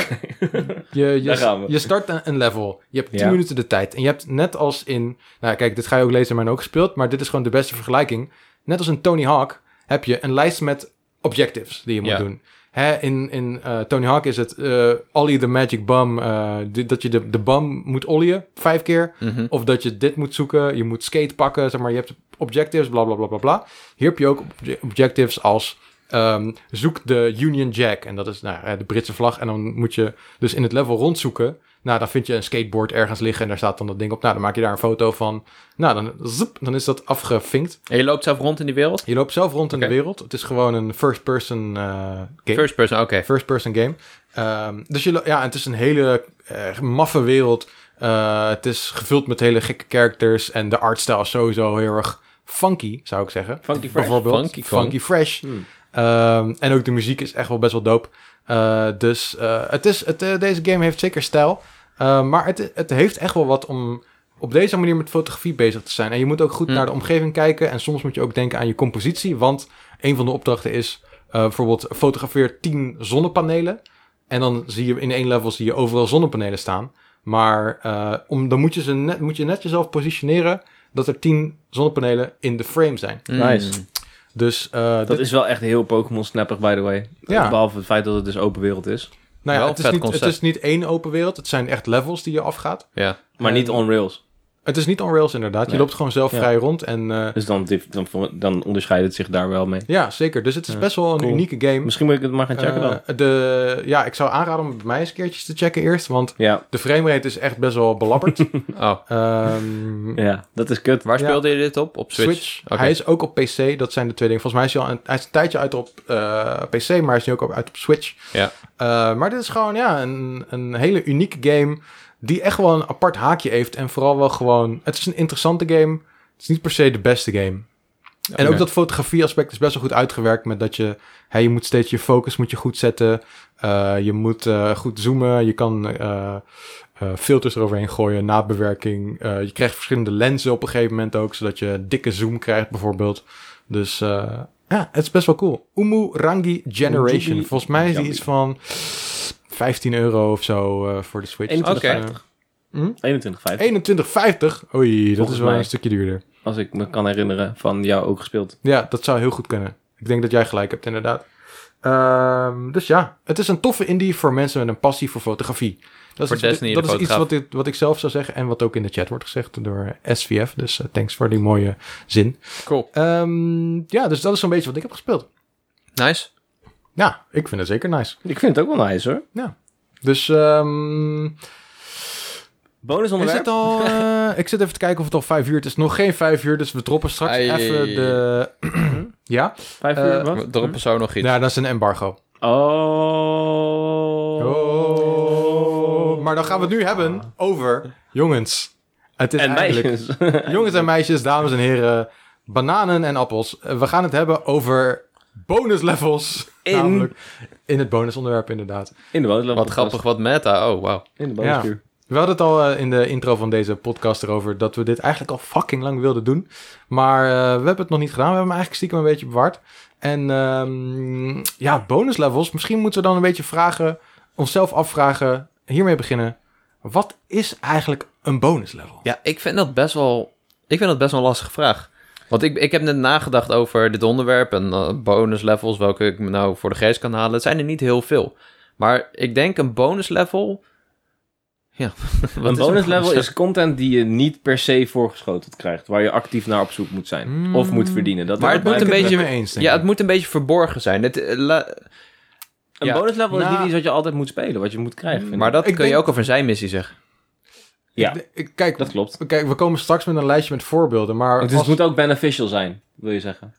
A: je,
B: Daar
A: je,
B: gaan we.
A: je start een, een level. Je hebt 10
B: Ja.
A: minuten de tijd. En je hebt net als in. Nou, kijk, dit ga je ook lezen, maar ook gespeeld. Maar dit is gewoon de beste vergelijking. Net als in Tony Hawk heb je een lijst met objectives die je moet
C: Ja.
A: doen. Hè, in in eh, Tony Hawk is het eh Ollie the Magic Bum. eh, di- dat je de, de bum moet ollien vijf keer.
C: Mhm.
A: Of dat je dit moet zoeken. Je moet skate pakken. Zeg maar, je hebt objectives, bla bla bla bla bla. Hier heb je ook obje- objectives als. ehm, zoek de Union Jack. En dat is nou, eh, de Britse vlag. En dan moet je dus in het level rondzoeken. Nou, dan vind je een skateboard ergens liggen. En daar staat dan dat ding op. Nou, dan maak je daar een foto van. Nou, dan, zoep, dan is dat afgevinkt.
C: En je loopt zelf rond in die wereld?
A: Je loopt zelf rond in de
C: Oké.
A: wereld. Het is gewoon een first-person eh, game.
C: First person, oké.
A: First-person game. Ehm, dus je, lo- ja, het is een hele eh, maffe wereld. Eh, het is gevuld met hele gekke characters. En de artstyle is sowieso heel erg funky, zou ik zeggen.
B: Funky Fresh.
A: Bijvoorbeeld
C: Funky
A: Funky,
C: Kong.
A: Fresh.
B: Hmm.
A: Ehm, en ook de muziek is echt wel best wel dope. Eh, dus eh, het is, het, eh, deze game heeft zeker stijl. Eh, maar het, het heeft echt wel wat om op deze manier met fotografie bezig te zijn. En je moet ook goed
C: Hmm.
A: naar de omgeving kijken. En soms moet je ook denken aan je compositie. Want een van de opdrachten is eh, bijvoorbeeld fotografeer 10 zonnepanelen. En dan zie je in één level zie je overal zonnepanelen staan. Maar eh, om, dan moet je, ze net, moet je net jezelf positioneren dat er 10 zonnepanelen in de frame zijn.
C: Mm,
B: Nice.
A: Dus eh,
B: Dat is wel echt heel Pokémon snappig, by the way.
A: Ja.
B: Behalve het feit dat het dus open wereld is.
A: Nou ja,
C: Wel
A: het is,
C: vet
A: niet, het
C: concept.
A: is niet één open wereld. Het zijn echt levels die je afgaat.
C: Ja.
B: Maar
A: En-
B: niet on rails.
A: Het is niet on rails inderdaad. Je
B: Nee.
A: loopt gewoon zelf
B: Ja.
A: vrij rond. En eh,
B: Dus dan, dif- dan, dan onderscheidt het zich daar wel mee.
A: ja, zeker. Dus het is best wel een
B: cool.
A: unieke game.
B: Misschien moet ik het maar gaan checken dan.
A: Eh, de, ja, ik zou aanraden om het bij mij eens keertjes te checken eerst. Want
B: Ja,
A: de framerate is echt best wel belabberd.
C: Oh.
A: Ehm,
B: ja, dat is kut.
C: Waar
A: Ja.
C: speelde je dit op? Op Switch?
A: Switch.
C: Oké.
A: Hij is ook op PC. Dat zijn de twee dingen. Volgens mij is hij al een, hij is een tijdje uit op eh, PC, maar hij is nu ook op- uit op Switch.
C: Ja.
A: Eh, maar dit is gewoon ja, een, een hele unieke game die echt wel een apart haakje heeft. En vooral wel gewoon... Het is een interessante game. Het is niet per se de beste game. En ook
C: Oké.
A: dat fotografie-aspect is best wel goed uitgewerkt. Met dat je, hè, je moet steeds je focus moet je goed zetten. Eh, je moet eh, goed zoomen. Je kan eh, eh, filters eroverheen gooien, nabewerking. Eh, je krijgt verschillende lenzen op een gegeven moment ook. Zodat je dikke zoom krijgt, bijvoorbeeld. Dus eh, ja, het is best wel cool. Umu Rangi Generation.
B: Umu-
A: Volgens mij is die
B: Rangi.
A: iets van 15 euro of zo eh, voor de Switch.
C: Oké.
B: 21,50.
A: Hm?
B: 21,50.
A: 21,50? Oei, dat
B: Volgens
A: is wel
B: mij.
A: een stukje duurder.
B: Als ik me kan herinneren van jou ook gespeeld.
A: Ja, dat zou heel goed kunnen. Ik denk dat jij gelijk hebt, inderdaad. Ehm, dus ja, het is een toffe indie voor mensen met een passie voor fotografie. Dat
C: Voor
A: is, iets wat ik-
C: Destiny, de
A: dat is iets
C: fotograaf.
A: wat, dit, wat ik zelf zou zeggen en wat ook in de chat wordt gezegd door SVF. Dus eh, thanks voor die mooie zin.
C: Cool.
A: Ehm, ja, dus dat is zo'n beetje wat ik heb gespeeld.
C: Nice.
A: Ja, ik vind het zeker nice.
B: Ik vind het ook wel nice hoor.
A: Dus ehm,
B: Bonus
A: is
B: onderwerp.
A: het al... eh, ik zit even te kijken of het al vijf uur is. Het is nog geen vijf uur, dus we droppen straks
C: Ai.
A: even de... ja?
B: Vijf
A: eh,
B: uur wat?
C: Erop zo nog iets.
A: Ja, dat is een embargo.
B: Oh.
A: Oh, maar dan gaan we het nu hebben over jongens. Het is
B: En
A: eigenlijk
B: meisjes.
A: jongens en meisjes, dames en heren, bananen en appels. Eh, We gaan het hebben over bonus levels.
B: In-
A: Namelijk in het bonusonderwerp inderdaad.
B: In de bonus.
C: Wat grappig, wat meta. Oh, wauw.
B: In de
A: Ja.
B: bonusvuur.
A: We hadden het al eh, in de intro van deze podcast erover dat we dit eigenlijk al fucking lang wilden doen. Maar eh, we hebben het nog niet gedaan. We hebben hem eigenlijk stiekem een beetje bewaard. En ehm, ja, bonus levels. Misschien moeten we dan een beetje vragen, onszelf afvragen, hiermee beginnen. Wat is eigenlijk een bonus level?
C: Ja, ik vind dat best wel, ik vind dat best wel een lastige vraag. Want ik, ik heb net nagedacht over dit onderwerp en eh, bonus levels, welke ik me nou voor de geest kan halen. Het zijn er niet heel veel. Maar ik denk een bonus level. Ja, wat
B: Een
C: is
B: bonus level
C: bonus-
B: is content die je niet per se voorgeschoteld krijgt. Waar je actief naar op zoek moet zijn.
A: Mm.
B: Of moet verdienen. Dat
C: Maar
B: lijkt
C: het moet
B: mij-
C: een
A: Ik ben
C: beetje-
A: het mee eens, denk
C: Ja,
A: ik.
C: het moet een beetje verborgen zijn. Het, eh, la-
B: Een
C: ja.
B: bonus level is
A: Nou.
B: niet iets wat je altijd moet spelen. Wat je moet krijgen. vind ik.
C: maar dat
A: Ik
C: kun je
A: denk-
C: ook over een zijmissie zeggen.
B: ja,
A: Ik- ik- kijk,
B: dat klopt.
A: kijk, we komen straks met een lijstje met voorbeelden. Maar
B: Dus het
A: als-
B: moet ook beneficial zijn, wil je zeggen.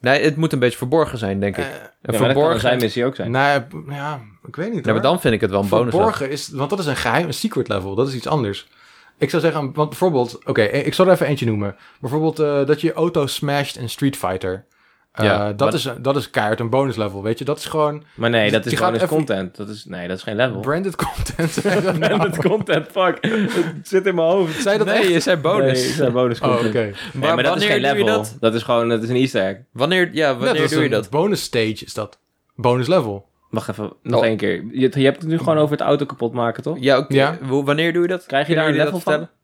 C: Nee, het moet een beetje verborgen zijn, denk ik.
A: eh,
C: en
B: Ja, maar dat kan
C: verborgen
B: een zijmissie ook zijn.
A: nou, ja, ik weet niet.
C: Ja, maar
A: hoor.
C: dan vind ik het wel een bonus level.
A: Verborgen is, want dat is een geheim, een secret level. Dat is iets anders. Ik zou zeggen, want bijvoorbeeld, oké, ik zal er even eentje noemen. Bijvoorbeeld eh, dat je je auto smasht in Street Fighter. Eh,
C: Ja,
A: dat,
C: maar-
A: is, dat is keihard een bonus level, weet je. Dat is gewoon
B: Maar nee, dat
A: Die
B: is
A: gaat
B: bonus
A: even-
B: content. Dat is, nee, dat is geen
C: Oh.
B: level.
A: branded content.
B: Branded content, fuck. Het zit in mijn hoofd.
A: Zei je dat
C: nee,
A: echt?
C: je zei bonus.
B: Nee, het zijn bonus
A: Oh,
B: content.
A: oké.
B: Nee, maar, dat is geen
C: doe je
B: level.
C: dat?
B: Dat? is gewoon, dat is een easter egg.
C: Wanneer, ja,
A: Ja,
C: wanneer
A: is
C: doe je
A: een
C: dat?
A: Bonus stage is dat. Bonus level.
B: Wacht even, nog
C: Oh.
B: één keer. Je, je hebt het nu gewoon over het auto kapot maken, toch?
C: Ja, oké.
A: Ja.
C: Hoe- Wanneer doe je dat?
B: Krijg je daar een
C: Kunnen
B: level
C: jullie dat
B: van?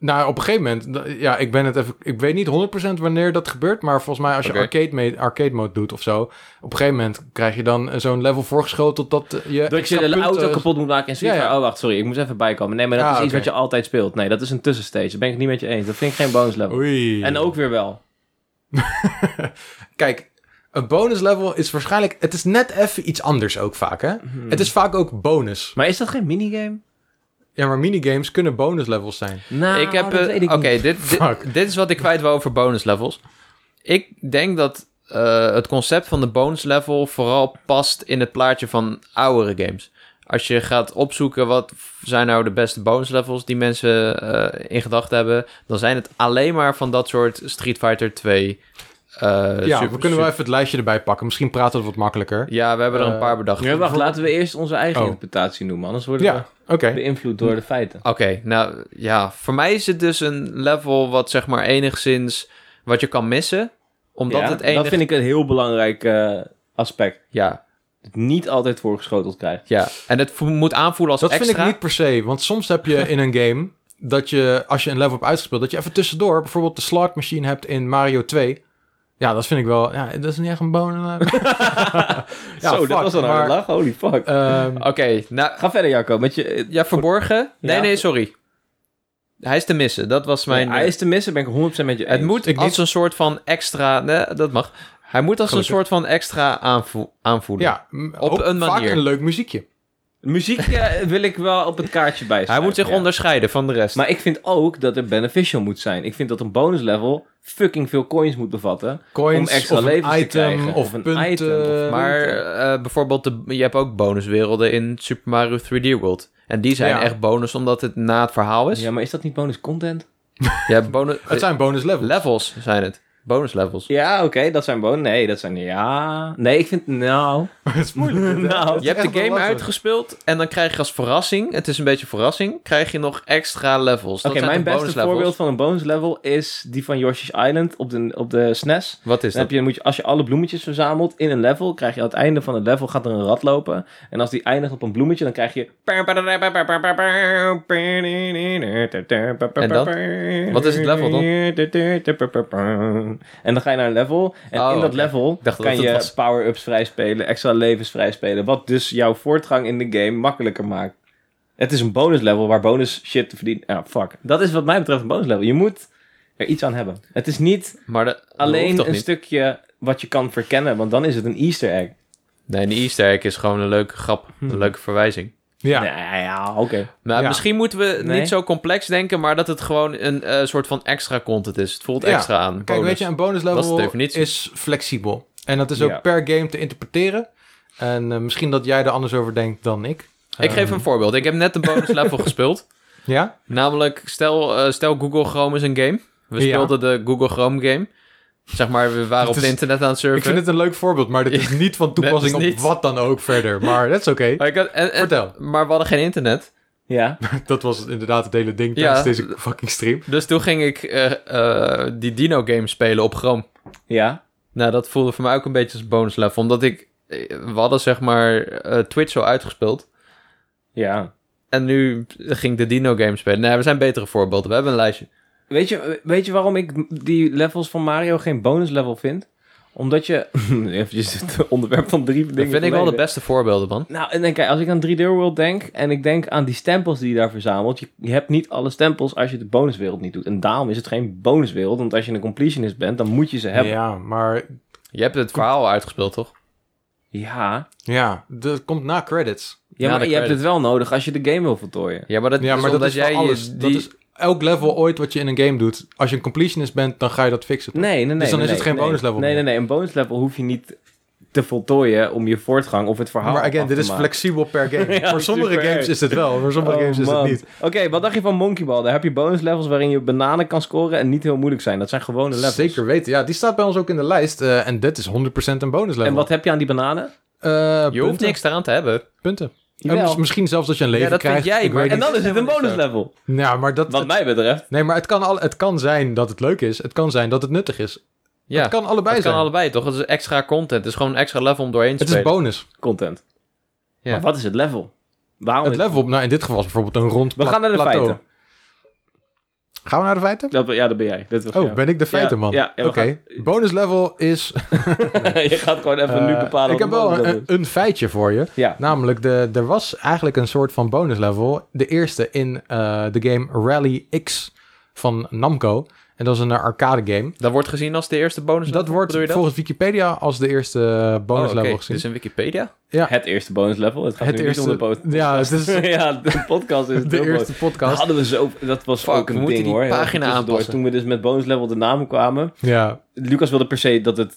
A: Nou, op een gegeven moment, d- ja, ik ben het even, ik weet niet 100% wanneer dat gebeurt, maar volgens mij als je
C: Oké.
A: arcade, mode, arcade mode doet of zo, op een gegeven moment krijg je dan eh, zo'n level voorgeschoteld dat eh, je.
B: Dat je
A: extra
B: de
A: punten-
B: auto kapot moet maken en zoiets
A: Ja, ja.
B: van, oh wacht, sorry, ik moest even bijkomen. Nee, maar dat
A: Ah,
B: is iets
A: oké.
B: wat je altijd speelt. Nee, dat is een tussenstage. Daar ben ik het niet met je eens. Dat vind ik geen bonus level.
A: Oei.
B: En ook weer wel.
A: Kijk, een bonus level is waarschijnlijk. Het is net even iets anders ook vaak, hè? Het is vaak ook bonus.
B: Maar is dat geen minigame?
A: Ja, maar minigames kunnen bonus levels zijn.
B: Nou,
C: ik heb.
B: dat
C: eh,
B: weet ik
C: Oké,
B: niet.
C: dit, dit,
A: Fuck.
C: dit is wat ik kwijt wil over bonus levels. Ik denk dat eh, het concept van de bonus level vooral past in het plaatje van oudere games. Als je gaat opzoeken wat zijn nou de beste bonus levels die mensen eh, in gedachten hebben, dan zijn het alleen maar van dat soort Street Fighter 2. eh,
A: ja,
C: super-
A: we kunnen wel even het lijstje erbij pakken. Misschien praten we het wat makkelijker.
C: Ja, we hebben er een
A: Eh,
C: paar bedacht.
B: Ja, wacht, laten we eerst onze eigen
A: Oh.
B: interpretatie noemen. Anders worden
A: Ja, oké.
B: we beïnvloed door de feiten.
C: Oké, nou ja, voor mij is het dus een level wat zeg maar enigszins wat je kan missen, omdat
B: Ja,
C: het enig...
B: Dat vind ik een heel belangrijk eh, aspect.
C: Ja,
B: Het niet altijd voorgeschoteld krijgen.
C: ja. En het vo- moet aanvoelen als
A: Dat
C: extra.
A: vind ik niet per se. Want soms heb je in een game dat je, als je een level hebt uitgespeeld, dat je even tussendoor bijvoorbeeld de slot machine hebt in Mario 2. Ja, dat vind ik wel. Ja, dat is niet echt een bonus. Ja,
B: Zo,
A: fuck,
B: dat was een
A: maar-
B: harde lach. Holy fuck.
A: Ehm
C: Oké, nou,
B: Ga verder, Jacco. Met je,
C: ja, verborgen. Nee,
B: Ja.
C: nee, sorry. Hij is te missen. Dat was mijn. eh,
B: hij is te missen, ben ik 100% met je
C: het
B: eens.
C: moet
A: Ik
C: als
A: niet.
C: een soort van extra. Nee, dat mag. Hij moet als
A: Gelukkig.
C: een soort van extra aanvo aanvoelen.
A: ja,
C: Op
A: ook
C: een
A: Vaak
C: manier.
A: een leuk muziekje.
B: Muziek eh, wil ik wel op het kaartje bijschrijven.
C: Hij moet zich
B: ja.
C: onderscheiden van de rest.
B: Maar ik vind ook dat het beneficial moet zijn. Ik vind dat een bonus level fucking veel coins moet bevatten.
A: Coins,
B: om extra
A: of een
B: levens
A: item,
B: te krijgen.
A: of,
B: een
A: punten.
B: item. of
C: Maar
B: punten.
C: eh, bijvoorbeeld, de, je hebt ook bonuswerelden in Super Mario 3D World. En die zijn
A: Ja.
C: echt bonus omdat het na het verhaal is.
B: Ja, maar is dat niet bonus content?
C: Je hebt bonus eh,
A: Het zijn bonus levels.
C: levels zijn het. bonus levels.
B: Ja, oké, dat zijn bonus. Nee, dat zijn... Ja... Nee, ik vind... Nou...
A: het is moeilijk. dit, hè?
B: Nou,
A: Het is
C: Je hebt
A: echt
C: de game
A: wel lastig.
C: uitgespeeld en dan krijg je als verrassing, het is een beetje verrassing, krijg je nog extra levels. Dat
B: Oké,
C: zijn
B: mijn
C: de
B: beste
C: bonus levels.
B: voorbeeld van een bonus level is die van Yoshi's Island op de, op de E SNES.
C: Wat is
B: Dan
C: dat?
B: heb je, moet je, als je alle bloemetjes verzamelt in een level, krijg je aan het einde van het level gaat er een rat lopen. En als die eindigt op een bloemetje, dan krijg je.
C: En Wat is het level dan?
B: En dan ga je naar een level. En
C: Oh,
B: in dat
C: oké.
B: level
C: Ik dacht dat
B: kan
C: het
B: je
C: was.
B: power-ups vrijspelen, extra levens vrijspelen. Wat dus jouw voortgang in de game makkelijker maakt. Het is een bonus level waar bonus shit te verdienen. Ja, fuck. Dat is wat mij betreft een bonus level. Je moet er iets aan hebben. Het is niet
C: Maar dat- dat hoeft
B: Alleen
C: toch
B: een
C: niet?
B: stukje wat je kan verkennen, want dan is het een easter egg.
C: Nee, een easter egg is gewoon een leuke grap, een leuke verwijzing.
A: Ja.
B: Ja, ja, oké.
C: Maar
A: Hm. Ja.
C: misschien moeten we
B: Nee.
C: niet zo complex denken, maar dat het gewoon een eh, soort van extra content is. Het voelt
A: Ja.
C: extra aan.
A: Kijk,
C: bonus.
A: weet je, een bonus
C: Dat is de
A: level is,
C: definitie.
A: flexibel. En dat is ook
B: Ja.
A: per game te interpreteren. En eh, misschien dat jij er anders over denkt dan ik.
C: Ik geef
A: Ehm,
C: een voorbeeld. Ik heb net een bonus level gespeeld.
A: Ja?
C: Namelijk, stel, eh, stel Google Chrome is een game. We
A: Ja.
C: speelden de Google Chrome game. Zeg maar, we waren
A: Dat
C: op het
A: is-
C: internet aan het surfen.
A: Ik vind dit een leuk voorbeeld, maar dit is niet van toepassing
C: dat is
A: op
C: niet.
A: wat dan ook verder. Maar dat is oké.
C: Maar eh, ik had- en- en-
A: Vertel.
C: Maar we hadden geen internet.
B: Ja.
A: Dat was inderdaad het hele ding
C: Ja.
A: tijdens deze fucking stream.
C: Dus toen ging ik eh, eh, die Dino game spelen op Chrome.
B: Ja.
C: Nou, dat voelde voor mij ook een beetje als bonus level. Omdat ik... eh, We hadden zeg maar eh, Twitch al uitgespeeld.
B: Ja.
C: En nu ging ik de Dino game spelen. Nee, we zijn betere voorbeelden. We hebben een lijstje.
B: Weet je, weet je waarom ik die levels van Mario geen bonus level vind? Omdat je... Even het onderwerp van drie dingen
C: Dat vind ik wel de
B: verleden.
C: beste voorbeelden, man.
B: Nou, en dan kijk, als ik aan 3D World denk en ik denk aan die stempels die je daar verzamelt. Je, je hebt niet alle stempels als je de bonuswereld niet doet. En daarom is het geen bonuswereld, want als je een completionist bent, dan moet je ze hebben. Ja,
A: Ja, maar
C: Je hebt het verhaal uitgespeeld, toch?
B: ja.
A: ja, dat komt na credits.
C: Ja,
B: maar
C: dat
B: je hebt
C: kan.
B: het wel nodig als je de game wil voltooien.
C: Ja, maar dat,
A: Ja,
C: is
A: maar dat
C: omdat
A: is
C: jij
A: jij alles.
C: je-
A: Dat
C: die-
A: is elk level ooit wat je in een game doet. Als je een completionist bent, dan ga je dat fixen.
B: Nee, nee, nee.
A: Dus dan
B: nee,
A: is het
B: nee,
A: geen bonuslevel
B: Nee, nee,
A: meer.
B: nee. Een bonuslevel hoef je niet te voltooien om je voortgang of het verhaal
A: maar
B: af
A: again,
B: te
A: dit is
B: maken.
A: flexibel per game.
B: Ja,
A: voor sommige
B: super.
A: games is het wel, voor sommige
B: Oh,
A: games is
B: man.
A: het niet.
B: Oké, wat dacht je van Monkey Ball? Daar heb je bonuslevels waarin je bananen kan scoren en niet heel moeilijk zijn. Dat zijn gewone levels.
A: Zeker weten. Ja, die staat bij ons ook in de lijst. eh, en dit is 100% een bonuslevel.
B: En wat heb je aan die bananen?
A: Eh,
C: je hoeft
A: punten.
C: niks daaraan te hebben.
A: Punten. En
B: Jawel.
A: mis- misschien zelfs dat je een leven
C: dat vind
A: krijgt.
C: jij,
A: ik
C: maar-
A: weet
B: En
A: niet.
B: dan is het een bonuslevel.
A: Nou, maar dat...
B: Wat mij betreft.
A: Nee, maar het kan, al, het kan zijn dat het leuk is. Het kan zijn dat het nuttig is.
C: Ja,
A: het kan allebei
C: het kan
A: zijn.
C: allebei, toch? Het is extra content. Het is gewoon een extra level om doorheen te
A: het is
C: spelen.
A: bonus.
B: Content.
C: Ja.
B: Maar wat is het level? Waarom
A: Het
B: is-
A: level, nou in dit geval is bijvoorbeeld een rond
B: We
A: pla-
B: gaan naar de
A: plateau.
B: feiten.
A: Gaan we naar de feiten?
B: Dat, ja, dat ben jij. Dit was
A: Oh,
B: jou.
A: ben ik de feitenman?
B: ja, ja, we
A: Oké, bonus level is...
B: je gaat gewoon even nu
A: eh,
B: bepalen.
A: ik
B: wat
A: heb
B: een
A: wel
B: bonuslevel
A: een, eh,
B: is.
A: een feitje voor je.
B: Ja.
A: Namelijk, de, er was eigenlijk een soort van bonus level. De eerste in eh, de game Rally X van Namco. En dat is een eh, arcade game.
C: Dat wordt gezien als de eerste bonus.
A: Dat wordt
C: bedoel je dat?
A: volgens Wikipedia als de eerste eh, bonus
C: Oh, oké.
A: level gezien.
C: Dit is een Wikipedia?
B: Het eerste bonuslevel. Het Dus gaat
A: Het
B: nu
A: eerste-
B: niet om de poot.
A: ja, het is de
B: ja, de podcast is het heel
A: eerste
B: groot.
A: podcast.
B: Hadden we zo, dat was
C: Fuck,
B: ook
C: we
B: een
C: moeten
B: ding
C: die
B: hoor. Heel
C: pagina
B: tussendoor.
C: aanpassen.
B: Toen we dus met bonus level de namen kwamen,
A: Ja,
B: Lucas wilde per se dat het,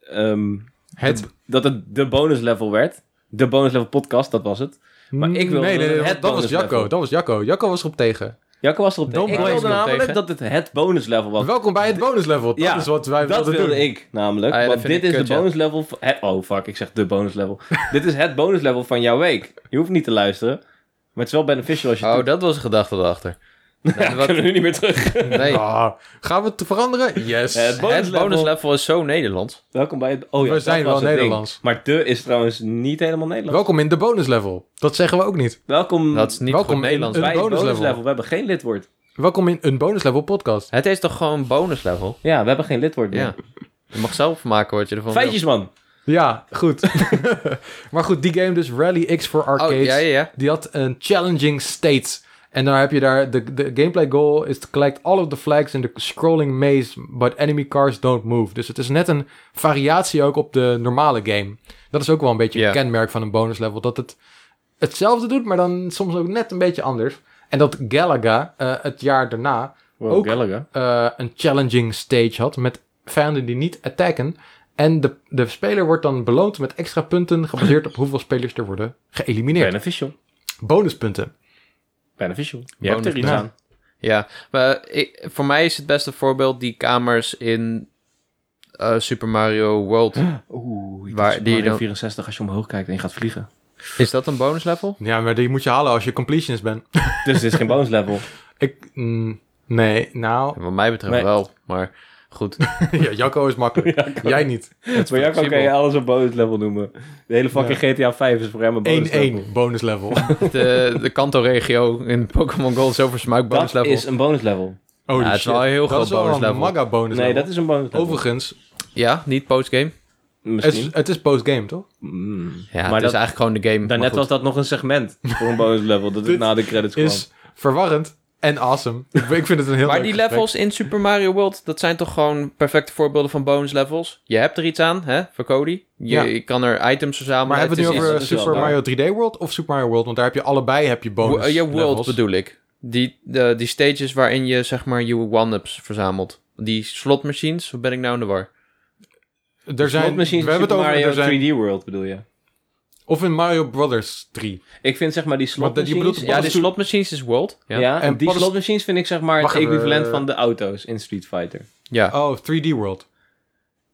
B: ehm,
A: het.
B: dat het de bonus level werd. De bonus level podcast, dat was het. maar ik wilde
A: nee, nee, nee, dat
B: het
A: was
B: bonus
A: Jacco.
B: level.
A: Dat was Jacco. Jacco was erop tegen.
B: Jacco was erop tegen.
A: Don't
B: Ik
A: blame
B: wilde
C: me
B: namelijk
C: tegen.
B: dat het het bonus level was.
A: Welkom bij het bonus level. Dat
B: Ja,
A: is wat wij
B: dat
A: wilden
B: wilde
A: doen.
B: ik namelijk.
C: Ah ja, dat
B: want
C: vind
B: dit
C: ik
B: is
C: kut,
B: de
C: ja.
B: bonus level. van- het- oh fuck, ik zeg de bonus level. dit is het bonus level van jouw week. Je hoeft niet te luisteren. Maar het is wel beneficial als je
C: Oh,
B: het
C: dat was een gedachte erachter.
B: doet. Ja, we kunnen nu niet meer terug.
C: Nee,
A: Ah, gaan we het veranderen? Yes.
B: Het
C: het bonus level is zo Nederlands.
B: Welkom bij het... Oh ja,
A: We
B: dat
A: zijn
B: was
A: wel
B: het ding.
A: Nederlands.
B: Maar de is trouwens niet helemaal Nederlands.
A: Welkom in de bonus level. Dat zeggen we ook niet.
B: Welkom
C: Dat is niet
A: Welkom
C: goed Nederlands.
A: in-
B: bij
A: een
B: het
A: bonus
B: bonuslevel.
A: level.
B: We hebben geen lidwoord.
A: Welkom in een bonus level podcast.
C: Het is toch gewoon bonus level?
B: Ja, we hebben geen lidwoord meer.
C: Ja. Je mag zelf maken wat je ervan
B: Feitjes, man.
A: Ja, goed. maar goed, die game dus Rally X voor
C: wil. Oh,
A: arcades.
C: ja, ja, ja.
A: Die had een challenging state. En daar heb je daar, de, de gameplay goal is to collect all of the flags in the scrolling maze, but enemy cars don't move. Dus het is net een variatie ook op de normale game. Dat is ook wel een beetje
C: Ja.
A: een kenmerk van een bonus level, dat het hetzelfde doet, maar dan soms ook net een beetje anders. En dat Galaga eh, het jaar daarna Ook-
B: Gallagher.
A: eh, een challenging stage had met vijanden die niet attacken. En de, de speler wordt dan beloond met extra punten gebaseerd op hoeveel spelers er worden geëlimineerd.
B: Beneficial.
A: Bonuspunten.
B: Beneficial. Je
C: Bonus
B: hebt er iets
A: level.
B: aan.
C: Ja, maar ik- voor mij is het beste voorbeeld die kamers in eh, Super Mario World.
B: Oeh,
C: Waar-
B: waar,
C: die
B: die
C: dan-
B: 64 als je omhoog kijkt en je gaat vliegen.
C: Is dat een bonus level?
A: Ja, maar die moet je halen als je completionist bent.
B: Dus dit is geen bonus level.
A: Ik, mm, nee, nou...
C: Wat mij betreft
B: Nee.
C: wel, maar goed.
A: ja, Jacco is makkelijk. Jij niet.
B: Bij Jacco kan je
C: flexibel.
B: alles een bonus level noemen. De hele fucking GTA 5 is voor hem een bonus level.
A: 1-1 bonus level.
C: eh, de, de Kanto-regio in Pokémon Gold is over smaak bonus
B: Dat
C: level.
B: is een bonus level.
A: Oh,
C: Ja, het is wel een heel groot bonus
A: Dat is
C: level.
A: wel een mega bonus
B: Nee,
A: level.
B: dat is een bonus level.
A: Overigens,
C: Ja, niet postgame.
A: het
B: Misschien.
A: is, het is postgame, toch?
B: Mm.
C: Ja,
B: maar
C: het
B: dat,
C: is eigenlijk gewoon de game.
B: daarnet
C: maar
B: was
C: goed.
B: dat nog een segment voor een bonus level. Dat
A: Dit
B: het na de credits kwam.
A: Is verwarrend en awesome. Ik, ik vind het een heel
C: Maar
A: leuk
C: die
A: gesprek.
C: levels in Super Mario World, dat zijn toch gewoon perfecte voorbeelden van bonus levels? Je hebt er iets aan, hè, voor Cody. Je,
A: Ja.
C: je kan er items verzamelen.
A: Maar hebben we het nu
C: is-
B: iets-
A: over
B: dat is wel
A: Super
B: waar.
A: Mario 3D World of Super Mario World? Want daar heb je allebei heb je bonus
C: Wo- eh, Je world
A: levels.
C: bedoel ik. Die, de, die stages waarin je, zeg maar, je one-ups verzamelt. Die slotmachines, wat ben ik nou in de war?
A: Er zijn, we
B: dus misschien
A: hebben het over,
B: Mario
A: er zijn,
B: 3D World bedoel je.
A: of in Mario Brothers 3.
B: Ik vind zeg maar die
A: Want dat- je bedoelt
B: slotmachines...
A: op
C: Ja, de slotmachines is world.
B: Ja,
C: Ja. ja.
A: En
B: en die
A: paddenst-
B: slotmachines vind ik zeg maar het
A: Wacht even,
B: equivalent
A: eh,
B: van de auto's in Street Fighter.
C: Ja.
A: Oh, 3D World.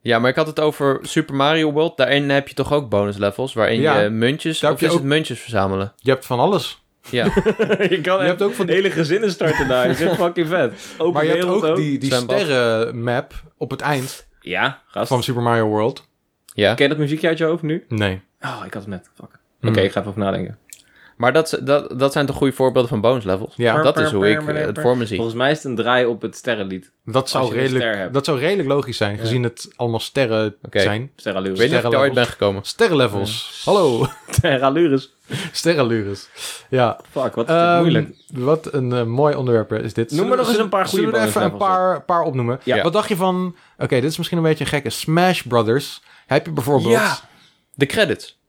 C: maar ik had het over Super Mario World. Daarin heb je toch ook bonus levels, waarin
A: Ja.
C: je muntjes,
A: Daar
C: of
A: heb
C: is
A: je
C: het
A: ook-
C: muntjes verzamelen?
A: Je hebt van alles.
C: Ja.
B: je kan
A: Je
B: echt
A: hebt ook van die-
B: hele gezinnen starten daar. Dat is echt fucking vet. Open
A: Maar je hebt
B: wereld
A: ook die, die
C: zwembad.
A: sterrenmap op het eind
B: Ja, gast.
A: van Super Mario World.
C: ja.
B: Ken je dat muziekje uit je hoofd nu?
A: Nee.
B: Oh, ik had het net. Fuck. Oké,
A: Hmm.
B: ik ga even over nadenken.
C: Maar dat, dat, dat zijn toch goede voorbeelden van bonus levels?
A: Ja.
C: Dat is hoe ik eh, het voor me zie.
B: Volgens mij is het een draai op het sterrenlied.
A: Dat
B: je
A: zou,
B: een ster
A: redelijk,
B: hebt.
A: dat zou redelijk logisch zijn, gezien het allemaal sterren
C: Oké.
A: zijn.
C: Ik weet
B: Sterrenlures.
C: niet of ik daar ooit ben gekomen.
A: Sterrenlevels. Hallo,
B: Sterrenlures.
A: sterrenlures. Ja.
B: Fuck, wat is dit
A: Ehm,
B: moeilijk.
A: Wat een eh, mooi onderwerp is dit.
B: Noem maar
A: Zullen-
B: nog eens
A: zullen-
B: een paar goede
A: Zullen we er even een
B: bonuslevels
A: paar, paar opnoemen?
B: Ja.
A: Wat dacht je van... Oké, dit is misschien een beetje een gekke. Smash Brothers. Heb je bijvoorbeeld...
C: Ja. De credits.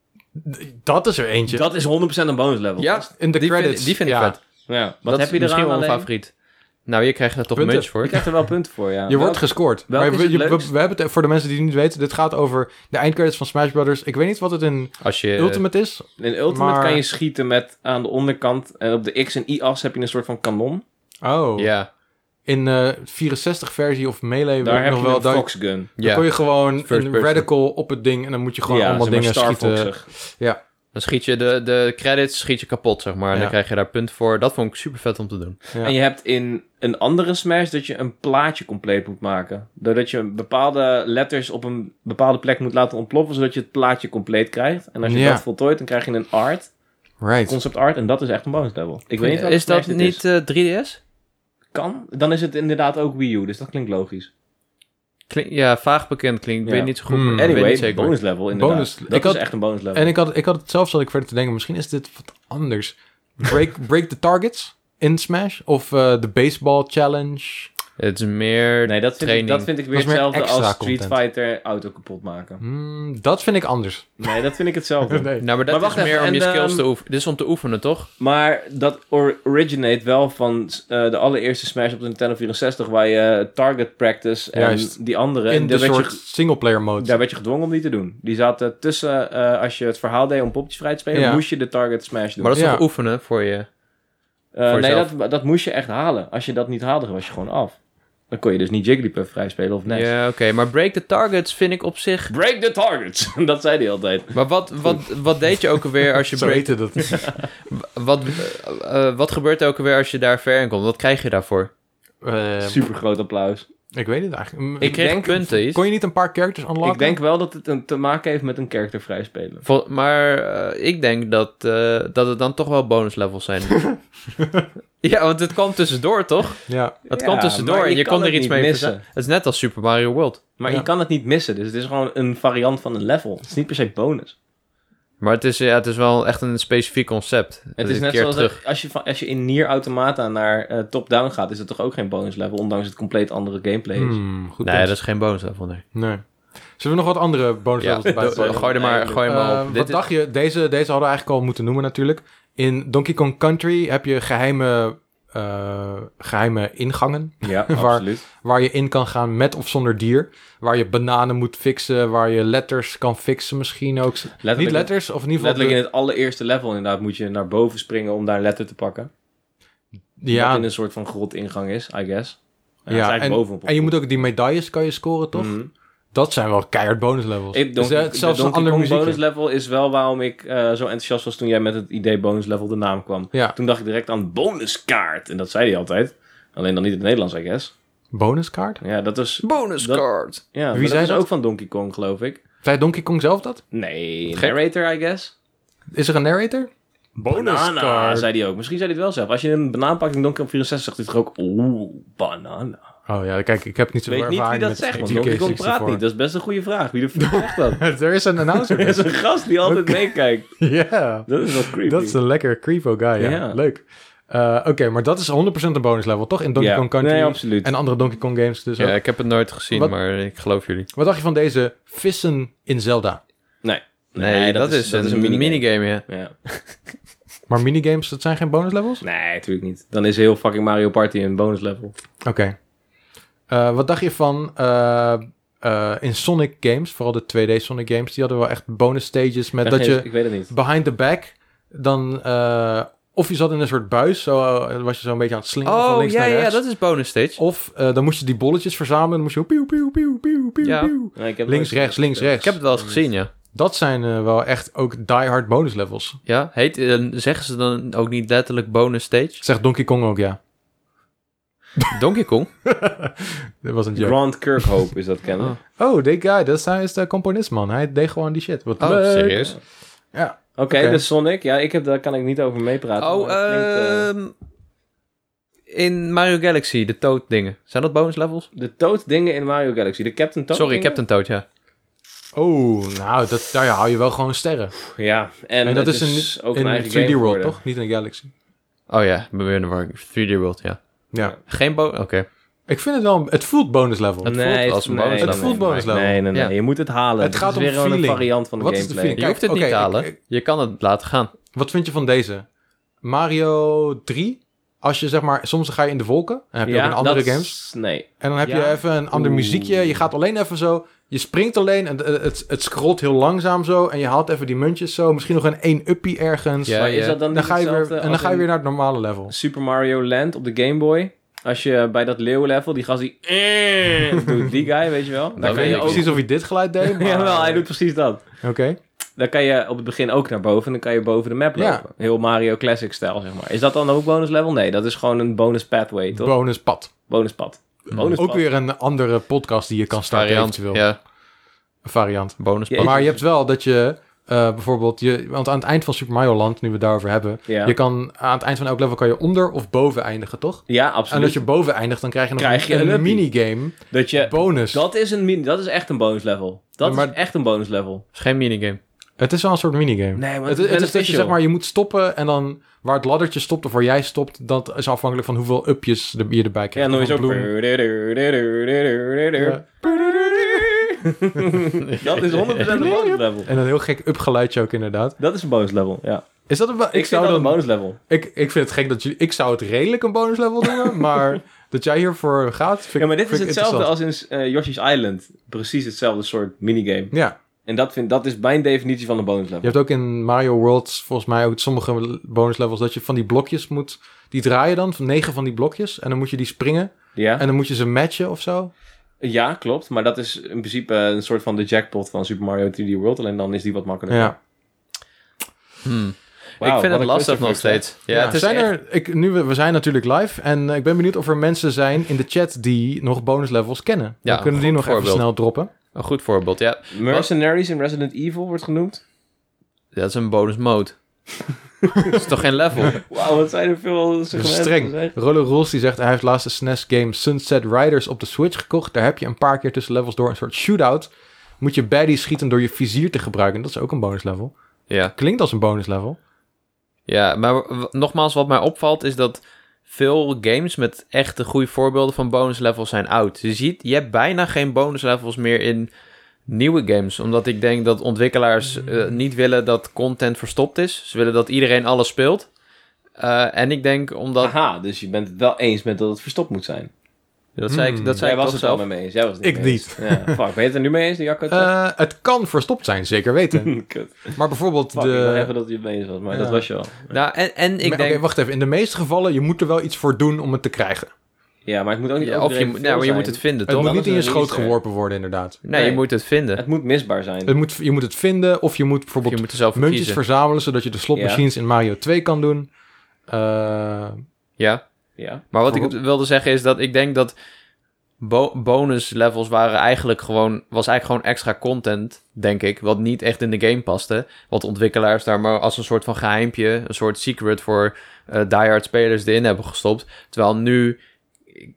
A: Dat is er eentje.
B: Dat is 100% een bonus level.
C: Ja,
A: In de
C: die
A: credits.
C: vind, die vind ik
A: ja.
C: vet.
B: ja. Wat
C: dat
B: heb je
C: is misschien
B: eraan
C: wel
B: alleen?
C: mijn favoriet. Nou, je krijgt er toch
A: Punten.
C: muntjes voor.
B: Je krijgt er wel punten voor, ja. Nou,
A: Je wordt gescoord.
B: welk
A: Maar
B: is
A: we,
B: het
A: je- we-
B: leukst?
A: we hebben het voor de mensen die het niet weten. Dit gaat over de eindcredits van Smash Brothers. Ik weet niet wat het in
C: Als
B: Eh,
C: je...
A: Ultimate is.
B: In Ultimate
A: Maar-
B: kan je schieten met aan de onderkant en op de X- en Y-as heb je een soort van kanon.
A: Oh.
C: Ja,
A: In eh 64 versie of Melee. weet
B: Daar
A: ik
B: heb
A: nog
B: je
A: wel.
B: een
A: Daar,
B: Fox Gun.
A: daar
C: ja.
A: kon je gewoon een
C: person.
A: radical op het ding. En dan moet je gewoon allemaal
B: zeg maar
A: dingen
B: Star
A: schieten.
B: Foxig.
C: Dan schiet je de, de credits schiet je kapot, zeg maar. En
A: Ja.
C: dan krijg je daar punten voor. Dat vond ik super vet om te doen.
A: Ja.
B: En je hebt in een andere Smash dat je een plaatje compleet moet maken. Doordat je bepaalde letters op een bepaalde plek moet laten ontploffen, zodat je het plaatje compleet krijgt. En als je
A: Ja.
B: dat voltooit, dan krijg je een art,
A: Right.
B: concept art, en dat is echt een bonus level. Ik weet niet welke
C: is dat
B: Smash dit
C: niet
B: is.
C: eh, 3DS?
B: kan. Dan is het inderdaad ook Wii U, dus dat klinkt logisch.
C: Klink- ja, vaag bekend klinkt. Ik
B: Ja.
C: weet niet zo goed.
A: Hmm.
C: maar ik weet niet
B: Anyway,
C: zeker.
B: bonus level inderdaad.
A: Bonus-
B: Dat
A: Ik
B: is
A: had-
B: echt een bonus level.
A: En ik had, ik had het zelf, zat ik verder te denken, misschien is dit wat anders. Break, break the targets in Smash? Of eh, de baseball challenge?
C: Het is meer...
B: Nee, dat vind, ik,
C: training.
B: dat vind ik weer
A: Dat is meer
B: hetzelfde
A: extra
B: als Street
A: content.
B: Fighter auto kapot maken.
A: Hmm, dat vind ik anders.
B: Nee, dat vind ik hetzelfde.
C: Nou, maar dat
B: Maar wacht
C: is meer
B: even,
C: om je
B: en,
C: skills
B: ehm,
C: te oefenen. Dit is om te oefenen, toch?
B: Maar dat or- originate wel van eh, de allereerste Smash op de Nintendo 64, waar je target practice en
A: Juist.
B: die andere. en
A: In de
B: daar, werd
A: soort
B: je,
A: singleplayer mode.
B: daar werd je gedwongen om die te doen. Die zaten tussen, eh, als je het verhaal deed om poppetjes vrij te spelen,
A: Ja.
B: moest je de target Smash doen.
C: Maar dat is
A: Ja.
C: toch oefenen voor je...
B: Eh,
C: voor
B: nee,
C: jezelf.
B: dat, dat moest je echt halen. Als je dat niet haalde, was je gewoon af. Dan kon je dus niet Jigglypuff vrij spelen of
C: Ja,
B: Nash.
C: oké. Maar break the targets vind ik op zich...
B: Break the targets! dat zei hij altijd.
C: Maar wat, wat, wat deed je ook alweer als je
A: Zo
C: break...
A: heette dat.
C: Wat, eh, eh, wat gebeurt er ook alweer als je daar ver in komt? Wat krijg je daarvoor?
A: Eh,
B: Super groot applaus.
A: ik weet het eigenlijk. Mm,
C: Ik kreeg
B: denk-
C: punten. iets.
A: Kon je niet een paar characters unlocken?
B: Ik denk wel dat het een, te maken heeft met een character vrij spelen.
C: Vol- maar eh, ik denk dat, eh, dat het dan toch wel bonus levels zijn. ja, want het kwam tussendoor, toch?
A: Ja.
C: Het
B: Ja,
C: kwam tussendoor
B: maar
C: en
B: je
C: je,
B: kan
C: kon er
B: het
C: iets
B: niet
C: mee
B: missen.
C: verza- Het is net als Super Mario World.
B: Maar
A: Ja.
B: je kan het niet missen, dus het is gewoon een variant van een level. Het is niet per se bonus.
C: Maar het is, ja, het is wel echt een specifiek concept.
B: Het is net zoals dat- als je, van, als je in Nier Automata naar eh, top-down gaat, is het toch ook geen bonus level, ondanks het compleet andere gameplay is.
A: Hmm, goed
C: Nee,
A: punt.
C: dat is geen bonus level, nee.
A: Nee. Zullen we nog wat andere bonus
C: Ja,
A: levels erbij
B: dat-
A: pakken?
B: dat-
C: gooi er maar, gooi er maar
A: Eh,
C: op. Dit
A: wat
C: is-
A: dacht je? Deze, deze hadden we eigenlijk al moeten noemen natuurlijk. In Donkey Kong Country heb je geheime, eh, geheime ingangen.
B: Ja,
A: Waar-
B: absoluut.
A: waar je in kan gaan met of zonder dier. Waar je bananen moet fixen, waar je letters kan fixen misschien ook.
B: Letterlijk,
A: Niet letters, of in ieder geval...
B: letterlijk in
A: de-
B: het allereerste level inderdaad moet je naar boven springen om daar een letter te pakken. Wat
A: ja,
B: in een soort van grot ingang is, I guess. Ja, het is
A: ja
B: eigenlijk
A: en,
B: bovenop.
A: en je moet ook die medailles kan je scoren, toch?
B: Mhm.
A: Dat zijn wel keihard bonus levels.
B: Ik,
A: Dus,
B: Donkey,
A: eh, zelfs
B: de
A: een
B: Donkey
A: ander
B: Kong
A: muziek.
B: bonus level is wel waarom ik eh, zo enthousiast was toen jij met het idee bonus level de naam kwam.
A: Ja,
B: Toen dacht ik direct aan bonuskaart. En dat zei hij altijd. Alleen dan niet in het Nederlands, I guess.
A: bonuskaart.
B: Ja, dat is...
C: Bonus
B: Dat-
C: card.
B: Ja, maar
A: Wie
B: dat
A: zei
B: is
A: dat?
B: ook van Donkey Kong, geloof ik.
A: Zei Donkey Kong zelf dat?
B: Nee,
C: Gek.
B: narrator, I guess.
A: Is er een narrator?
B: Banana,
A: Bonuskaart.
B: zei hij ook. Misschien zei hij het wel zelf. Als je een banaan pakt in Donkey Kong 64, zegt hij toch ook... Oeh, banana.
A: Oh ja, kijk, ik heb niet
B: Ik
A: zoveel
B: weet niet wie
A: ervaring
B: dat zegt,
A: met
B: want Donkey Kong praat niet.
A: TK64.
B: Dat is best een goede vraag. Wie de fuck zegt dat?
A: Er is een announcer. dus-
B: Er is een gast die altijd meekijkt.
A: Ja.
B: Dat is wel creepy.
A: Dat is een lekker creepo guy, ja.
B: Ja.
A: Leuk. Eh, Oké, maar dat is 100% een bonus level, toch? In Donkey
B: Ja.
A: Kong Country
B: Nee, absoluut.
A: en andere Donkey Kong games. Dus
C: Ja,
A: ook.
C: ik heb het nooit gezien,
A: Wat-
C: maar ik geloof jullie.
A: Wat dacht je van deze vissen in Zelda?
B: Nee.
C: Nee, dat, is, een, minigame. ja.
B: Ja.
A: Maar minigames, dat zijn geen bonus levels?
B: Nee, natuurlijk niet. Dan is heel fucking Mario Party een bonus level.
A: Oké. Eh, wat dacht je van eh, eh, in Sonic games, vooral de 2D Sonic games, die hadden wel echt bonus stages met
B: Ik
A: dat
B: ben geen-
A: je
B: Ik weet het niet.
A: behind the back dan eh, of je zat in een soort buis, zo eh, was je zo een beetje aan het slingeren van
C: Oh,
A: links
C: ja,
A: naar
C: ja,
A: rechts.
C: dat is bonus stage.
A: Of eh, dan moest je die bolletjes verzamelen, dan moest je pieuw, pieuw, pieuw, pieuw, pieuw,
C: Ja.
A: pieuw.
B: Nee, ik heb
A: Links,
B: nooit-
A: rechts, links, rechts.
C: Ik heb het wel eens gezien, ja.
A: Dat zijn eh, wel echt ook diehard bonus levels.
C: Ja, heet, eh, zeggen ze dan ook niet letterlijk bonus stage?
A: Zegt Donkey Kong ook, ja.
C: Donkey Kong?
A: Dat was een joke.
B: Grant Kirkhope is dat kennen.
C: Oh.
A: Oh, die guy, dat is, hij is de componist, man. Hij deed gewoon die shit. Wat
C: Oh,
A: leuk.
C: serieus?
A: Ja.
B: Oké,
A: Oké.
B: dus Sonic. Ja, ik heb, daar kan ik niet over meepraten.
C: Oh,
B: maar het klinkt, eh,
C: ehm, in Mario Galaxy, de Toad dingen. Zijn dat bonus levels?
B: De Toad dingen in Mario Galaxy. De Captain Toad
C: Sorry,
B: dingen?
C: Captain Toad, ja.
A: Oh, nou, dat, daar hou je wel gewoon sterren.
B: Ja, en,
A: En dat
B: het
A: is, een,
B: ook
A: in
B: een eigen
A: 3D
B: game
A: World,
B: geworden.
A: toch? Niet in de Galaxy.
C: Oh ja, we weer in de war- 3D World, ja.
A: Ja.
C: Geen bonus... Oké.
A: Ik vind het wel... Het voelt bonus level.
C: Het voelt als een
B: nee,
C: bonus
A: level. Het voelt bonus level.
B: Nee, nee, nee.
C: Ja.
B: Je moet het halen.
A: Het
B: Het
A: gaat
B: is
A: om
B: weer gewoon een
A: feeling.
B: variant van de
A: Wat is de
B: gameplay.
A: feeling? Kijk,
C: Je hoeft het
A: oké,
C: niet te
A: ik-
C: halen.
A: ik-
C: Je kan het laten gaan.
A: Wat vind je van deze? Mario 3? Als je zeg maar... Soms ga je in de wolken. En heb je ook in andere
B: dat is-
A: games.
B: Nee.
A: En dan heb
B: Ja.
A: je even een ander
B: Oeh.
A: muziekje. Je gaat alleen even zo. Je springt alleen en eh, het, het scrolt heel langzaam zo. En je haalt even die muntjes zo. Misschien nog een 1 uppie ergens.
C: Ja,
B: maar
C: ja.
B: is dat dan,
A: dan
B: niet
A: ga je weer,
B: hetzelfde
A: en dan
B: als
A: ga je
B: in
A: weer naar het normale level.
B: Super Mario Land op de Game Boy? Als je bij dat leeuwenlevel, die gast die... eh, doet, die guy, weet je wel? Daar
C: Dan
B: kan
A: weet
B: je
A: ik
B: ook...
A: precies of je dit geluid deed. Maar...
B: Jawel, hij doet precies dat.
A: Oké.
B: Dan kan je op het begin ook naar boven en dan kan je boven de map
A: Ja.
B: lopen. Heel Mario Classic stijl, zeg maar. Is dat dan ook bonus level? Nee, dat is gewoon een bonus pathway, toch?
A: Bonus pad.
B: bonus pad. Bonus
A: Ook weer een andere podcast die je kan starten
C: Variant,
A: eventueel.
C: ja.
A: Een variant.
C: Bonus
B: Jezus.
A: Maar je hebt wel dat je eh, bijvoorbeeld... Je, want aan het eind van Super Mario Land, nu we het daarover hebben...
B: Ja,
A: Je kan, aan het eind van elk level kan je onder of boven eindigen, toch?
B: ja
A: En
B: absoluut.
A: als je boven eindigt, dan krijg je nog
B: Krijg je
A: een,
B: een
A: een
B: uppie.
A: minigame
B: dat je
A: bonus.
B: Dat is, een min- dat is echt een bonus level. Dat
A: Ja, maar-
B: is echt een bonus level.
C: is geen minigame.
A: Het is wel een soort minigame.
B: Nee, maar
A: het,
B: het
A: het
B: is
A: is dat je
B: beneficial.
A: zeg maar, je moet stoppen en dan waar het laddertje stopt of waar jij stopt, dat is afhankelijk van hoeveel upjes er, je erbij
B: Ja,
A: krijgt.
B: dan is
A: Van
B: ook...
A: bloem. Ja.
B: Dat is 100% een bonus level.
A: En een heel gek upgeluidje ook inderdaad.
B: Dat is een bonus level, ja.
A: Is dat een, bo-
B: Ik vind dat een bonus level.
A: ik, ik vind het gek dat je, ik zou het redelijk een bonus level noemen, maar dat jij hiervoor gaat, vind ik
B: Ja, maar dit is
A: vind ik
B: hetzelfde
A: interessant.
B: als in eh, Yoshi's Island. Precies hetzelfde soort minigame.
A: Ja,
B: En dat, vind, dat is mijn definitie van een bonus
A: je
B: level.
A: hebt ook in Mario World volgens mij ook sommige bonus levels dat je van die blokjes moet, die draaien dan, van negen van die blokjes, en dan moet je die springen,
B: Ja?
A: en dan moet je ze matchen of zo.
B: ja, klopt. Maar dat is in principe eh, een soort van de jackpot van Super Mario 3D World. Alleen dan is die wat makkelijker.
A: Ja.
B: Wauw,
C: ik vind
B: wat
C: het
B: een
C: lastig nog
B: clusterfuck,
C: steeds. Ja, het is
A: zijn
C: echt-
A: er, ik, nu, we we zijn natuurlijk live en eh, ik ben benieuwd of er mensen zijn in de chat die nog bonus levels kennen.
C: Ja,
A: Dan kunnen
C: een
A: die nog
C: goed
A: even
C: voorbeeld.
A: snel droppen.
C: een goed voorbeeld. Ja,
B: hè? Mercenaries in Resident Evil wordt genoemd.
C: dat is een bonus mode. dat is toch geen level?
B: Wauw, wat zijn er veel
A: Dat
B: segmenten.
A: is streng.
B: zeg.
A: Rollo Rules die zegt, hij heeft laatst de SNES game Sunset Riders op de Switch gekocht. Daar heb je een paar keer tussen levels door een soort shootout. Moet je baddies schieten door je vizier te gebruiken. Dat is ook een bonus level.
C: Ja,
A: Klinkt als een bonus level.
C: ja maar w- nogmaals, wat mij opvalt is dat veel games met echte goede voorbeelden van bonus levels zijn oud. Je ziet, je hebt bijna geen bonus levels meer in nieuwe games. Omdat ik denk dat ontwikkelaars eh,
B: Hmm.
C: niet willen dat content verstopt is. Ze willen dat iedereen alles speelt. Eh, en ik denk omdat...
B: Aha, dus je bent het wel eens met dat het verstopt moet zijn.
C: Dat zei ik,
A: Hmm.
C: dat zei
B: Jij
C: ik
B: was
C: toch
B: het
C: zelf.
B: wel mee eens. Jij was het niet
A: Ik
B: mee eens. Ja, fuck, ben je het er nu mee eens, die Jacco?
A: Eh, het kan verstopt zijn, zeker weten.
B: Kut.
A: Maar bijvoorbeeld
B: Fuck, ik dacht
A: de...
B: even dat je het mee eens was, maar
A: Ja.
B: dat was je al.
C: Nou, en, en ik
A: Maar- Oké,
C: denk...
A: wacht even. In de meeste gevallen, je moet er wel iets voor doen om het te krijgen.
B: Ja, maar het moet ook niet
C: Ja, of je, moet- nou, maar je moet het vinden,
A: Het
C: toch?
A: moet
B: dat
A: niet
B: is
A: in je
B: een
A: schoot
B: release, hè?
A: geworpen worden, inderdaad.
C: Nee,
B: Nee.
C: je moet het vinden.
B: Het moet misbaar zijn.
A: Het moet, je moet het vinden of je moet
C: je
A: bijvoorbeeld
C: moet er zelf voor
A: muntjes
C: kiezen.
A: verzamelen... zodat je de slotmachines in Mario 2 kan doen. Eh,
C: Ja.
B: Ja.
C: Maar wat ik wilde zeggen is dat ik denk dat bo- bonus levels waren eigenlijk gewoon, was eigenlijk gewoon extra content, denk ik, wat niet echt in de game paste. Wat ontwikkelaars daar maar als een soort van geheimpje, een soort secret voor eh diehard spelers erin hebben gestopt. Terwijl nu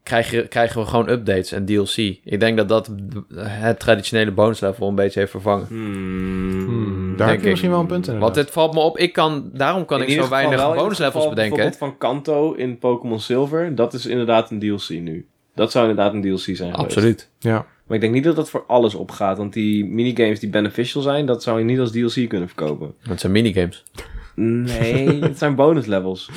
C: krijg je- krijgen we gewoon updates en DLC. Ik denk dat dat het traditionele bonus level een beetje heeft vervangen.
B: Hmm.
A: daar
C: denk
A: heb je
C: ik.
A: misschien wel een punt in.
C: Want het valt me op, ik kan, daarom Hmm, kan ik zo weinig bonus levels bedenken.
B: Bijvoorbeeld van Kanto in Pokémon Silver, dat is inderdaad een DLC nu. Dat zou inderdaad een DLC zijn geweest.
C: Absoluut.
A: Ja. dus-
B: Maar ik denk niet dat dat voor alles opgaat, want die minigames die beneficial zijn, dat zou je niet als DLC kunnen verkopen.
C: Het zijn minigames.
B: Nee, het zijn bonus levels.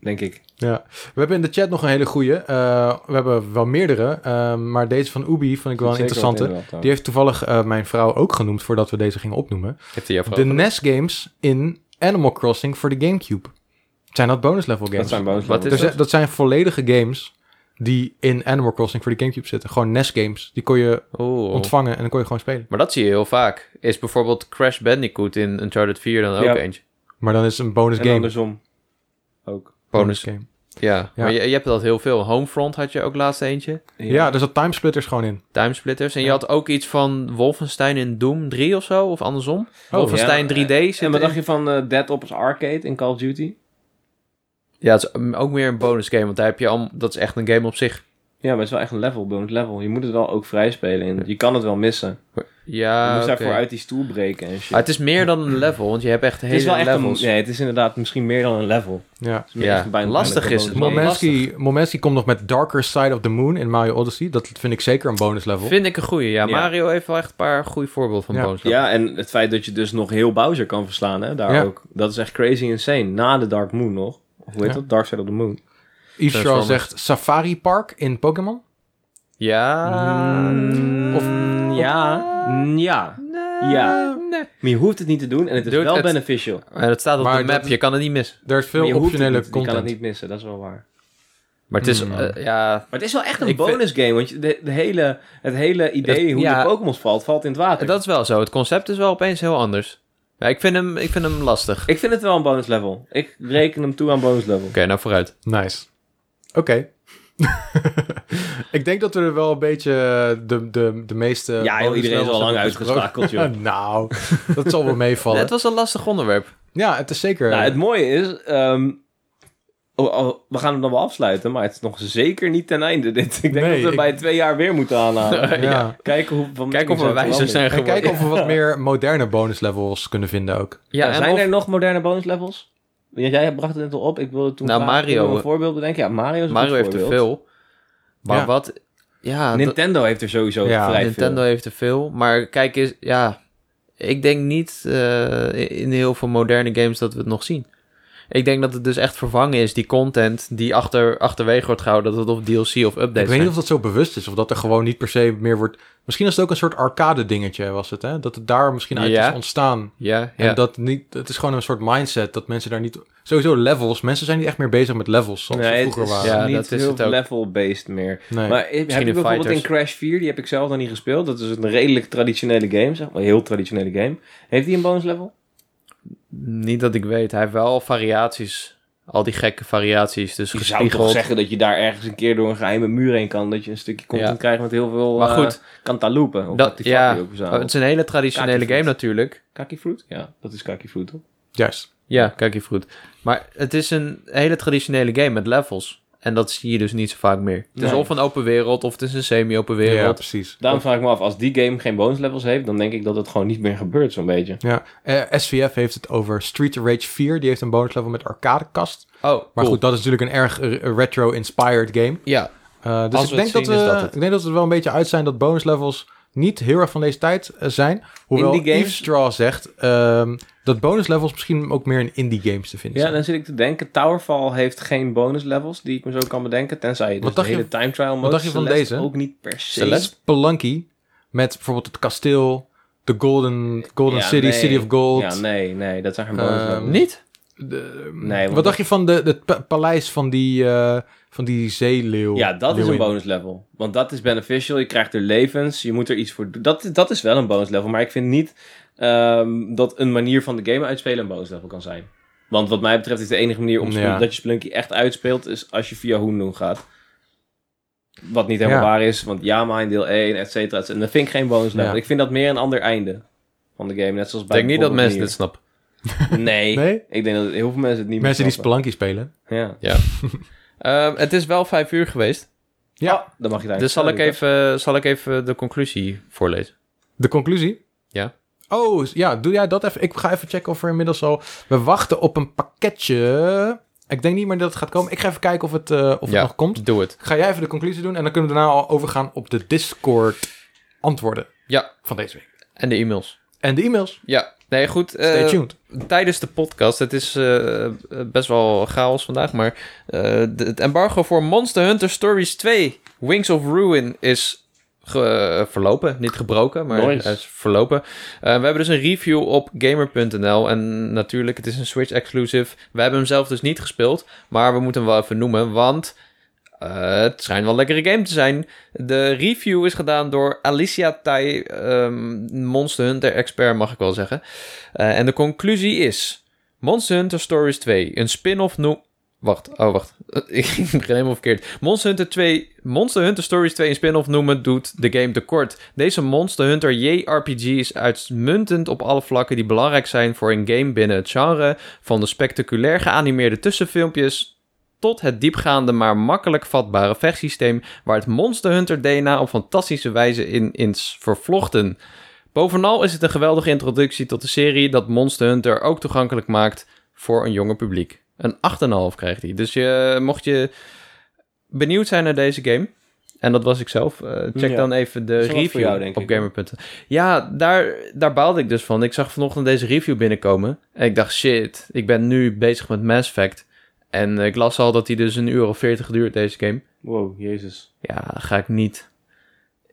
B: Denk ik.
A: Ja, we hebben in de chat nog een hele goeie. Eh, we hebben wel meerdere, eh, maar deze van Ubi vond ik wel een
B: Zeker wat
A: interessante.
B: inderdaad, ja.
A: Die heeft toevallig eh, mijn vrouw ook genoemd voordat we deze gingen opnoemen.
C: Heeft hij jou
A: De NES games in Animal Crossing voor de Gamecube. Zijn dat bonus level games?
B: Dat zijn bonus
C: Wat
B: levels.
A: Er
C: is
A: zijn- dat zijn volledige games die in Animal Crossing voor de Gamecube zitten. Gewoon NES games. Die kon je
C: Oeh.
A: ontvangen en dan kon je gewoon spelen.
C: Maar dat zie je heel vaak. Is bijvoorbeeld Crash Bandicoot in Uncharted 4 dan ook
B: Ja.
C: eentje.
A: Maar dan is het een bonus
B: En
A: game.
B: andersom. Ook.
C: Bonus.
A: game.
C: Ja.
A: Ja.
C: Maar je, je hebt dat heel veel. Homefront had je ook laatst eentje.
A: Ja, er zat timesplitters gewoon in.
C: Timesplitters. En je had ook iets van Wolfenstein in Doom 3 of zo. Of andersom.
A: Oh,
C: Wolfenstein
B: ja.
C: 3D zit
B: En
C: erin.
B: wat dacht je van eh, Dead Ops Arcade in Call of Duty?
C: Ja, het is mm, ook meer een bonus game. Want daar heb je al, dat is echt een game op zich.
B: Ja, maar het is wel echt een level, bonus level. Je moet het wel ook vrij spelen en je kan het wel missen. Je
C: Ja,
B: moest
C: Ah, oké.
B: daarvoor uit die stoel breken en shit.
C: Maar het is meer dan een level. Want je hebt echt
B: het is
C: hele
B: wel echt
C: levels.
B: een... Nee, het is inderdaad misschien meer dan een level. Het
A: Ja.
B: is meer
C: Ja,
B: echt een bijna
C: lastig
B: bijna
C: is het.
B: een bonus level.
A: Momenski, Momenski komt nog met Darker Side of the Moon in Mario Odyssey. Dat vind ik zeker een bonus level.
C: Vind ik een goeie. Ja,
B: Ja.
C: Mario heeft wel echt een paar goede voorbeelden van
A: Ja.
C: bonus.
B: Ja, en het feit dat je dus nog heel Bowser kan verslaan, hè, daar
A: Ja.
B: ook. Dat is echt crazy insane. Na de Dark Moon nog. Of hoe heet
A: Ja.
B: dat? Dark Side of the Moon.
A: Yves Charles
C: Transformers.
A: zegt Safari Park in Pokémon.
C: Ja.
A: Of-
B: Mm, ja. Mm, Ja. Ja. Maar je hoeft het niet te doen en het is
C: Dude,
B: wel
C: het-
B: beneficial.
C: En het staat op
A: Maar
C: de map.
A: dat-
C: Je kan het niet missen.
A: Er is
B: Maar
A: veel
B: je hoeft het
A: optionele
B: niet. Je kan het
A: content.
B: niet missen, dat is wel waar.
C: Maar het is...
A: Hmm.
C: eh, ja,
B: Maar het is wel echt een
C: Ik vind-
B: bonus game, want je- de, de hele, het hele idee
C: Het-
B: hoe
C: ja.
B: de Pokémon valt, valt in het water.
C: Dat is wel zo. Het concept is wel opeens heel anders. Ja, ik, vind hem, ik vind hem lastig. Oké,
B: Ik vind het wel een bonus level. Ik reken hem toe aan bonus level.
C: nou vooruit.
A: Nice. Oké. ik denk dat we er wel een beetje de, de, de meeste...
B: ja, joh,
A: bonus
B: iedereen is al
A: levels
B: lang
A: hebben besproken.
B: uitgeschakeld, joh.
A: nou, dat zal wel meevallen.
C: Het was een lastig onderwerp.
A: Ja, het is zeker...
B: Nou, het mooie is, ehm, oh, oh, we gaan hem dan wel afsluiten, maar het is nog zeker niet ten einde dit. Ik denk
A: Nee,
B: dat we
A: ik-
B: bij twee jaar weer moeten aanhalen.
A: ja.
B: Kijken hoe van
C: Kijk of we wijzer zijn
A: En
C: geworden.
A: kijken of we wat meer moderne bonus levels kunnen vinden ook.
C: Ja, en
B: zijn
C: of-
B: er nog moderne bonus levels? Ja, jij bracht het net al op. Ik wilde toen
C: Nou,
B: vragen, kun je
C: Mario-
B: een voorbeeld bedenken. Ja, Mario is een
C: Mario
B: goed
C: heeft er
B: voorbeeld.
C: veel. Maar
A: Ja.
C: wat... Ja, dat-
B: Nintendo heeft er sowieso
A: Ja.
B: vrij
C: Nintendo
B: veel.
C: heeft er veel. Maar kijk eens... Ja, ik denk niet eh, in heel veel moderne games dat we het nog zien. Ik denk dat het dus echt vervangen is, die content die achter, achterwege wordt gehouden, dat het of DLC of updates
A: ik weet niet
C: zijn.
A: of dat zo bewust is, of dat er gewoon niet per se meer wordt... Misschien is het ook een soort arcade dingetje, was het, hè? Dat het daar misschien uit
C: Ja.
A: is ontstaan.
C: Ja,
A: En
C: ja.
A: dat niet, het is gewoon een soort mindset dat mensen daar niet... Sowieso levels, mensen zijn niet echt meer bezig met levels zoals ze
B: Nee, het
A: vroeger
B: is
A: waren.
C: Ja,
B: niet
C: dat is
B: heel
C: het ook.
B: level-based meer.
A: Nee.
B: Maar heb je
C: in
B: bijvoorbeeld in
C: Fighters.
B: Crash 4, die heb ik zelf nog niet gespeeld. Dat is een redelijk traditionele game, zeg maar. Een heel traditionele game. Heeft die een bonus level?
C: Niet dat ik weet. Hij heeft wel variaties. Al die gekke variaties. Dus
B: Je zou toch
C: gespiegeld.
B: zeggen dat je daar ergens een keer door een geheime muur heen kan. Dat je een stukje content
C: Ja.
B: krijgt met heel veel
C: Maar goed,
B: eh, kantaloupen. Of
C: dat,
B: wat die
C: ja,
B: fuck die ook
C: Oh, het
B: verzamelt.
C: is een hele traditionele
B: Kakifruit.
C: game natuurlijk.
B: Kaki Fruit? Ja, dat is Kaki Fruit, toch?
A: Juist.
C: Ja, kijk je goed. Maar het is een hele traditionele game met levels. En dat zie je dus niet zo vaak meer. Het is
B: Nee.
C: of een open wereld, of het is een semi-open
A: Ja,
C: wereld.
A: precies.
B: Daarom vraag ik me af, als die game geen bonus levels heeft, dan denk ik dat het gewoon niet meer gebeurt, zo'n beetje.
A: Ja. Eh, SVF heeft het over Street Rage 4. Die heeft een bonus level met arcadekast.
C: Oh,
A: Maar
C: cool.
A: goed, dat is natuurlijk een erg eh, retro-inspired game.
C: Ja,
A: Eh, dus
C: Als
A: ik
C: we
A: denk,
C: het
A: dat
C: zien,
A: we,
C: is dat het.
A: ik denk dat we er wel een beetje uit zijn dat bonus levels niet heel erg van deze tijd eh, zijn. Hoewel
B: Indie games?
A: Yves Straw zegt ehm, dat bonus levels misschien ook meer in indie games te vinden
B: Ja,
A: zijn.
B: dan zit ik te denken, Towerfall heeft geen bonus levels, die ik me zo kan bedenken. Tenzij je
A: Wat
B: dus
A: dacht
B: de hele
A: je-
B: time trial mode...
A: dacht je van
B: Celeste
A: deze?
B: Ook niet per se.
C: Celeste?
A: Spelunky met bijvoorbeeld het kasteel, de Golden, Golden
B: Ja,
A: City,
B: nee.
A: City of Gold.
B: Ja, nee, nee, dat zijn geen bonus
A: Ehm,
B: levels.
C: niet?
A: de-
B: Nee, want
A: wat dacht je van de, het pa- paleis van die, eh, van die zeeleeuw?
B: Ja, dat is een
A: leeuwin?
B: bonus level. Want dat is beneficial. Je krijgt er levens. Je moet er iets voor doen. Dat, dat is wel een bonus level. Maar ik vind niet ehm, dat een manier van de game uitspelen een bonus level kan zijn. Want wat mij betreft is de enige manier om Spelun-
A: Ja.
B: dat je Spelunky echt uitspeelt... is als je via Hoendoen gaat. Wat niet helemaal
A: Ja.
B: waar is. Want Yama in deel 1, et cetera. et cetera. En dat vind ik geen bonus level.
A: Ja.
B: Ik vind dat meer een ander einde van de game. Net zoals
C: Ik
B: bij
C: denk niet dat mensen dit
B: bijvoorbeeld
C: snappen.
B: Nier. Nee.
A: Nee?
B: Ik denk dat heel veel mensen het niet
A: Mensen die
B: meer Oh, snappen.
A: Spelunky spelen.
B: Ja.
C: Ehm, het is wel vijf uur geweest.
A: Ja.
B: Ah, dan mag je daar
C: Dus zal ik, even, zal ik even de conclusie voorlezen?
A: De conclusie?
C: Ja.
A: Oh, s- ja, doe jij dat even? Ik ga even checken of er inmiddels al... We wachten op een pakketje. Ik denk niet meer dat het gaat komen. Ik ga even kijken of het, eh, of
C: Ja.
A: het nog komt.
C: Doe het.
A: Ga jij even de conclusie doen en dan kunnen we daarna al overgaan op de Discord antwoorden
C: Ja.
A: van deze week.
C: En de e-mails.
A: En de e-mails.
C: Ja. Nee, goed. eh,
A: Stay tuned.
C: tijdens de podcast. Het is eh, eh, best wel chaos vandaag, maar eh, de- het embargo voor Monster Hunter Stories 2 Wings of Ruin is ge- verlopen. Niet gebroken, maar
B: Nice.
C: hij is verlopen. Eh, we hebben dus een review op gamer.nl en natuurlijk, het is een Switch exclusive. We hebben hem zelf dus niet gespeeld, maar we moeten hem wel even noemen, want... eh, het schijnt wel een lekkere game te zijn. De review is gedaan door Alicia Tai, ehm, Monster Hunter expert mag ik wel zeggen. Eh, en de conclusie is: Monster Hunter Stories 2, een spin-off no Wacht, oh wacht. ik begin helemaal verkeerd. Monster Hunter 2, Monster Hunter Stories 2 een spin-off noemen doet de game tekort. Deze Monster Hunter JRPG is uitmuntend op alle vlakken die belangrijk zijn voor een game binnen het genre. Van de spectaculair geanimeerde tussenfilmpjes tot het diepgaande maar makkelijk vatbare vechtsysteem waar het Monster Hunter DNA op fantastische wijze in is vervlochten. Bovenal is het een geweldige introductie tot de serie dat Monster Hunter ook toegankelijk maakt voor een jonger publiek. Een 8,5 krijgt hij. Dus je, mocht je benieuwd zijn naar deze game, en dat was ik zelf, eh, check
B: Ja.
C: dan even de
B: Is wel wat voor
C: review
B: jou, denk
C: op
B: ik.
C: gamer.nl. Ja, daar, daar baalde ik dus van. Ik zag vanochtend deze review binnenkomen en ik dacht, shit, ik ben nu bezig met Mass Effect. En eh, ik las al dat hij dus een uur of 40 duurt, deze game.
B: Wow, jezus.
C: Ja, ga ik niet.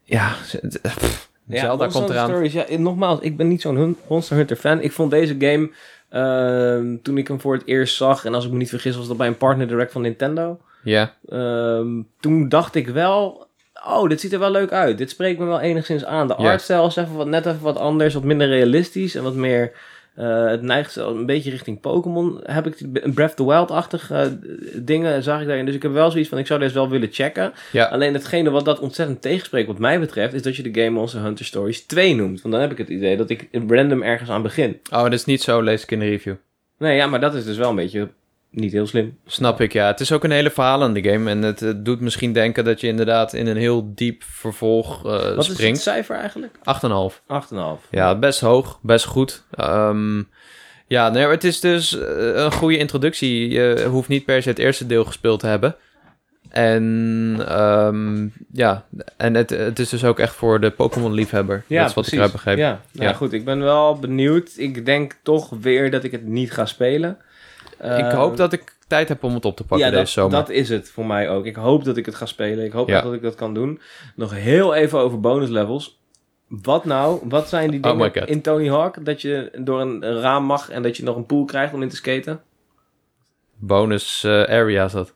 C: Ja, z- pff, Zelda
B: Monster
C: komt
B: Hunter
C: eraan.
B: Stories, ja, eh, nogmaals, ik ben niet zo'n hun- Monster Hunter fan. Ik vond deze game, ehm, toen ik hem voor het eerst zag... en als ik me niet vergis was dat bij een partner direct van Nintendo...
C: Ja,
B: ehm, toen dacht ik wel... Oh, dit ziet er wel leuk uit. Dit spreekt me wel enigszins aan. De
C: Ja.
B: artstijl is even wat, net even wat anders, wat minder realistisch... en wat meer... eh, het neigt zo een beetje richting Pokémon. Heb ik die- een Breath of the Wild-achtige eh, dingen zag ik daarin. Dus ik heb wel zoiets van, ik zou deze wel willen checken.
C: ja.
B: Alleen hetgene wat dat ontzettend tegenspreekt, wat mij betreft, is dat je de game Monster Hunter Stories 2 noemt. Want dan heb ik het idee dat ik random ergens aan begin.
C: Oh, dat is niet zo, lees ik in de review.
B: Nee, ja, maar dat is dus wel een beetje niet heel slim.
C: Snap ik, ja. Het is ook een hele verhalende game. En het, eh, doet misschien denken dat je inderdaad in een heel diep vervolg eh,
B: Wat is het
C: springt.
B: cijfer eigenlijk?
C: 8,5.
B: 8,5.
C: Ja, best hoog, best goed. Ehm, ja, nee, maar het is dus eh, een goede introductie. Je hoeft niet per se het eerste deel gespeeld te hebben. En ehm, ja, en het, het is dus ook echt voor de Pokémon-liefhebber. dat is wat ik eruit begreep.
B: Ja, nou
C: Ja.
B: goed, ik ben wel benieuwd. Ik denk toch weer dat ik het niet ga spelen.
C: ik
B: Eh,
C: hoop dat ik tijd heb om het op te pakken
B: ja,
C: deze
B: dat,
C: zomer.
B: dat is het voor mij ook. Ik hoop dat ik het ga spelen. Ik hoop
C: Ja.
B: echt dat ik dat kan doen. Nog heel even over bonus levels. Wat nou? Wat zijn die
C: Oh
B: dingen
C: my God.
B: in Tony Hawk? Dat je door een een raam mag en dat je nog een pool krijgt om in te skaten?
C: Bonus eh, area is dat.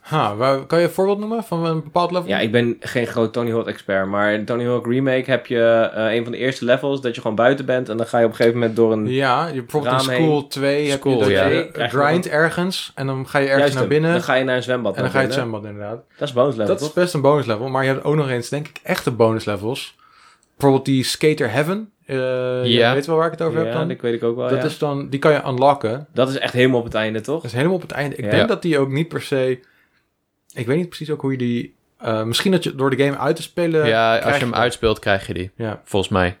A: Ha, waar, kan je een voorbeeld noemen van een bepaald level?
B: Ja, ik ben geen groot Tony Hawk expert. Maar in Tony Hawk Remake heb je eh, een van de eerste levels dat je gewoon buiten bent. En dan ga je op een gegeven moment door een...
A: Ja, je, bijvoorbeeld
B: Raam
A: in School 2 heb
C: School,
A: je dat
C: ja.
A: je
B: Krijg je
A: grind ergens en dan ga je ergens
B: Juist
A: naar
B: hem.
A: binnen
B: Dan ga je naar een zwembad.
A: en dan ga je het
B: binnen.
A: zwembad inderdaad.
B: Dat is bonus level,
A: Dat is
B: toch?
A: best een bonus level, maar je hebt ook nog eens, denk ik, echte bonus levels. Bijvoorbeeld die Skater Heaven. Eh
C: Ja. oh,
A: Je weet wel waar ik het over
B: ja,
A: heb dan.
B: dat weet ik ook wel,
A: dat
B: ja.
A: is dan, die kan je unlocken.
B: dat is echt helemaal op het einde, toch?
A: Dat is helemaal op het einde. Ik
B: Ja.
A: denk dat die ook niet per se... Ik weet niet precies ook hoe je die... eh, misschien dat je door de game uit te
B: Eh,
A: spelen...
C: ja, als
A: krijg
C: je hem
A: dat.
C: uitspeelt krijg je die.
A: Ja.
C: Volgens mij.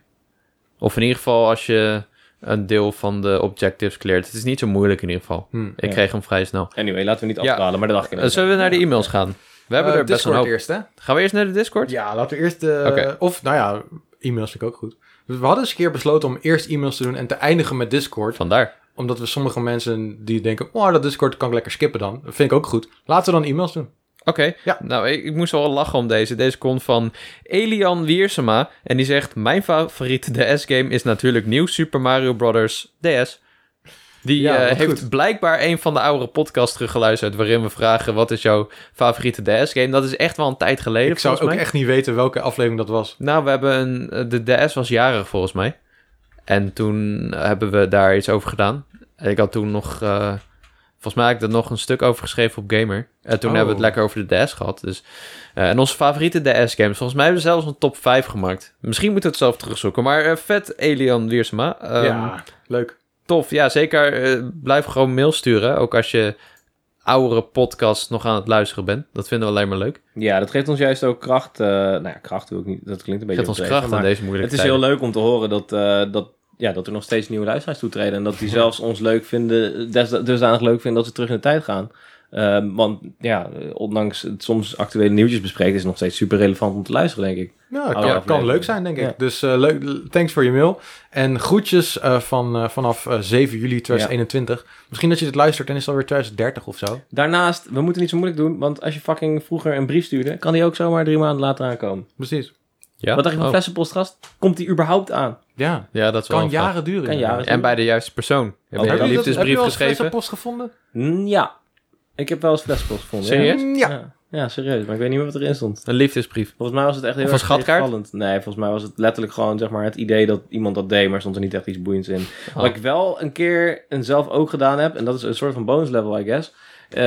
C: Of in ieder geval als je een deel van de objectives cleart. Het is niet zo moeilijk in ieder geval.
A: Hm.
C: Ik
B: Hmm, Ja.
C: kreeg hem vrij snel.
B: Anyway, laten we niet
C: Ja.
B: afdwalen, maar dat dacht ik
C: Eh, Zullen we naar de e-mails gaan? We hebben
A: Eh,
C: er best wel een
A: Discord
C: hoop.
A: eerst, hè?
C: Gaan we eerst naar de Discord?
A: Ja, laten we eerst de...
C: Oké.
A: Of, nou ja, e-mails vind ik ook goed. We hadden eens een keer besloten om eerst e-mails te doen en te eindigen met Discord.
C: Vandaar.
A: Omdat we sommige mensen die denken... Oh, dat Discord kan ik lekker skippen dan. Dat vind ik ook goed. Laten we dan e-mails doen.
C: Oké,
A: Ja.
C: nou ik, ik moest wel lachen om deze. Deze komt van Elian Wiersema en die zegt... Mijn favoriete DS-game is natuurlijk nieuw Super Mario Bros. DS. Die
A: Ja,
C: eh,
A: wat
C: heeft
A: goed.
C: blijkbaar een van de oudere podcasts teruggeluisterd... waarin we vragen wat is jouw favoriete DS-game. Dat is echt wel een tijd geleden
A: Ik zou
C: volgens
A: ook
C: mij.
A: echt niet weten welke aflevering dat was.
C: Nou, we hebben een... eh, De DS was jarig volgens mij. En toen hebben we daar iets over gedaan. En Ik had toen nog... eh, volgens mij had ik er nog een stuk over geschreven op Gamer. En toen
A: Oh.
C: hebben we het lekker over de DS gehad. Dus, eh, en onze favoriete DS-games. Volgens mij hebben we zelfs een top 5 gemaakt. Misschien moeten we het zelf terugzoeken. Maar eh, vet Elian Wiersema. Ehm,
A: ja, leuk.
C: Tof, ja zeker. Eh, blijf gewoon mail sturen. Ook als je oudere podcasts nog aan het luisteren bent. Dat vinden we alleen maar leuk.
B: Ja, dat geeft ons juist ook kracht. eh, nou ja, kracht wil ik niet. Dat klinkt een beetje
C: Geeft ons
B: overdreven,
C: kracht
B: maar
C: aan deze moeilijke
B: Het is heel
C: tijden.
B: leuk om te horen dat, eh, dat, ja, dat er nog steeds nieuwe luisteraars toetreden. En dat die zelfs ons leuk vinden, des, dusdanig leuk vinden dat ze terug in de tijd gaan. Ehm, want ja, eh, ondanks het soms actuele nieuwtjes bespreken, is het nog steeds super relevant om te luisteren, denk ik.
A: Ja,
B: Oude
A: kan, kan
B: aflevering.
A: leuk zijn, denk ik.
B: Ja.
A: Dus eh, leuk, thanks voor je mail. En groetjes eh, van, eh, vanaf eh, 7 juli 2021. Misschien dat je dit luistert en is het alweer 2030 of zo.
B: Daarnaast, we moeten niet zo moeilijk doen, want als je fucking vroeger een brief stuurde, kan die ook zomaar drie maanden later aankomen.
A: Precies.
C: Ja?
B: Wat dacht je van
C: Oh,
B: flessenpost, gast? Komt die überhaupt aan?
A: Ja,
C: Ja, dat is wel
A: kan
C: een vraag.
A: jaren duren.
B: Kan jaren.
C: En bij de juiste persoon. Heb je
B: Heb
C: een
A: Hebben jullie dat- hebben
C: liefdesbrief
A: jullie al eens
C: geschreven?
A: flessenpost gevonden?
B: Mm, ja, ik heb wel eens flessenpost gevonden. ja.
C: Serieus?
A: Ja.
B: Ja. ja, serieus, maar ik weet niet meer wat erin stond.
C: Een liefdesbrief.
B: Volgens mij was het echt heel
C: Of
B: erg
C: een schatkaart?
B: tegenvallend. Nee, volgens mij was het letterlijk gewoon zeg maar, het idee dat iemand dat deed, maar stond er niet echt iets boeiends in.
C: Oh.
B: Wat ik wel een keer en zelf ook gedaan heb, en dat is een soort van bonus level, I guess. Eh,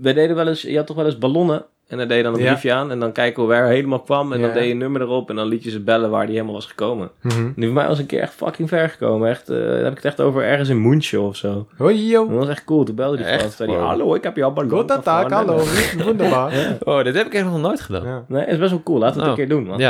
B: we deden wel eens, je had toch wel eens ballonnen. En daar deed je dan een
A: Ja.
B: briefje aan. En dan kijken we waar hij helemaal kwam. En
A: Ja.
B: dan deed je een nummer erop. En dan liet je ze bellen waar die helemaal was gekomen.
A: Mhm.
B: Nu voor mij was een keer echt fucking ver gekomen. Echt, eh, dan heb ik het echt over ergens in Moensje of zo.
A: Hoi,
B: Dat
A: yo.
B: was echt cool. Toen belde die
C: Echt?
B: gast. Zei die,
C: Wow.
B: hallo, ik heb jouw ballon.
A: Guten Tag, hallo.
B: gewonnen."
A: Wunderbar.
C: Oh, dit heb ik echt nog nooit gedaan. Ja.
A: Ja.
B: Nee, is best wel cool. Laten we het
C: Oh.
B: een keer doen, man.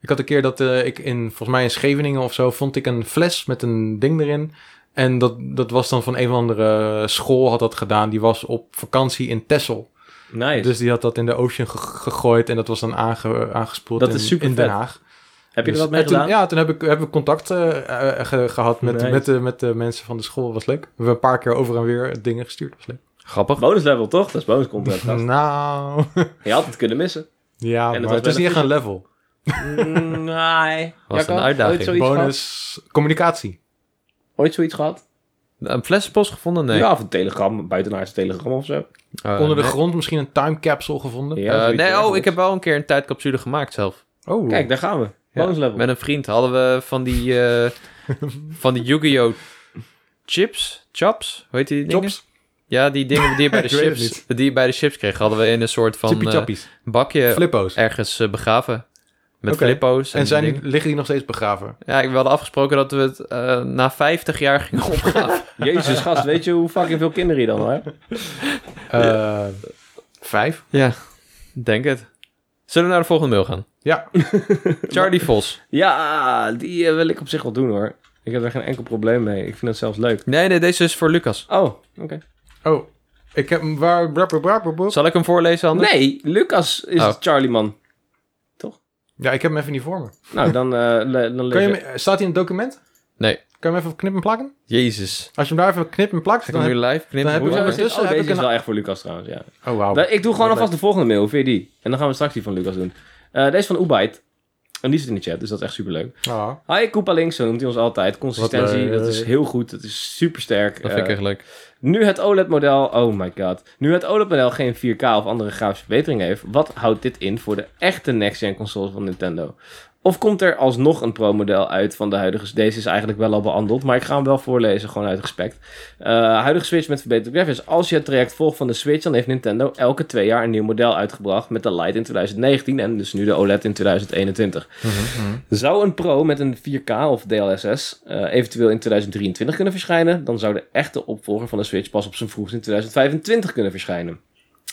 A: Ik had een keer dat eh, ik in, volgens mij in Scheveningen of zo, vond ik een fles met een ding erin. En dat, dat was dan van een of andere school had dat gedaan. Die was op vakantie in Texel.
B: Nice.
A: Dus die had dat in de ocean ge- gegooid en dat was dan aange- aangespoeld
B: Dat
A: in,
B: is super
A: in Den
B: vet.
A: Haag.
B: heb je er
A: Dus-
B: wat mee
A: en toen-
B: gedaan?
A: Ja, toen heb ik, heb ik contact eh, eh, ge- gehad met,
B: Nice.
A: met, de, met de mensen van de school. was leuk. We hebben een paar keer over en weer dingen gestuurd. was leuk.
C: Grappig.
B: Bonus level, toch? Dat is bonus content. gast.
A: Nou,
B: Je had het kunnen missen.
A: ja,
B: het
A: maar
B: was
A: het is
B: bij
A: niet
B: de
A: echt een level.
B: nee.
C: Was een uitdaging.
B: Ooit zoiets, gehad?
A: Bonus communicatie.
B: ooit zoiets gehad?
C: Een flessenpost gevonden? Nee.
B: Ja, of een telegram, buitenaardse telegram of zo.
C: Eh,
A: Onder de
C: nee.
A: grond misschien een time capsule gevonden.
B: Oh, Ja,
C: Eh,
B: zoiets
C: nee, oh,
B: dergelijks.
C: ik heb wel een keer een tijdcapsule gemaakt zelf.
A: Oh,
B: Kijk, daar gaan we.
C: Ja,
B: Bonus level.
C: Met een vriend hadden we van die, eh, van die Yu-Gi-Oh! chips, chops, hoe heet die dingen?
A: jobs.
C: Ja, die dingen die je bij de
A: Ik weet het
C: chips, die je bij de chips kreeg, hadden we in een soort van
A: Chippy
C: eh,
A: chappies.
C: bakje
A: Flippo's.
C: ergens eh, begraven. Met
A: Oké.
C: flippo's. En,
A: En zijn, die-
C: dingen.
A: liggen die nog steeds begraven?
C: Ja, ik- we hadden afgesproken dat we het eh, na 50 jaar gingen opgraven.
B: Jezus, gast, weet je hoe fucking veel kinderen je dan hebt?
A: Eh, vijf?
C: ja, denk het. Zullen we naar de volgende mail gaan?
A: Ja.
C: Charlie Vos.
B: Ja, die eh, wil ik op zich wel doen hoor. Ik heb er geen enkel probleem mee. Ik vind dat zelfs leuk.
C: Nee, nee, deze is voor Lucas.
B: Oh, oké.
A: Oh, ik heb hem waar... brap, brap, brap, brap.
C: Zal ik hem voorlezen, Anders?
B: Nee, Lucas is
C: Oh.
B: het Charlie man.
A: Ja, ik heb hem even niet voor me.
B: Nou, dan, eh le- dan lees
A: Kan je
B: je-
A: hem- eh, staat hij in het document?
C: Nee.
A: Kan je hem even knip en plakken?
C: Jezus.
A: Als je hem daar even knip en plakt,
C: Ga ik
A: dan
C: hem
A: heb
C: nu live knippen?
A: dan heb ik
C: Hoe
A: wel
C: lang
A: eens-
C: is-
A: Ondertussen
B: oh,
A: heb
B: deze
A: ik
B: is
A: een-
B: wel echt voor Lucas trouwens, ja.
A: Oh, wauw.
B: Wel, Ik doe gewoon
A: Wat
B: alvast de volgende mail, vind je die? En dan gaan we straks die van Lucas doen. Eh, deze is van Ubyte. En die zit in de chat, dus dat is echt superleuk.
A: Ah.
B: Hi, Koepa Links, zo noemt hij ons altijd. Consistentie,
A: Wat leuk.
B: dat is heel goed. Dat is supersterk.
C: Dat vind ik
B: Eh,
C: echt leuk.
B: nu het OLED-model, oh my god. Nu het OLED-model geen 4K of andere grafische verbetering heeft, wat houdt dit in voor de echte next-gen consoles van Nintendo? Of komt er alsnog een Pro-model uit van de huidige... Deze is eigenlijk wel al behandeld, maar ik ga hem wel voorlezen, gewoon uit respect. Eh, huidige Switch met verbeterde graphics. Als je het traject volgt van de Switch, dan heeft Nintendo elke twee jaar een nieuw model uitgebracht... met de Lite in 2019 en dus nu de OLED in 2021. Zou een Pro met een 4K of DLSS eh, eventueel in 2023 kunnen verschijnen, dan zou de echte opvolger van de Switch pas op zijn vroegst in 2025 kunnen verschijnen.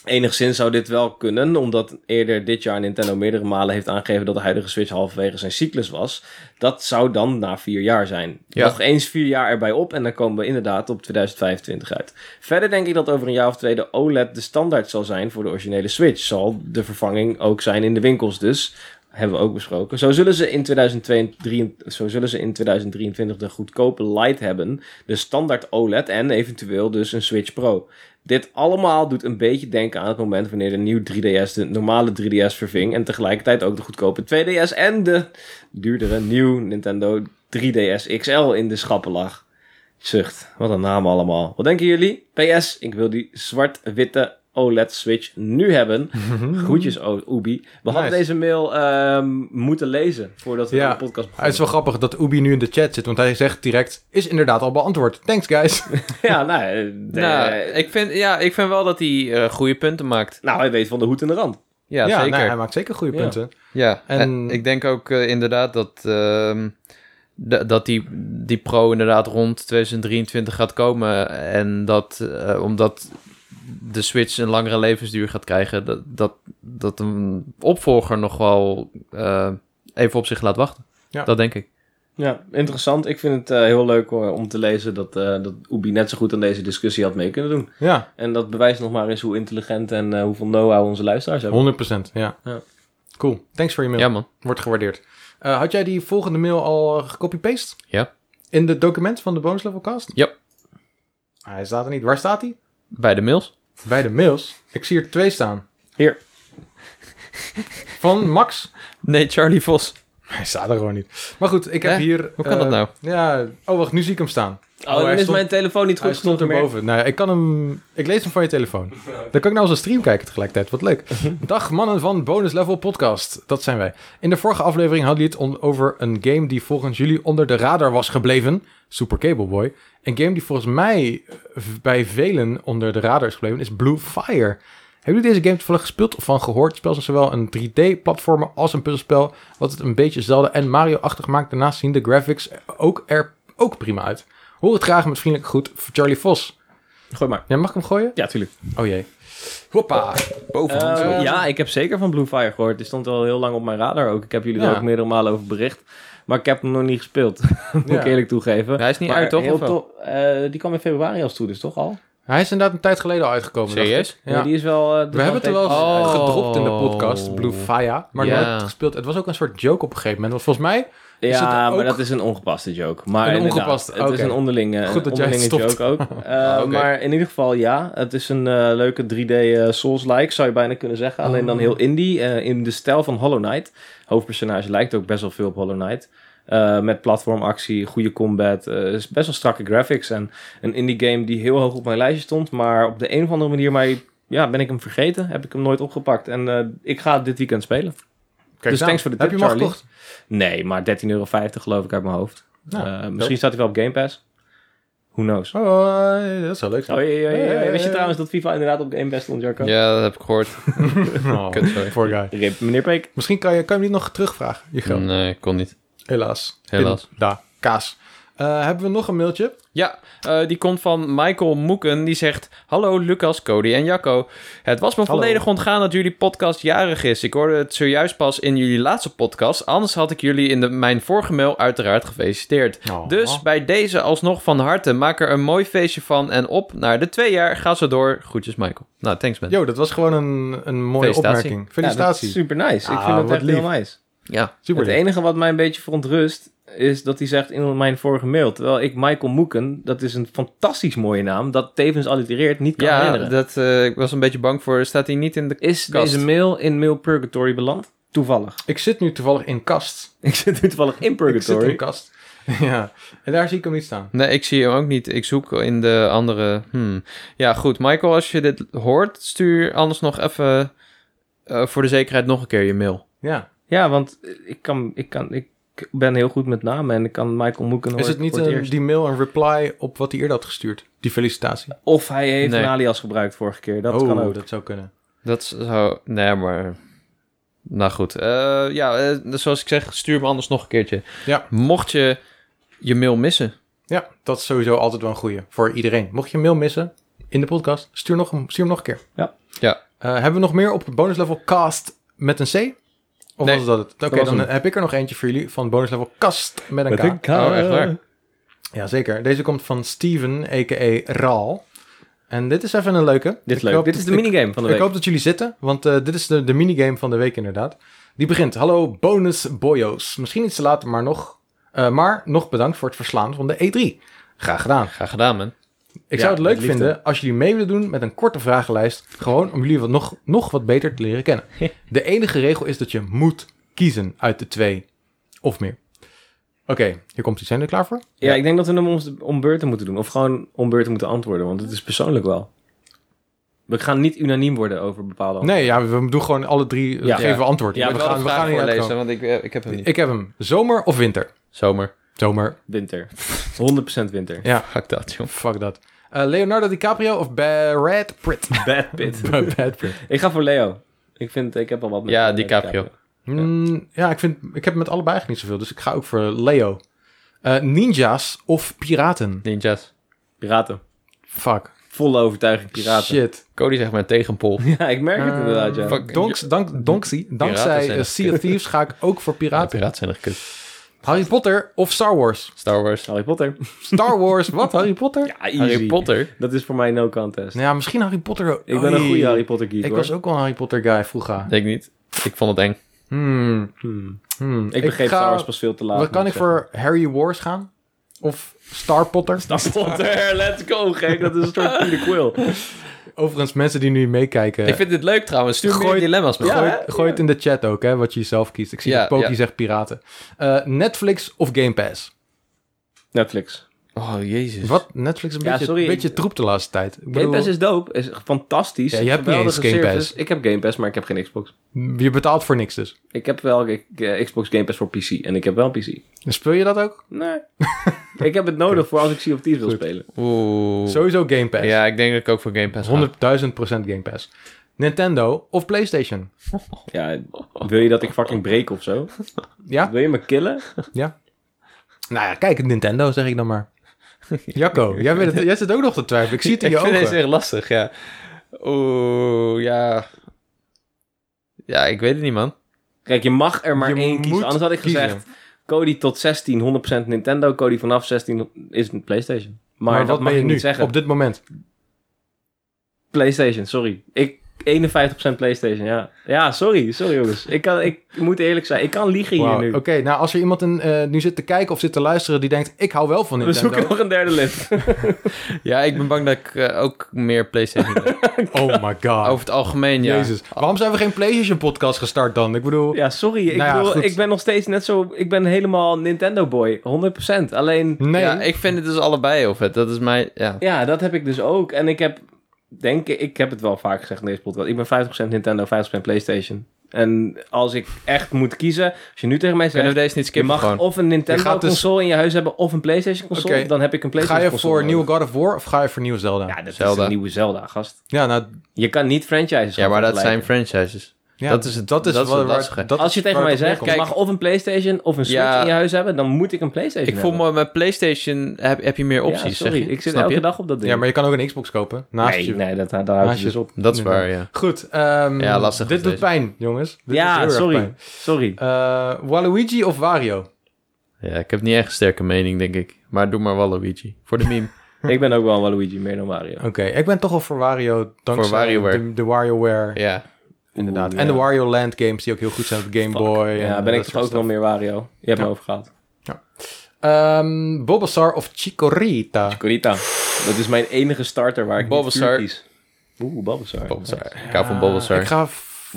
B: Enigszins zou dit wel kunnen, omdat eerder dit jaar Nintendo meerdere malen heeft aangegeven dat de huidige Switch halverwege zijn cyclus was. Dat zou dan na vier jaar zijn.
C: Ja.
B: Nog eens vier jaar erbij op en dan komen we inderdaad op 2025 uit. Verder denk ik dat over een jaar of twee de OLED de standaard zal zijn voor de originele Switch. Zal de vervanging ook zijn in de winkels dus. Hebben we ook besproken. Zo zullen ze in 2023, zo zullen ze in 2023 de goedkope Lite hebben, de standaard OLED en eventueel dus een Switch Pro. Dit allemaal doet een beetje denken aan het moment wanneer de nieuwe 3DS de normale 3DS verving en tegelijkertijd ook de goedkope 2DS en de duurdere nieuw Nintendo 3DS XL in de schappen lag. Zucht, wat een naam allemaal. Wat denken jullie? PS, ik wil die zwart-witte OLED-switch nu hebben. Groetjes, O- Ubi. We hadden
A: Nice.
B: deze mail ehm, moeten lezen voordat we
A: Ja.
B: de podcast
A: Het is
B: begonnen.
A: wel grappig dat Ubi nu in de chat zit, want hij zegt direct, is inderdaad al beantwoord. Thanks guys.
B: ja, nou, eh, de-
C: Nou,
B: eh,
C: ik vind, ja, ik vind wel dat hij eh, goede punten maakt.
B: nou, hij weet van de hoed en de rand.
C: Ja, zeker.
A: nou, hij maakt zeker goede
B: Ja.
A: punten.
C: Ja,
A: En-
C: en, ik denk ook eh, inderdaad dat, ehm, d- dat die, die pro inderdaad rond 2023 gaat komen. En dat eh, omdat de Switch een langere levensduur gaat krijgen, dat, dat, dat een opvolger nog wel eh, even op zich laat wachten.
A: Ja.
C: Dat denk ik.
B: Ja, interessant. Ik vind het eh, heel leuk hoor, om te lezen dat, eh, dat Ubi net zo goed aan deze discussie had mee kunnen doen.
A: Ja,
B: En dat bewijst nog maar eens hoe intelligent en eh, hoeveel know-how onze luisteraars hebben.
A: 100%. Ja.
B: Ja.
A: Cool. Thanks voor je mail.
C: Ja, man.
A: Wordt gewaardeerd. Eh, had jij die volgende mail al eh, gecopy-paste?
C: Ja.
A: In het document van de bonus levelcast?
C: Ja.
A: Hij staat er niet. Waar staat hij?
C: Bij de mails.
A: Bij de mails. Ik zie er twee staan.
B: Hier.
A: Van Max.
C: Nee, Charlie Vos.
A: Hij staat er gewoon niet. Maar goed, ik heb
C: Hè?
A: hier...
C: Hoe kan
A: eh,
C: dat nou?
A: Ja, oh wacht, nu zie ik hem staan.
B: Oh, dan
A: hij
B: is
A: stond-
B: mijn telefoon niet
A: Hij
B: goed genoeg
A: stond
B: meer.
A: erboven. Nou ja, ik kan hem... Ik lees hem van je telefoon. Dan kan ik nou als een stream kijken tegelijkertijd. Wat leuk. Dag mannen van Bonus Level Podcast. Dat zijn wij. In de vorige aflevering hadden jullie het on- over een game die volgens jullie onder de radar was gebleven. Super Cable Boy. Een game die volgens mij eh, v- bij velen onder de radar is gebleven is Blue Fire. Hebben jullie deze game toevallig gespeeld of van gehoord? Het spel is zowel een 3D-platformer als een puzzelspel, wat het een beetje Zelda en Mario-achtig maakt. Daarnaast zien de graphics ook er ook prima uit. Hoor het graag met vriendelijke groet voor Charlie Vos.
B: Gooi maar.
A: Ja, mag ik hem gooien?
B: Ja, tuurlijk.
A: Oh jee. Hoppa.
B: Eh,
A: zo.
B: ja, ik heb zeker van Blue Fire gehoord. Die stond al heel lang op mijn radar ook. Ik heb jullie er
A: Ja.
B: ook meerdere malen over bericht. Maar ik heb hem nog niet gespeeld. Moet
A: Ja.
B: ik eerlijk toegeven.
C: Hij is niet
B: Maar
C: uit, toch?
B: heel
C: Of wel?
B: tof- eh, die kwam in februari als het goed is, toch al?
A: Hij is inderdaad een tijd geleden al uitgekomen. dacht
C: Serieus?
A: ik.
B: Ja.
A: Ja.
B: die is wel... eh, die
A: We
B: is
A: hebben het er wel eens
B: even-
C: Oh.
A: gedropt in de podcast, Blue Fire, maar
C: Ja.
A: nooit gespeeld. Het was ook een soort joke op een gegeven moment, want volgens mij Is het
B: Ja,
A: ook-
B: maar dat is een ongepaste joke. Maar
A: Een
B: inderdaad,
A: ongepaste,
B: Het is
A: oké.
B: een onderlinge,
A: Goed dat jij het
B: onderlinge
A: stopt. Ah,
B: joke ook. Eh,
C: Oké.
B: Maar in ieder geval, ja. Het is een eh, leuke 3D eh, Souls-like, zou je bijna kunnen zeggen. Alleen
A: Oh.
B: dan heel indie, eh, in de stijl van Hollow Knight. Hoofdpersonage lijkt ook best wel veel op Hollow Knight. Eh, met platformactie, goede combat, eh, is best wel strakke graphics. En een indie game die heel hoog op mijn lijstje stond. Maar op de een of andere manier mij, ja, ben ik hem vergeten. Heb ik hem nooit opgepakt. En eh, ik ga het dit weekend spelen.
A: Kijk,
B: Dus
A: nou,
B: thanks voor de
A: heb
B: tip,
A: je hem al
B: Charlie.
A: gekocht?
B: Nee, maar 13,50 euro geloof ik uit mijn hoofd.
A: Nou,
B: Eh, misschien staat hij wel op Game Pass. Who knows?
A: Oh, dat zou leuk
B: Oh,
A: zijn.
B: ja, ja, ja, ja.
A: Hey.
B: Wist je trouwens dat FIFA inderdaad op Game Pass stond, Jarko?
C: Ja, dat heb ik gehoord.
A: Oh,
C: Kut, sorry.
A: poor guy.
B: Rip, meneer Peek.
A: Misschien kan je, kan je hem niet nog terugvragen, je
B: Mm.
A: geld.
C: Nee, eh, kon niet.
A: Helaas.
C: Helaas.
A: Pin- Daar, kaas. Eh, hebben we nog een mailtje?
C: Ja, eh, die komt van Michael Moeken. Die zegt: Hallo Lucas, Cody en Jacco. Het was me
A: Hallo.
C: volledig ontgaan dat jullie podcast jarig is. Ik hoorde het zojuist pas in jullie laatste podcast. Anders had ik jullie in de, mijn vorige mail uiteraard gefeliciteerd.
A: Oh.
C: Dus bij deze alsnog van harte. Maak er een mooi feestje van. En op naar de twee jaar. Ga zo door. Groetjes, Michael. Nou, thanks, man.
A: Yo, dat was gewoon een, een mooie
C: Felicitatie.
A: opmerking.
B: Ja, dat
A: Felicitaties.
B: is super nice. Ik
A: Ah,
B: vind het
A: wat
B: echt
A: lief.
B: heel nice.
C: Ja.
A: super.
B: Het
A: lief.
B: enige wat mij een beetje verontrust is dat hij zegt in mijn vorige mail. Terwijl ik Michael Moeken, dat is een fantastisch mooie naam, dat tevens allitereert, niet kan
C: Ja,
B: herinneren.
C: dat, eh, ik was een beetje bang voor. Staat hij niet in de.
B: Is
C: Kast.
B: deze mail in Mail Purgatory beland? Toevallig.
A: Ik zit nu toevallig in kast.
B: Ik zit nu toevallig in
A: Ik zit in
B: Purgatory.
A: kast. ja. En daar zie ik hem niet staan.
C: Nee, ik zie hem ook niet. Ik zoek in de andere. Hmm. Ja, goed. Michael, als je dit hoort, stuur anders nog even eh, voor de zekerheid nog een keer je mail.
A: Ja.
B: Ja, want ik, kan, ik, kan, ik ben heel goed met namen en ik kan Michael Moeken
A: Is
B: hoor-
A: het niet
B: voor het
A: een,
B: eerst.
A: die mail een reply op wat hij eerder had gestuurd? Die felicitatie.
B: Of hij heeft
C: Nee.
B: een alias gebruikt vorige keer. Dat
A: oh,
B: kan ook.
A: dat zou kunnen.
C: Dat zou. Nee, maar. Nou goed. Eh, ja, eh, zoals ik zeg, stuur me anders nog een keertje.
A: Ja.
C: Mocht je je mail missen.
A: Ja, dat is sowieso altijd wel een goeie voor iedereen. Mocht je een mail missen in de podcast, stuur, nog, een- stuur hem nog een keer.
B: Ja.
C: Ja.
A: Eh, hebben we nog meer op bonus level cast met een C? Of
C: Nee,
A: was dat het? Oké,
B: was
A: dan
B: hem.
A: heb ik er nog eentje voor jullie van bonus level cast met een K.
C: Oh, echt waar?
A: Jazeker. Deze komt van Steven, a.k.a. Raal. En dit is even een leuke.
B: Dit
A: Ik
B: is leuk.
A: hoop
B: Dit
A: dat-
B: is de minigame van de
A: ik
B: week.
A: hoop dat jullie zitten, want eh, dit is de, de minigame van de week inderdaad. Die begint. Hallo bonus boyo's. Misschien iets te laat, maar nog, eh, maar nog bedankt voor het verslaan van de E3. Graag gedaan.
C: Graag gedaan, man.
A: Ik
B: Ja,
A: zou het leuk
B: met liefde.
A: vinden als jullie mee willen doen met een korte vragenlijst. Gewoon om jullie wat nog, nog wat beter te leren kennen. De enige regel is dat je moet kiezen uit de twee of meer. Oké, hier komt iets. Zijn jullie er klaar voor?
B: Ja, ik denk dat we hem om, om beurten moeten doen. Of gewoon om beurten moeten antwoorden, want het is persoonlijk wel. We gaan niet unaniem worden over bepaalde
A: Nee, ja, we doen gewoon alle drie.
B: Ja.
A: Geven we antwoord.
B: Ja,
C: Ik
B: we
C: wil de
A: we
C: vraag
A: niet
C: voorlezen,
A: uitkomen.
C: want ik, eh, ik heb hem niet.
A: Ik heb hem. Zomer of winter?
C: Zomer.
A: Zomer.
B: winter. 100% winter.
A: Ja,
C: Fuck dat, joh.
A: fuck dat. Eh, Leonardo DiCaprio of Brad Pitt?
B: Bad pit.
A: Brad Pitt.
B: ik ga voor Leo. Ik, vind, ik heb al wat met
C: Ja,
B: met
C: DiCaprio.
A: Mm, ja, ik, vind, ik heb met allebei eigenlijk niet zoveel, dus ik ga ook voor Leo. Eh, ninjas of piraten?
C: Ninjas.
B: Piraten.
A: Fuck.
B: Volle overtuiging piraten.
A: Shit. Ah.
C: Cody zegt maar tegenpol.
B: Ja, ik merk het inderdaad, ja.
C: fuck.
A: Donks, dank, donksie, dankzij
C: zijn
A: eh, Sea of Thieves ga ik ook voor piraten.
C: Piraten zijn er gekut.
A: Harry Potter of Star Wars?
C: Star Wars.
B: Harry Potter.
A: Star Wars, wat? Harry Potter? Ja,
B: Ja, easy.
C: Harry Potter.
B: Dat is voor mij no contest.
A: nou ja, misschien Harry Potter.
B: Ik ben
A: Oei.
B: een goede Harry Potter geek,
A: Ik
B: hoor.
A: was ook wel een Harry Potter guy vroeger.
C: Ik niet. Ik vond het eng.
A: Hmm,
B: Hmm.
A: hmm.
B: Ik begreep
A: ga-
B: Star Wars pas veel te laat.
A: Wat kan
B: moet
A: ik voor Harry Wars gaan? Of Star Potter?
B: zeggen. Star Potter, let's go, gek. Dat is een soort Peter Quill.
A: Overigens, mensen die nu meekijken,
C: Ik vind dit leuk trouwens. Stuur
A: Gooi-
C: meer dilemma's mee.
A: gooi,
B: Ja, hè?
A: gooi het in de chat ook, hè, wat je zelf kiest. Ik zie
C: Ja,
A: dat Poki
C: ja.
A: zegt piraten. Eh, Netflix of Game Pass?
B: Netflix.
C: Oh, jezus.
A: Wat? Netflix is een
B: Ja,
A: beetje,
B: sorry,
A: een beetje
B: ik-
A: troep de laatste tijd. Ik
B: Game
A: bedoel,
B: Pass is dope. Is fantastisch.
A: Ja, je hebt niet eens
B: Geweldige
A: Game Pass.
B: service. Ik heb Game Pass, maar ik heb geen Xbox.
A: Je betaalt voor niks dus.
B: Ik heb wel ik, eh, Xbox Game Pass voor PC. En ik heb wel een PC.
A: Speel je dat ook?
B: Nee. ik heb het nodig voor als ik Sea of Thieves wil
A: Goed.
B: spelen.
C: Oeh.
A: Sowieso Game Pass.
C: Ja, ik denk dat ik ook voor Game Pass ga.
A: 100.000% Game Pass. Nintendo of PlayStation?
B: Ja, wil je dat ik fucking breek of zo?
A: Ja?
B: Wil je me killen?
A: Nou ja, kijk, Nintendo zeg ik dan maar. Jacco, jij, weet het, jij zit ook nog te twijfelen. Ik zie het in je
C: ik vind
A: ogen.
C: deze echt lastig, ja. Oeh, ja. Ja, ik weet het niet, man.
B: Kijk, je mag er maar
A: Je
B: één kiezen.
A: moet
B: Anders had ik
A: kiezen.
B: gezegd, Cody tot 16, 100% Nintendo. Cody vanaf 16 is een PlayStation. Maar,
A: Maar
B: dat
A: wat
B: mag
A: ben je
B: ik
A: nu
B: niet zeggen.
A: op dit moment?
B: PlayStation, sorry. Ik 51% PlayStation, ja. Ja, sorry, sorry jongens. Ik, kan, ik moet eerlijk zijn, ik kan liegen
A: Wauw,
B: hier
A: Oké,
B: nu.
A: nou als er iemand in, eh, nu zit te kijken of zit te luisteren die denkt, ik hou wel van
B: We
A: Nintendo.
B: zoeken nog een derde lid.
C: Ja, ik ben bang dat ik eh, ook meer PlayStation heb.
A: Oh my god.
C: Over het algemeen, ja.
A: Jezus. Waarom zijn we geen PlayStation podcast gestart dan? Ik bedoel,
B: Ja, sorry. Ik,
A: Nou ja,
B: bedoel,
A: goed.
B: ik ben nog steeds net zo... Ik ben helemaal Nintendo boy, 100%. Alleen,
A: nee.
C: Ja, ik vind het dus allebei of het. Dat is mijn, ja.
B: ja, dat heb ik dus ook. En ik heb, denk ik, ik heb het wel vaak gezegd in deze podcast. Ik ben 50% Nintendo, 50% PlayStation. En als ik echt moet kiezen, als je nu tegen mij zegt...
C: Kunnen we deze niet
B: Je
C: skippen
B: mag
C: gewoon?
B: of een
A: Je gaat dus-
B: Nintendo-console in je huis hebben of een PlayStation-console.
A: Oké.
B: Dan heb ik een
A: ga
B: PlayStation-console.
A: je voor
B: nodig.
A: nieuwe God of War of ga je voor nieuwe Zelda?
B: Ja, dat is
C: Zelda.
B: een nieuwe Zelda, gast.
A: Ja, nou,
B: Je kan niet franchises
C: Ja,
B: gaan
C: maar dat zijn
B: vergelijken.
C: franchises.
A: ja,
C: Dat is het-
A: dat is
C: dat is
A: wat-
C: het
A: waar-
C: lastige.
A: dat
B: Als je
A: is
B: tegen
A: waar
B: mij
A: het op
B: zegt, je
A: neerkomt.
B: mag of een PlayStation of een Switch
C: Ja.
B: in je huis hebben, dan moet ik een PlayStation
C: Ik voel
B: hebben.
C: me met PlayStation heb, heb je meer
B: Ja,
C: opties. zeg
B: sorry,
C: je?
B: ik zit
C: Snap
B: elke
C: je?
B: dag op dat ding.
A: Ja, maar je kan ook een Xbox kopen naast
B: nee,
A: je.
B: nee, dat, daar houdt
A: Naast
B: het
A: je-
B: dus op.
C: Dat is waar, ja.
A: Goed, ehm,
C: Ja, lastig
A: dit
C: met
A: doet
C: deze.
A: pijn, jongens. Dit doet
B: Ja,
A: heel erg
B: sorry.
A: pijn.
B: Sorry.
A: Eh, Waluigi of Wario?
C: Ja, ik heb niet echt een sterke mening, denk ik. Maar doe maar Waluigi. Voor de meme.
B: ik ben ook wel Waluigi, meer dan Mario.
A: Oké, ik ben toch wel voor Wario, dankzij
C: WarioWare.
A: de, de WarioWare,
C: ja.
A: inderdaad.
B: Oeh,
A: En de
B: ja.
A: Wario Land games, die ook heel goed zijn op de Game Boy. en
B: Ja,
A: dat
B: ben ik toch
A: soort
B: ook wel meer Wario. Je hebt me over gehad.
A: Ehm Bulbasaur of Chikorita?
B: Corita, dat is mijn enige starter waar ik
C: Bulbasaur.
B: niet puur kies. Oeh, Bulbasaur.
C: Bulbasaur. Ik hou van Bulbasaur.
A: Ik ga... f-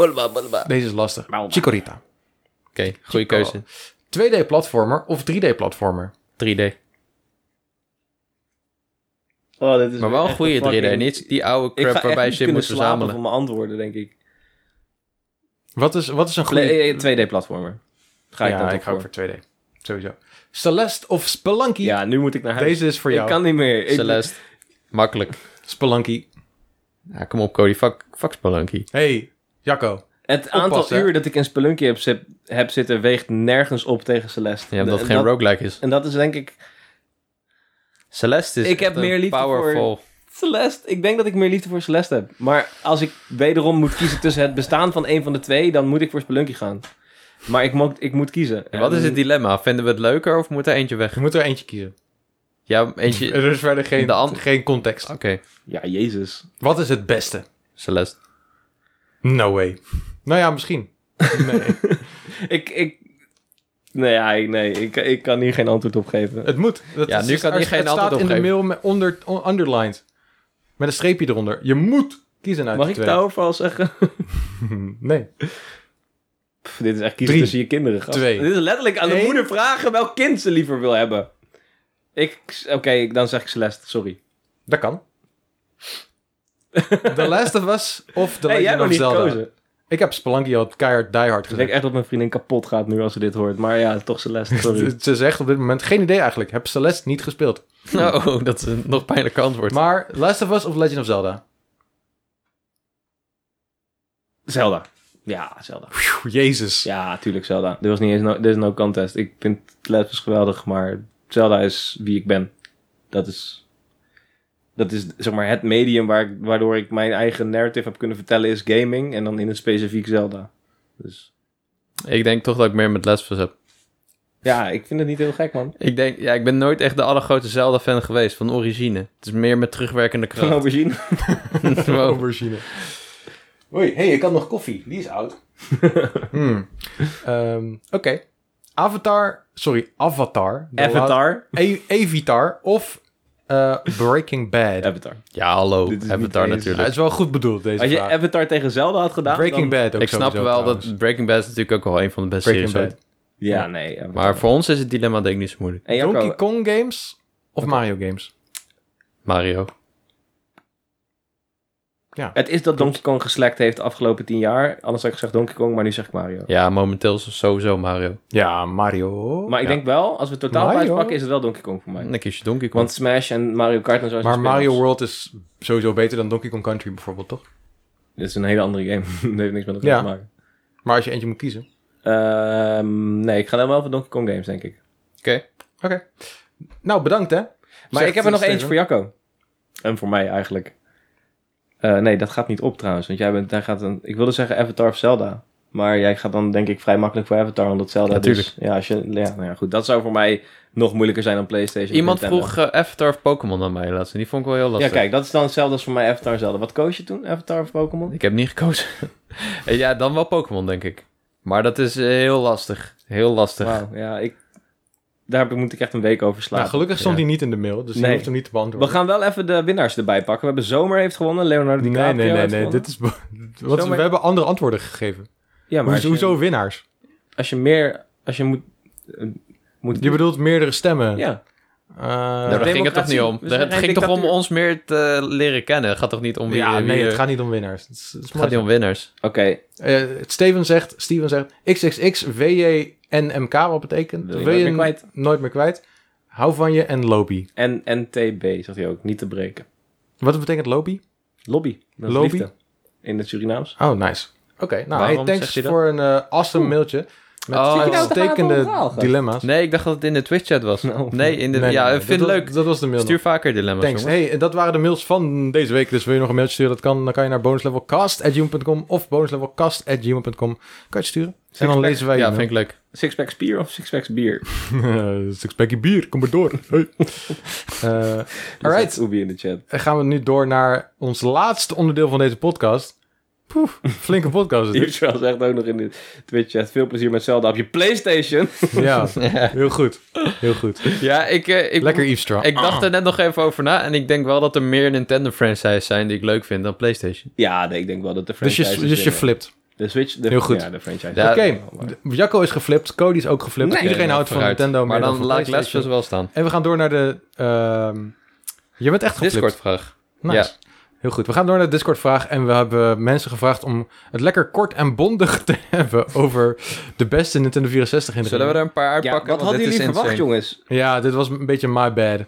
A: Deze is lastig.
B: Bulba.
A: Chikorita.
C: Oké, goede keuze.
A: 2D-platformer of 3D-platformer?
C: 3D.
B: Oh, dit is
C: Maar wel een
B: echt
C: goede 3D.
B: fucking-
C: Niet die oude
B: Ik ga
C: crap
B: echt
C: waarbij
B: niet
C: je
B: kunnen
C: moet
B: slapen
C: verzamelen.
B: van mijn antwoorden, denk ik.
A: Wat is, wat is een goede...
B: Play- eh, 2D-platformer. Ga ik
A: ja,
B: dan toch
A: ik ga ook
B: voor.
A: voor 2D. Sowieso. Celeste of Spelunky?
B: Ja, nu moet ik naar huis.
A: Deze is voor
B: ik
A: jou.
B: kan niet meer. Ik-
C: Celeste. Makkelijk.
A: Spelunky.
C: Ja, kom op Cody. Fuck, fuck Spelunky.
A: Hey, Jacco.
B: Het aantal
A: Oppassen, hè.
B: uur dat ik in Spelunky heb, zit- heb zitten weegt nergens op tegen Celeste.
C: Ja,
B: En
C: omdat het geen roguelike is.
B: En dat is denk ik...
C: Celeste is
B: Ik heb
C: echt
B: meer
C: een
B: liefde voor-
C: powerful.
B: Celeste, ik denk dat ik meer liefde voor Celeste heb. Maar als ik wederom moet kiezen tussen het bestaan van een van de twee, dan moet ik voor Spelunky gaan. Maar ik, mo- ik moet kiezen.
C: En Wat is het
B: die...
C: dilemma? Vinden we het leuker of moet er eentje weg?
A: Je moet er eentje kiezen.
C: Ja, eentje... Oké.
A: Er is verder geen,
C: De an-
A: geen context.
B: Ja, jezus.
A: Wat is het beste?
C: Celeste.
A: No way. Nou ja, misschien. Nee,
B: Ik... ik... Nee, ja, ik- nee ik, ik kan hier geen antwoord op geven.
A: het moet. Dat
C: Ja, nu kan
A: er-
C: hier geen
A: het
C: antwoord op
A: staat in de
C: geven.
A: mail met onder, on- underlined. Met een streepje eronder. Je moet kiezen uit
B: Mag
A: de
B: ik
A: twee.
B: daarover al zeggen?
A: Nee.
B: Pff, dit is echt kiezen
A: Drie.
B: tussen je kinderen, gast.
A: Twee.
B: Dit is letterlijk aan de
A: Eén.
B: moeder vragen welk kind ze liever wil hebben. Ik, oké, dan zeg ik Celeste, sorry.
A: Dat kan. The Last of Us of The
B: Nee,
A: Legend
B: jij hebt
A: of
B: niet
A: Zelda.
B: gekozen.
A: Ik heb Spelunky al keihard die hard
B: Ik
A: gezegd.
B: denk echt dat mijn vriendin kapot gaat nu als ze dit hoort. Maar ja, toch Celeste, sorry.
A: Ze zegt op dit moment geen idee eigenlijk. Heb Celeste niet gespeeld.
C: Oh, dat is een nog pijnlijk antwoord.
A: Maar Last of Us of Legend of Zelda?
B: Zelda. Ja, Zelda.
A: Pjoe, Jezus.
B: Ja, tuurlijk Zelda. Dit was niet eens no, dit is no contest. Ik vind Celeste is geweldig, maar Zelda is wie ik ben. Dat is, dat is zeg maar het medium waar, ik- waardoor ik mijn eigen narrative heb kunnen vertellen is gaming. En dan in het specifiek Zelda. Dus
C: Ik denk toch dat ik meer met Les was heb.
B: ja, ik vind het niet heel gek, man.
C: Ik denk, ja, ik ben nooit echt de allergrootste Zelda-fan geweest, van origine. Het is meer met terugwerkende
B: Van
C: kracht.
B: aubergine. Oh.
C: Wow.
A: Aubergine. Hoi, hey, ik had nog koffie. Die is oud. Hmm. Oké. Avatar, sorry, Avatar. De
B: Avatar.
A: laat- E- Evitar of eh, Breaking Bad.
B: Avatar.
C: Ja, hallo,
B: Dit is niet
C: Avatar
B: eens-
A: Ja, het
C: natuurlijk.
A: is wel goed bedoeld deze
B: Als je
A: vraag.
B: Avatar tegen Zelda had gedaan.
A: Breaking
B: dan-
A: Bad ook
C: Ik snap
A: sowieso
C: wel
A: trouwens.
C: dat Breaking Bad is natuurlijk ook wel een van de beste
A: Breaking
C: series
A: Bad.
C: ooit.
B: Ja, nee. Avatar.
C: Maar voor ons is het dilemma denk ik niet zo moeilijk.
B: En Jacco,
A: Donkey Kong games of Mario games?
C: Mario.
B: Het is dat Donkey Kong geslekt heeft de afgelopen tien jaar. Anders had ik gezegd Donkey Kong, maar nu zeg ik Mario.
C: Ja, momenteel is het sowieso Mario.
A: Ja, Mario.
B: Maar ik
C: Ja.
B: denk wel, als we het totaal
A: Mario?
B: uitpakken, is het wel Donkey Kong voor mij.
C: En dan kies je Donkey Kong.
B: Want Smash en Mario Kart en zo zijn
A: Maar Mario
B: spin-offs.
A: World is sowieso beter dan Donkey Kong Country bijvoorbeeld, toch?
B: Dit is een hele andere game. dat heeft niks met elkaar
A: Ja.
B: te maken.
A: Maar als je eentje moet kiezen.
B: Ehm, nee, ik ga dan wel voor Donkey Kong games, denk ik.
C: Oké.
A: Oké. Nou, bedankt hè.
B: Maar
A: Zegt
B: ik heb er nog
A: Steven.
B: eentje voor Jacco. En voor mij eigenlijk. Eh, nee, dat gaat niet op trouwens. Want jij bent, daar gaat een, ik wilde zeggen Avatar of Zelda. Maar jij gaat dan denk ik vrij makkelijk voor Avatar, omdat Zelda
C: Natuurlijk.
B: dus... Ja, als je, ja, nou ja, goed. Dat zou voor mij nog moeilijker zijn dan Playstation. en
C: Iemand
B: Nintendo.
C: vroeg eh, Avatar of Pokémon aan mij laatst. En die vond ik wel heel
B: Ja,
C: lastig.
B: kijk, dat is dan hetzelfde als voor mij Avatar en Zelda. Wat koos je toen? Avatar of Pokémon?
C: Ik heb niet gekozen. ja, dan wel Pokémon, denk ik. Maar dat is eh, heel lastig. Heel lastig.
B: Wauw, ja, ik... Daar heb- moet ik echt een week over
A: Nou,
B: slaan.
A: gelukkig stond
C: Ja.
A: hij niet in de mail, dus je
B: Nee.
A: hoeft hem niet te
B: We
A: beantwoorden.
B: gaan wel even de winnaars erbij pakken. We hebben Zomer heeft gewonnen, Leonardo DiCaprio
A: Nee, nee, nee,
B: heeft
A: nee.
B: gewonnen.
A: Dit is. be- Want we
B: maar-
A: hebben andere antwoorden gegeven.
B: Ja, maar
A: Hoezo,
B: als je,
A: hoezo winnaars?
B: Als je meer... Als je moet... eh, moet
A: Je bedoelt meerdere stemmen.
B: Ja.
A: Eh,
C: Nou, daar ging het toch
B: democratie.
C: niet om.
B: We
C: Daar-
B: zijn
C: Het
B: geen
C: ging toch om
B: dictatuur.
C: ons meer te leren kennen. Het gaat toch niet om wie...
A: ja,
C: wie-
A: nee, het
C: eh,
A: gaat niet om winnaars. Het, is- het is
C: het gaat niet
A: mooi.
C: om winnaars.
B: Oké,
A: Eh, Steven zegt, Steven zegt, XXX, WJ en MK, wat betekent?
B: Wil je nooit meer kwijt.
A: nooit meer kwijt. Hou van je en lobby.
B: en NTB zegt hij ook. Niet te breken.
A: Wat betekent lobby?
B: Lobby. Dat is
A: Lobby?
B: liefde. In het Surinaams.
A: Oh, nice. Oké, nou,
C: Waarom
A: hey,
C: zegt
A: thanks
C: hij dat?
A: voor een eh awesome mailtje. Met
C: Oh, Zit je nou
B: te praten over
A: uitstekende
B: een verhaal, gast?
A: dilemma's.
C: Nee, ik dacht dat het in de Twitch-chat was.
B: Oh.
C: Nee, in de,
A: Nou, Nee,
C: ja,
A: nee,
C: ik
A: nee,
C: vind
A: dat
C: het
A: was-
C: leuk.
A: Dat was de mail nog.
C: Stuur vaker dilemma's,
A: Thanks.
C: jongen.
A: Hey, dat waren de mails van deze week. Dus wil je nog een mailtje sturen, dat kan. Dan kan je naar bonuslevelcast.gmail.com of bonuslevelcast.gmail.com. Kan je het sturen? En dan lezen wij
C: Ja,
A: je
C: vind ik leuk.
B: Sixpack spier of sixpack bier? Dus
A: mail. Sixpackje bier, kom maar door. Hey. Eh,
B: dat
A: alright,
B: Oebi in de chat.
A: dan gaan we nu door naar ons laatste onderdeel van deze podcast. Poef, flinke podcast. is dit.
B: Israel zegt ook nog in de Twitch-chat... Veel plezier met Zelda op je Playstation.
A: ja, heel goed. Heel goed.
C: Ja, ik... eh, ik
A: Lekker eavesdrop.
C: Ik dacht er net nog even over na. En ik denk wel dat er meer Nintendo-franchises zijn die ik leuk vind dan PlayStation.
B: ja, nee, ik denk wel dat de
A: Dus
B: franchise...
A: je, dus je flipt.
B: De Switch... De,
A: Heel goed.
B: Ja, de franchise.
C: Ja,
A: Oké, Jacco is geflipt, Cody is ook geflipt. Iedereen houdt van
C: Vooruit.
A: Nintendo,
C: Maar
A: meer
C: dan
A: van
C: laat ik
A: PlayStation.
C: Lesjes wel staan.
A: En we gaan door naar de... ehm, je bent echt geflipt.
C: Discord-vraag.
A: Nice. Heel goed. We gaan door naar de Discord-vraag. En we hebben mensen gevraagd om het lekker kort en bondig te hebben over de beste Nintendo 64 in de
C: Zullen we er een paar
B: Ja,
C: uitpakken?
B: wat
C: Want
B: hadden
C: dit
B: jullie
C: is
B: verwacht,
C: insane.
B: jongens?
A: Ja, dit was een beetje my bad.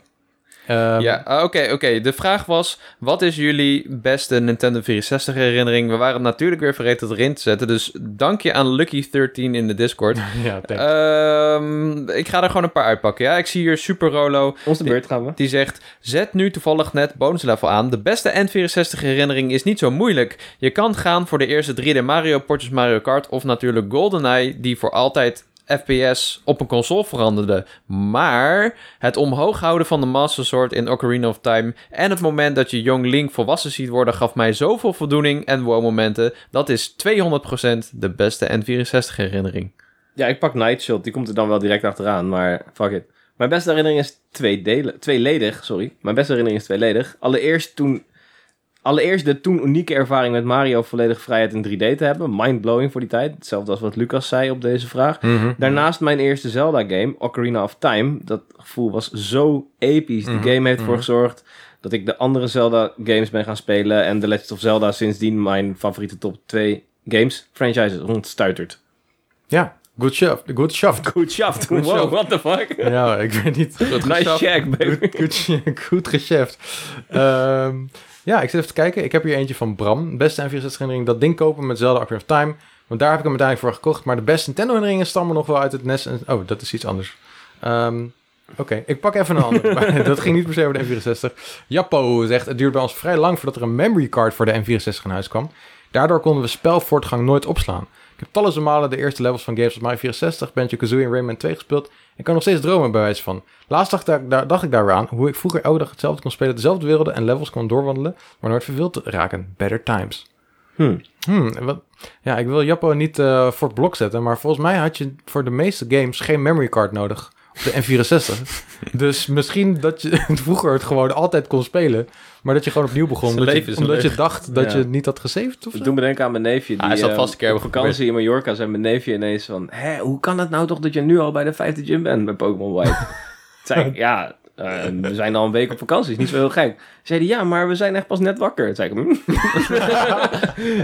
A: Ehm,
C: Ja, ah, oké, oké. De vraag was, wat is jullie beste Nintendo 64 herinnering? We waren natuurlijk weer vergeten het erin te zetten, dus dank je aan Lucky13 in de Discord.
A: ja thanks.
C: Ehm, ik ga er gewoon een paar uitpakken, ja. Ik zie hier Super Rolo,
B: Ons de beurt gaan we.
C: die zegt... Zet nu toevallig net bonuslevel aan. De beste N64-herinnering is niet zo moeilijk. Je kan gaan voor de eerste 3D Mario, Portjes Mario Kart... of natuurlijk GoldenEye, die voor altijd FPS op een console veranderde. Maar het omhoog houden van de Master Sword in Ocarina of Time... en het moment dat je Young Link volwassen ziet worden... gaf mij zoveel voldoening en wow-momenten. Dat is 200% de beste N64-herinnering.
B: Ja, ik pak Nightshield. Die komt er dan wel direct achteraan, maar fuck it. Mijn beste herinnering is twee delen, tweeledig, sorry. Mijn beste herinnering is tweeledig. Allereerst toen Allereerst de toen unieke ervaring met Mario volledig vrijheid in 3D te hebben. Mindblowing voor die tijd. Hetzelfde als wat Lucas zei op deze vraag.
C: Eh,
A: Mhm.
B: Daarnaast mijn eerste Zelda-game, Ocarina of Time. Dat gevoel was zo episch. Die game heeft ervoor gezorgd dat ik de andere Zelda-games ben gaan spelen. En The Legend of Zelda sindsdien mijn favoriete top 2 games franchises rondstuitert.
A: Ja, good shaft. Good shaft.
B: Goed shaft.
A: Goed
B: Wow,
A: shaft.
B: what the fuck?
A: Ja, ik weet niet.
C: Goed
B: Nice
C: geschaft.
B: check, baby.
A: Goed, goed, goed geschäft. Ehm, ja, ik zit even te kijken. Ik heb hier eentje van Bram. Beste N64-herinnering, dat ding kopen met Zelda Ocarina of Time. Want daar heb ik hem uiteindelijk voor gekocht. Maar de beste Nintendo-herinneringen stammen nog wel uit het NES. En... Oh, dat is iets anders. Ehm, Oké, ik pak even een andere. Maar dat ging niet per se over de N64. Jappo zegt, het duurde bij ons vrij lang voordat er een memory card voor de N64 in huis kwam. Daardoor konden we spelvoortgang nooit opslaan. Ik heb talloze malen de eerste levels van games als Mario 64, Banjo Kazooie en Rayman 2 gespeeld. En kan nog steeds dromen bij wijze van. Laatst dacht, ik daar, dacht ik daar weer aan hoe ik vroeger elke dag hetzelfde kon spelen, dezelfde werelden en levels kon doorwandelen, maar nooit verveeld raken. Better times.
B: Hmm.
A: Hmm, en wat, ja, ik wil Jappo niet eh, voor het blok zetten, maar volgens mij had je voor de meeste games geen memory card nodig. Op de N64. dus misschien dat je vroeger het gewoon altijd kon spelen, maar dat je gewoon opnieuw begon.
C: Zijn
A: omdat je-
C: leven is een
A: omdat je dacht dat
B: Ja.
A: je het niet had gesaved of zo.
B: Toen Doe me denken aan mijn neefje. Die,
C: hij zat
B: eh,
C: vast een keer
B: op
C: hebben
B: vakantie in Mallorca zei mijn neefje ineens van... Hé, hoe kan het nou toch dat je nu al bij de vijfde gym bent bij Pokémon White? Toen zei ik, ja, eh, we zijn al een week op vakantie, is niet zo heel gek. zei hij, ja, maar we zijn echt pas net wakker. Toen zei ik, "Hm."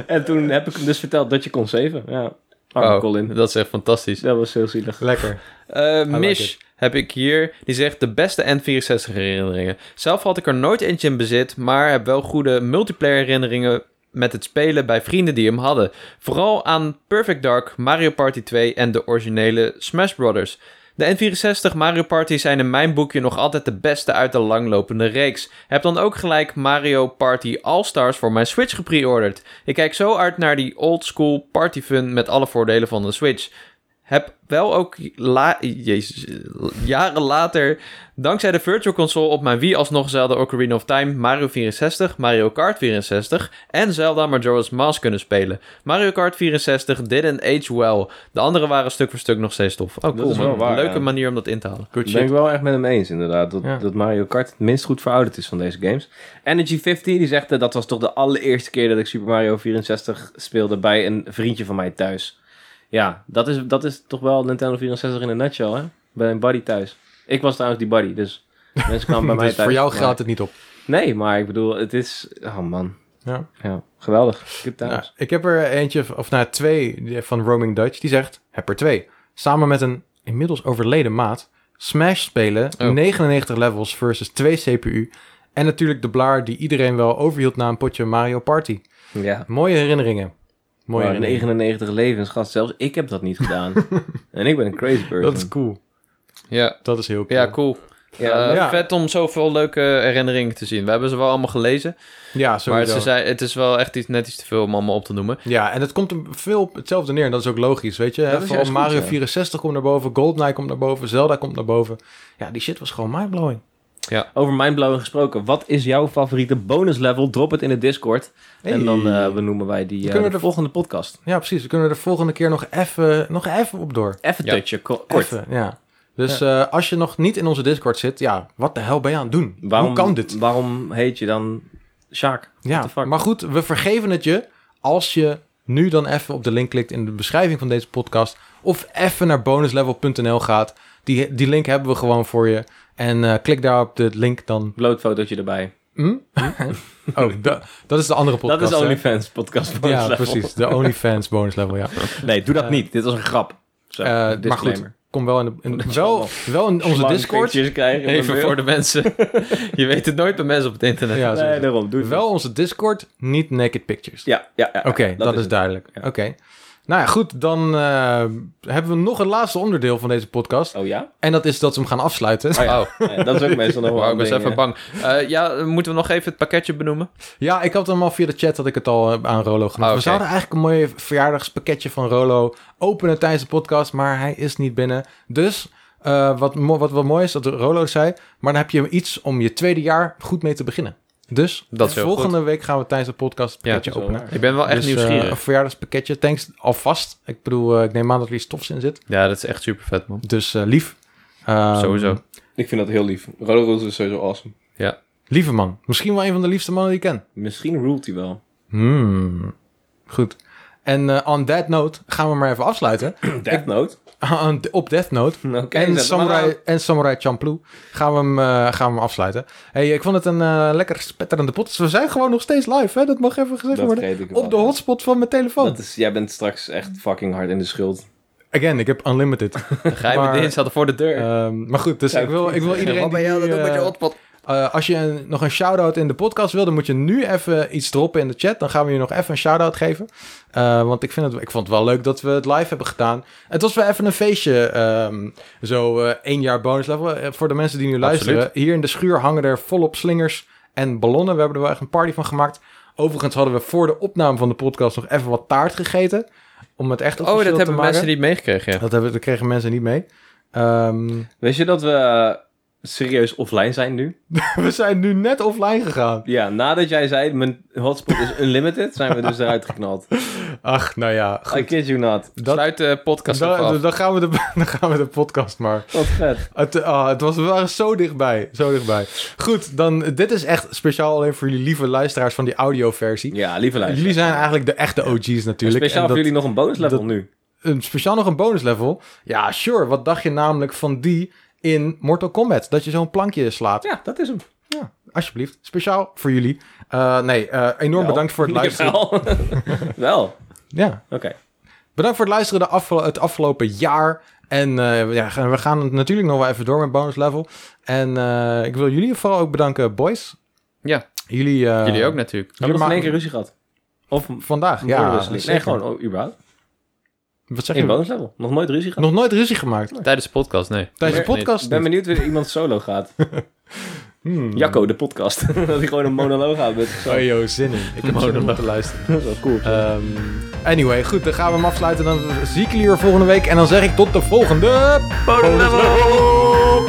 B: En toen heb ik hem dus verteld dat je kon zeven. Ja, arme
C: Oh,
B: Colin.
C: dat is echt fantastisch.
B: Dat was heel zielig.
A: Lekker.
C: Eh,
A: like
C: Mish
A: it.
C: heb ik hier. Die zegt de beste N64 herinneringen. Zelf had ik er nooit eentje in bezit, maar heb wel goede multiplayer herinneringen met het spelen bij vrienden die hem hadden. Vooral aan Perfect Dark, Mario Party 2 en de originele Smash Brothers. De N64 Mario Party zijn in mijn boekje nog altijd de beste uit de langlopende reeks. Heb dan ook gelijk Mario Party All-Stars voor mijn Switch gepreorderd. Ik kijk zo uit naar die old school party fun met alle voordelen van de Switch. Heb wel ook la- Jezus, eh, jaren later, dankzij de Virtual Console op mijn Wii alsnog Zelda Ocarina of Time, Mario 64, Mario Kart 64 en Zelda Majora's Mask kunnen spelen. Mario Kart 64 didn't age well. De andere waren stuk voor stuk nog steeds tof. Oh, cool
B: is wel
C: man.
B: waar,
C: Leuke
B: ja.
C: manier om dat in te halen.
A: Good
B: Ik ben ik
A: shit.
B: wel echt met hem eens, inderdaad. Dat,
A: Ja.
B: dat Mario Kart het minst goed verouderd is van deze games. Energy50, die zegt eh, dat was toch de allereerste keer dat ik Super Mario 64 speelde bij een vriendje van mij thuis. Ja, dat is, dat is toch wel Nintendo 64 in een nutshell, hè? Bij een buddy thuis. Ik was trouwens die buddy, dus mensen kwamen bij mij
A: Dus
B: thuis.
A: voor jou
B: Maar-
A: gaat het niet op.
B: Nee, maar ik bedoel, het is... Oh man.
A: Ja.
B: Ja, geweldig. Good times.
A: Nou, ik heb er eentje, v- of nou twee die- van Roaming Dutch, die zegt, heb er twee. Samen met een inmiddels overleden maat, Smash spelen,
C: Oh.
A: 99 levels versus 2 CPU. En natuurlijk de blaar die iedereen wel overhield na een potje Mario Party.
B: Ja.
A: Mooie herinneringen. Mooie
B: Maar
A: herinneringen.
B: 99 levens, gast. Zelfs ik heb dat niet gedaan. en ik ben een crazy person.
A: Dat is cool.
C: Ja,
A: Dat is heel cool.
C: ja cool.
B: Ja,
C: Eh,
A: ja.
C: Vet om zoveel leuke herinneringen te zien. We hebben ze wel allemaal gelezen.
A: Ja, sowieso.
C: Maar ze zei, het is wel echt iets, net iets te veel om allemaal op te noemen.
A: Ja, en het komt hem veel op hetzelfde neer. En dat is ook logisch, weet je. hè?
B: Dat is
A: Vooral
B: juist goed,
A: Mario
B: ja.
A: 64 komt naar boven, GoldenEye komt naar boven, Zelda komt naar boven. Ja, die shit was gewoon mindblowing.
B: Over mindblowing gesproken, wat is jouw favoriete bonus level? Drop het in de Discord. En dan eh, benoemen wij die eh,
A: kunnen
B: de
A: er-
B: volgende podcast.
A: Ja, precies. We kunnen er de volgende keer nog even, nog even op door.
B: Even
C: Ja.
B: touchen, ko- kort.
A: Even, ja. Dus eh, als je nog niet in onze Discord zit, ja, wat de hel ben je aan het doen?
B: Waarom,
A: Hoe kan dit?
B: Waarom heet je dan Sjaak?
A: Ja,
B: the fuck?
A: maar goed, we vergeven het je als je nu dan even op de link klikt in de beschrijving van deze podcast. Of even naar bonuslevel.nl gaat. Die, die link hebben we gewoon voor je. En eh, klik daar op de link dan.
B: Blootfotootje erbij.
A: Hm? oh, da- dat is de andere podcast.
B: dat is
A: hè?
B: OnlyFans podcast bonus
A: Ja,
B: level.
A: precies. De OnlyFans bonuslevel, ja.
B: Nee, doe dat niet. Dit was een grap. Zo,
A: Eh, maar goed,
B: disclaimer.
A: kom wel in, de, in- wel, wel in onze
B: Lang
A: Discord.
B: vinkjes Krijgen,
C: Even voor de mensen. Je weet het nooit bij mensen op het internet.
A: Ja,
B: Nee,
A: sowieso.
B: daarom. Doe het
A: Wel onze Discord, niet naked pictures.
B: Ja, ja, ja.
A: Oké, dat, is,
B: het.
A: duidelijk.
B: Ja.
A: Oké. Nou ja, goed. Dan eh, hebben we nog een laatste onderdeel van deze podcast.
B: Oh ja?
A: En dat is dat ze hem gaan afsluiten.
B: Oh, ja.
C: Oh.
B: Ja, dat is ook meestal nog wel
C: Wauw,
B: een
C: ik was
B: ding,
C: even
B: eh.
C: bang. Eh, ja, moeten we nog even het pakketje benoemen?
A: Ja, ik had hem al via de chat dat ik het al eh, aan Rolo genoemd.
C: Oh,
A: We
C: oké.
A: zouden eigenlijk een mooi verjaardagspakketje van Rolo openen tijdens de podcast, maar hij is niet binnen. Dus eh, wat, mo- wat wel mooi is dat Rolo zei, maar dan heb je iets om je tweede jaar goed mee te beginnen. Dus
C: Dat is heel
A: volgende week gaan we tijdens de podcast het
C: Ja,
A: pakketje
B: dat is wel
A: openen.
B: waar.
C: Ik ben wel echt
A: Dus, eh,
C: nieuwsgierig.
A: een verjaardagspakketje. Thanks alvast. Ik bedoel, eh, ik neem aan dat er iets tofs in zit.
C: ja, dat is echt super vet, man.
A: Dus eh, lief. Ehm,
C: Sowieso.
B: Ik vind dat heel lief. Rollercoaster is sowieso awesome.
A: Lieve man. Misschien wel een van de liefste mannen die ik ken.
B: Misschien ruled hij wel.
A: Hmm. Goed. En eh, on that note gaan we maar even afsluiten.
B: Death Note.
A: Aan- op Death Note.
B: Oké, zet
A: en,
B: hem maar nou-
A: Samurai,
B: aan.
A: en Samurai Champloo gaan we hem, eh, gaan we hem afsluiten. Hey, ik vond het een eh, lekker spetterende pot. We zijn gewoon nog steeds live, hè? dat mag even gezegd
B: Dat
A: worden.
B: vergeet ik wel.
A: Op de hotspot van mijn telefoon.
B: Dat is, jij bent straks echt fucking hard in de schuld.
A: Again, ik heb unlimited.
C: De geheime
A: Maar-
C: dienst staat voor de deur.
A: Ehm, maar goed, dus
B: Zou
A: ik wil,
B: ik
A: ik wil
B: zeggen,
A: iedereen
C: Wat ben
A: die
C: jij aan
A: nu,
C: het doen met je
A: eh,
C: hotpot?
A: eh, als je een- nog een shout-out in de podcast wil, dan moet je nu even iets droppen in de chat. Dan gaan we je nog even een shout-out geven. Eh, want ik, vind het, ik vond het wel leuk dat we het live hebben gedaan. Het was wel even een feestje. ehm, zo eh één jaar bonus level. Eh, voor de mensen die nu luisteren. Hier in de schuur hangen er volop slingers en ballonnen. We hebben er wel echt een party van gemaakt. Overigens hadden we voor de opname van de podcast nog even wat taart gegeten. Om het echt
C: Oh,
A: officieel
C: dat
A: te
C: hebben
A: maken.
C: mensen niet meegekregen, ja.
A: Dat, hebben, dat kregen mensen niet mee. Ehm,
B: Weet je dat we eh, serieus offline zijn nu?
A: we zijn nu net offline gegaan.
B: Ja, nadat jij zei, mijn hotspot is unlimited, zijn we dus eruit geknald.
A: Ach, nou ja.
B: I kid you not.
A: Dat,
C: Sluit de podcast even
A: dan,
C: af.
A: dan, gaan we de, dan gaan we de podcast maar.
B: Wat vet.
A: Het, ah, het was, we waren zo dichtbij. Zo dichtbij. Goed, dan, dit is echt speciaal alleen voor jullie lieve luisteraars van die audioversie.
B: Ja, lieve luisteraars.
A: Jullie zijn eigenlijk de echte OG's natuurlijk.
B: Speciaal
A: En
B: voor
A: dat-
B: jullie nog een bonus level
A: dat-
B: nu.
A: een, speciaal nog een bonus level. Ja, sure. Wat dacht je namelijk van die in Mortal Kombat? Dat je zo'n plankje slaat.
B: Ja, dat is hem.
A: Ja, alsjeblieft. Speciaal voor jullie. Eh, nee, eh, enorm
B: Wel.
A: bedankt voor het luisteren.
B: Wel. Wel. Oké.
A: Ja, Bedankt voor het luisteren de afgelo- het afgelopen jaar. En eh, ja, we gaan natuurlijk nog wel even door met bonus level. En eh, ik wil jullie vooral ook bedanken, boys.
C: Ja.
A: Jullie, eh,
C: Jullie ook natuurlijk.
B: Hebben we nog
A: ma-
B: in één keer ruzie gehad? Of een
A: Vandaag, ja.
B: ja,
A: zeker.
B: Nee, gewoon oh, überhaupt.
A: Wat zeg
B: In
A: je?
B: bonus level. Nog nooit ruzie gehad.
A: Nog nooit ruzie gemaakt.
C: Tijdens de podcast, nee.
A: Tijdens de
C: Nee.
A: podcast
B: Ik ben
A: niet.
B: benieuwd hoe iemand solo gaat.
A: Hmm.
B: Jacco, de podcast. dat hij gewoon een monoloog houdt met
A: Oh,
B: zichzelf.
A: yo, zin in. Ik heb zin om
C: Monoloog.
A: te luisteren.
B: Dat is wel cool.
A: Ehm, anyway, goed, dan gaan we hem afsluiten. Dan zie ik jullie weer volgende week. En dan zeg ik tot de volgende...
B: bonus level!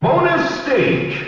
D: Bonus stage.